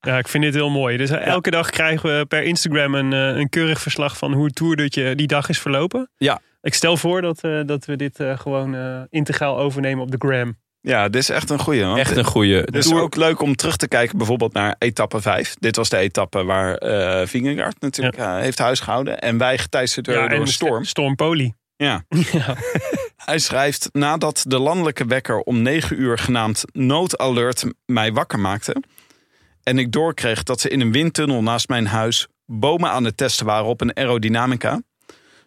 Speaker 1: ja, ik vind dit heel mooi. Dus elke dag krijgen we per Instagram een, eh, een keurig verslag van hoe het toerdutje die dag is verlopen.
Speaker 2: Ja.
Speaker 1: Ik stel voor dat, eh, dat we dit eh, gewoon eh, integraal overnemen op de gram.
Speaker 3: Ja, dit is echt een goeie. want
Speaker 2: Echt een goede.
Speaker 3: Het is dus ook leuk om terug te kijken bijvoorbeeld naar etappe 5. Dit was de etappe waar eh Vingegaard natuurlijk eh, heeft huisgehouden. En wij geteisterd werden door
Speaker 1: en
Speaker 3: een storm.
Speaker 1: Storm Poli.
Speaker 2: [laughs]
Speaker 3: Ja.
Speaker 1: Ja.
Speaker 3: Hij schrijft, nadat de landelijke wekker om 9 uur genaamd noodalert mij wakker maakte... en ik doorkreeg dat ze in een windtunnel naast mijn huis bomen aan het testen waren op een aerodynamica...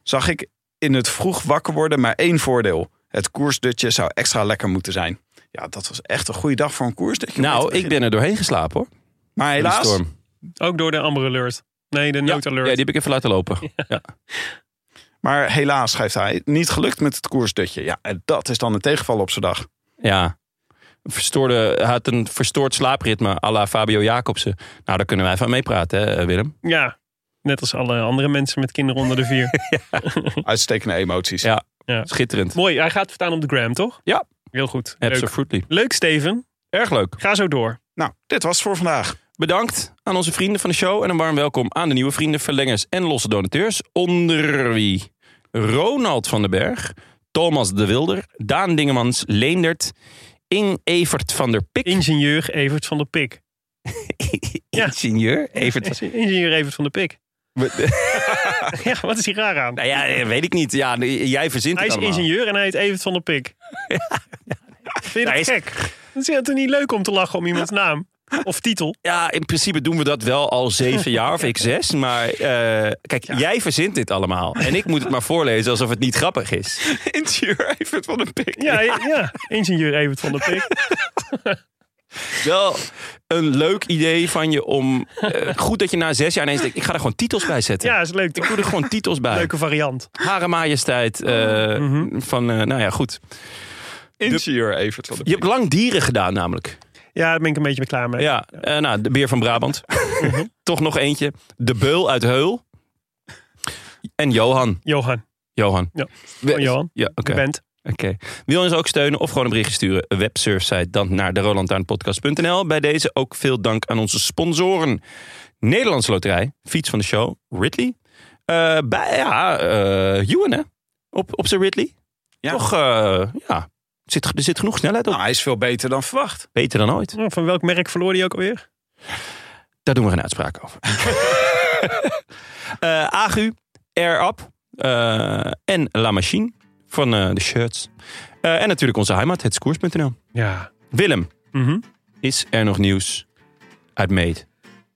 Speaker 3: zag ik in het vroeg wakker worden maar één voordeel. Het koersdutje zou extra lekker moeten zijn. Ja, dat was echt een goede dag voor een koersdutje. om mee
Speaker 2: Nou,
Speaker 3: te
Speaker 2: ik ben er doorheen geslapen hoor.
Speaker 3: beginnen. Maar helaas,
Speaker 2: Die storm.
Speaker 1: Ook door de Amber Alert. Nee, de
Speaker 2: Ja,
Speaker 1: noodalert.
Speaker 2: Ja, die heb ik even laten lopen. Ja.
Speaker 3: Maar helaas, schrijft hij, niet gelukt met het koersdutje. Ja, en dat is dan een tegenval op zijn
Speaker 2: [laughs]
Speaker 3: dag.
Speaker 2: ja. Verstoorde, hij had een verstoord slaapritme à la Fabio Jacobsen. Nou, daar kunnen wij van meepraten, hè, eh, Willem?
Speaker 1: Ja, net als alle andere mensen met kinderen onder de
Speaker 2: [laughs]
Speaker 1: vier.
Speaker 3: Uitstekende emoties.
Speaker 2: Ja.
Speaker 1: Ja.
Speaker 2: Schitterend.
Speaker 1: Mooi, hij gaat vertaan op de gram, toch?
Speaker 2: Ja.
Speaker 1: Heel goed. Leuk.
Speaker 2: Absolutely.
Speaker 1: Leuk, Steven.
Speaker 2: Erg leuk.
Speaker 1: Ga zo door.
Speaker 3: Nou, dit was het voor vandaag.
Speaker 2: Bedankt aan onze vrienden van de show. En een warm welkom aan de nieuwe vrienden, verlengers en losse donateurs. Onder wie Ronald van den Berg, Thomas de Wilder, Daan Dingemans, Leendert, Ing Evert van der Pik.
Speaker 1: Ingenieur Evert van der Pik. Ja.
Speaker 2: Ingenieur Evert. van-
Speaker 1: Ingenieur Evert van der Pik. [laughs] ja, wat is hier raar aan?
Speaker 2: Nou ja, eh, weet ik niet. Ja, nee, jij verzint
Speaker 1: hij
Speaker 2: het
Speaker 1: is
Speaker 2: allemaal.
Speaker 1: ingenieur en hij heet Evert van der
Speaker 2: [laughs]
Speaker 1: Pik. Vind je dat
Speaker 2: Hij is-
Speaker 1: gek? Dat is toch niet leuk om te lachen om iemands naam? Of titel?
Speaker 2: Ja, in principe doen we dat wel al zeven jaar of ik zes. Maar eh, kijk, jij verzint dit allemaal. En ik moet het maar voorlezen alsof het niet grappig is.
Speaker 3: Interieur Evert van een pik.
Speaker 1: Ja, ja. ingenieur Evert van der Pik.
Speaker 2: Wel een leuk idee van je om... eh, goed dat je na zes jaar ineens denkt, ik ga er gewoon titels bij zetten.
Speaker 1: Ja, is leuk.
Speaker 2: Ik doe er gewoon titels bij.
Speaker 1: Leuke variant.
Speaker 2: Hare majesteit. eh,
Speaker 1: Mhm.
Speaker 2: Van, eh, nou ja, goed.
Speaker 3: Interieur Evert van de
Speaker 2: Je hebt lang dieren gedaan namelijk.
Speaker 1: Ja, Mhm. daar ben ik een beetje klaar mee.
Speaker 2: Ja, eh, nou, de beer van Brabant. [laughs] Toch nog eentje. De beul uit Heul. En Johan.
Speaker 1: Johan,
Speaker 2: Johan.
Speaker 1: Ja,
Speaker 2: We-
Speaker 1: van Johan.
Speaker 2: Ja, oké.
Speaker 1: je bent.
Speaker 2: Oké. Wil je ons ook steunen of gewoon een berichtje sturen? Websurfsite dan naar de rolantaarnpodcast.nl. Bij deze ook veel dank aan onze sponsoren. Nederlandse Loterij, Fiets van de Show, Ridley. Eh, bij, ja, eh Ewan hè? Op, op zijn Ridley.
Speaker 3: Ja.
Speaker 2: Toch, eh, ja. Zit, er zit genoeg snelheid op.
Speaker 3: Nou, hij is veel beter dan verwacht.
Speaker 2: Beter dan ooit.
Speaker 1: Oh, Van welk merk verloor hij ook alweer?
Speaker 2: Daar doen we geen uitspraak over. [laughs] Eh, Agu, Air Up eh, en La Machine van eh, de shirts. Eh, en natuurlijk onze heimat, hetskoers.nl.
Speaker 1: Ja.
Speaker 2: Willem,
Speaker 1: Mhm.
Speaker 2: is er nog nieuws uit Meet?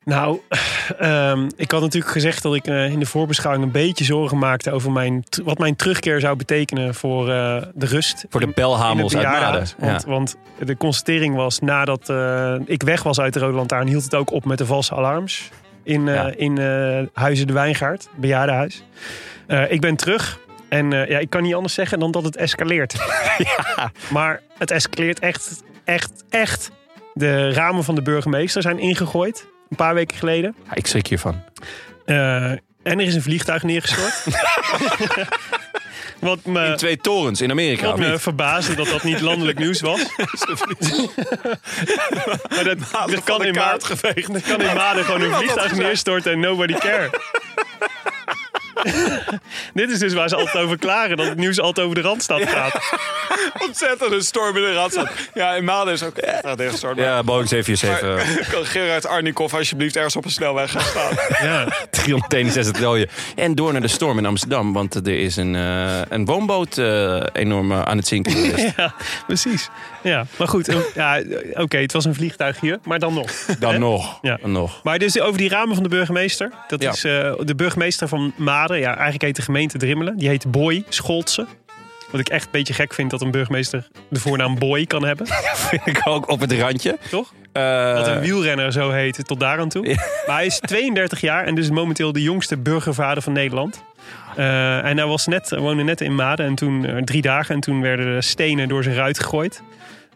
Speaker 1: Nou, [sighs] ehm, ik had natuurlijk gezegd dat ik eh, in de voorbeschouwing een beetje zorgen maakte over mijn, t- wat mijn terugkeer zou betekenen voor eh, de rust.
Speaker 2: Voor de
Speaker 1: in het
Speaker 2: belhamels uit Maden.
Speaker 1: bejaardenhuis. Want, want de constatering was nadat eh, ik weg was uit de Rode Lantaarn, hield het ook op met de valse alarms in, eh,
Speaker 2: Ja.
Speaker 1: in eh, Huizen de Wijngaard, bejaardenhuis. Eh, ik ben terug en eh, ja, ik kan niet anders zeggen dan dat het escaleert.
Speaker 2: [laughs]
Speaker 1: Maar het escaleert echt, echt, echt. De ramen van de burgemeester zijn ingegooid een paar weken geleden.
Speaker 2: Ja, ik schrik hiervan.
Speaker 1: Eh, en er is een vliegtuig
Speaker 2: [laughs]
Speaker 1: neergestort. [laughs] Wat me,
Speaker 2: In twee torens in Amerika.
Speaker 1: wat
Speaker 2: of
Speaker 1: me
Speaker 2: niet?
Speaker 1: verbaasde dat dat niet landelijk nieuws was. maar dat, dat, kan in Ma-
Speaker 3: geveegd.
Speaker 1: dat kan in Maden gewoon een vliegtuig neerstorten en nobody care. Dit is dus waar ze altijd over klagen. Dat het nieuws altijd over de Randstad gaat.
Speaker 3: Ontzettend een storm in de randstad. Ja, in Maden is ook echt een storm.
Speaker 2: Ja, Boeing [laughs] 747.
Speaker 3: Maar- [laughs] Kan Gerard Arnikoff alsjeblieft ergens op een snelweg gaan staan?
Speaker 1: Ja.
Speaker 2: 361 rode. En door naar de storm in Amsterdam, want er is een, eh, een woonboot eh, enorm eh, aan het
Speaker 1: [laughs]
Speaker 2: zinken. geweest.
Speaker 1: Ja, precies. Ja, maar goed. eh, Ja, Oké, het was een vliegtuig hier, maar dan nog.
Speaker 2: Dan nog.
Speaker 1: Ja.
Speaker 2: Dan nog.
Speaker 1: Maar dus over die ramen van de burgemeester. Dat
Speaker 2: Ja.
Speaker 1: is eh, de burgemeester van Maden. Ja, eigenlijk heet de gemeente Drimmelen. Die heet Boy Scholtse. Wat ik echt een beetje gek vind dat een burgemeester de voornaam Boy kan
Speaker 2: [laughs]
Speaker 1: hebben.
Speaker 2: Vind ik ook op het randje.
Speaker 1: Toch?
Speaker 2: Eh,
Speaker 1: Dat een wielrenner zo heet tot daar aan toe. Maar hij is 32 jaar en dus momenteel de jongste burgervader van Nederland. Eh, en hij was net, woonde net in Maden en toen eh, drie dagen en toen werden er stenen door zijn ruit gegooid.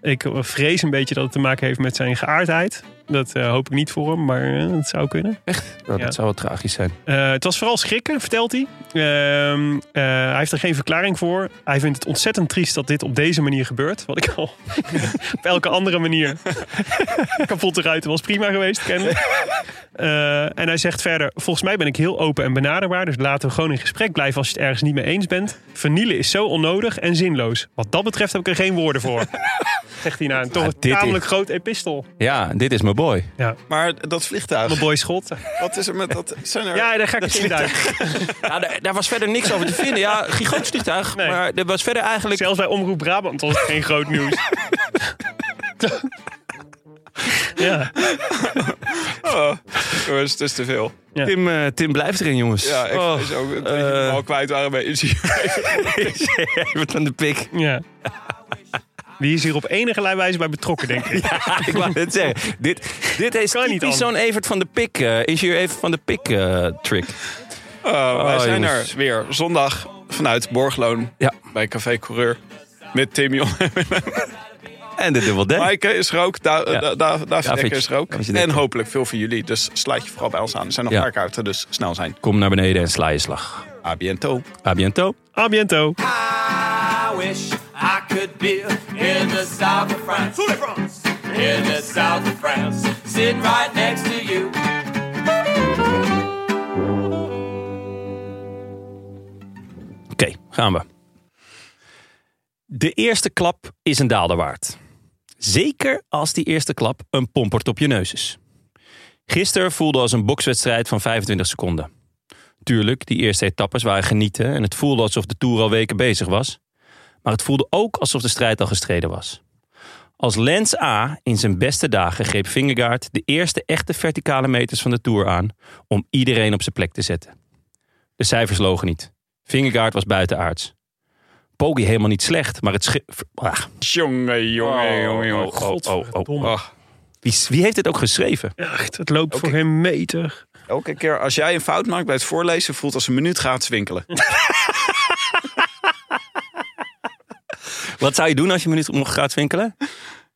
Speaker 1: Ik eh, vrees een beetje dat het te maken heeft met zijn geaardheid. Dat eh, hoop ik niet voor hem, maar eh, het zou kunnen.
Speaker 2: oh,
Speaker 1: ja.
Speaker 2: Dat zou wel tragisch zijn.
Speaker 1: Eh, het was vooral schrikken, vertelt hij. Ehm, eh, hij heeft er geen verklaring voor. Hij vindt het ontzettend triest dat dit op deze manier gebeurt. Wat ik al [laughs] op elke andere manier. [laughs] Kapotte ruiten was prima geweest, kennen. Eh, en hij zegt verder: Volgens mij ben ik heel open en benaderbaar. Dus laten we gewoon in gesprek blijven als je het ergens niet mee eens bent. Vernielen is zo onnodig en zinloos. Wat dat betreft heb ik er geen woorden voor. [laughs] Zegt hij na een toch
Speaker 2: Ah, dit is-
Speaker 1: tamelijk groot epistel.
Speaker 2: Ja, dit is mijn boy.
Speaker 1: Ja,
Speaker 3: Maar dat vliegtuig,
Speaker 1: mijn boy Schot.
Speaker 3: wat is er met dat? Zijn er...
Speaker 1: Ja, daar ga ik eens in duiken.
Speaker 2: Ja, daar, daar was verder niks over te vinden.
Speaker 1: [laughs]
Speaker 2: Ja, gigantisch vliegtuig.
Speaker 1: Nee.
Speaker 2: Maar er was verder eigenlijk...
Speaker 1: Zelfs bij Omroep Brabant was het geen groot nieuws. ja,
Speaker 3: Oh, jongens, het is te veel.
Speaker 1: Ja.
Speaker 2: Tim, eh, Tim blijft erin, jongens.
Speaker 3: Ja, ik
Speaker 2: Oh,
Speaker 3: is ook dat
Speaker 2: eh,
Speaker 3: jullie hem al kwijt waren bij Inzien.
Speaker 2: [laughs] even aan de pik.
Speaker 1: ja. Die is hier op enige wijze bij betrokken, denk ik.
Speaker 2: [laughs] Ik wou net zeggen, dit, dit is
Speaker 1: Kan niet
Speaker 2: typisch
Speaker 1: anders.
Speaker 2: zo'n Evert van de Pik. eh, is hier Evert van de Pik eh, trick.
Speaker 3: Eh, wij
Speaker 2: Oh,
Speaker 3: zijn
Speaker 2: jongens.
Speaker 3: er weer zondag vanuit Borgloon
Speaker 2: Ja.
Speaker 3: bij Café Coureur. Met Tim Jon.
Speaker 2: En de dubbel D.
Speaker 3: Maaike is er ook. Da
Speaker 2: Ja.
Speaker 3: da da David
Speaker 2: David.
Speaker 3: Dekker is er ook.
Speaker 2: David
Speaker 3: en
Speaker 2: Dekker.
Speaker 3: hopelijk veel van jullie. Dus sluit je vooral bij ons aan. Er zijn nog
Speaker 2: Ja.
Speaker 3: paar kaarten, dus snel zijn.
Speaker 2: Kom naar beneden en sla je slag.
Speaker 3: A bientôt.
Speaker 2: A bientôt.
Speaker 1: A biento.
Speaker 4: I wish I could be in the south of France. In the south of France. Sitting right next to you.
Speaker 2: Oké, gaan we. De eerste klap is een daalder waard. Zeker als die eerste klap een pompert op je neus is. Gisteren voelde als een bokswedstrijd van 25 seconden. Tuurlijk, die eerste etappes waren genieten en het voelde alsof de Tour al weken bezig was. Maar het voelde ook alsof de strijd al gestreden was. Als Lens A in zijn beste dagen greep Vingegaard de eerste echte verticale meters van de Tour aan om iedereen op zijn plek te zetten. De cijfers logen niet. Vingegaard was buitenaards. Poggi helemaal niet slecht, maar het schi- Ah,
Speaker 3: Jongen, jongen, jongen, jongen.
Speaker 2: oh, oh, oh, oh,
Speaker 1: Godverdomme.
Speaker 2: oh. Wie, wie heeft dit ook geschreven?
Speaker 1: Echt, het loopt voor geen meter.
Speaker 3: Elke keer als jij een fout maakt bij het voorlezen, voelt als een minuut gaat winkelen.
Speaker 2: Wat zou je doen als je een minuut nog gaat winkelen?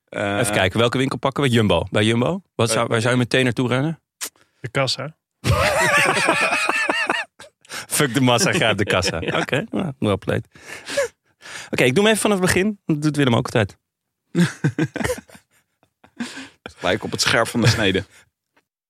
Speaker 3: Eh,
Speaker 2: Even kijken, welke winkel pakken we? Jumbo. Bij Jumbo? Wat zou, waar zou je meteen naartoe rennen?
Speaker 1: De kassa.
Speaker 2: Fuck de massa, ga op de [laughs] kassa. Oké, nou, well played. [laughs] Oké, ik doe hem even vanaf het begin. Dat doet Willem ook altijd.
Speaker 3: Lijk op het scherp van de snede.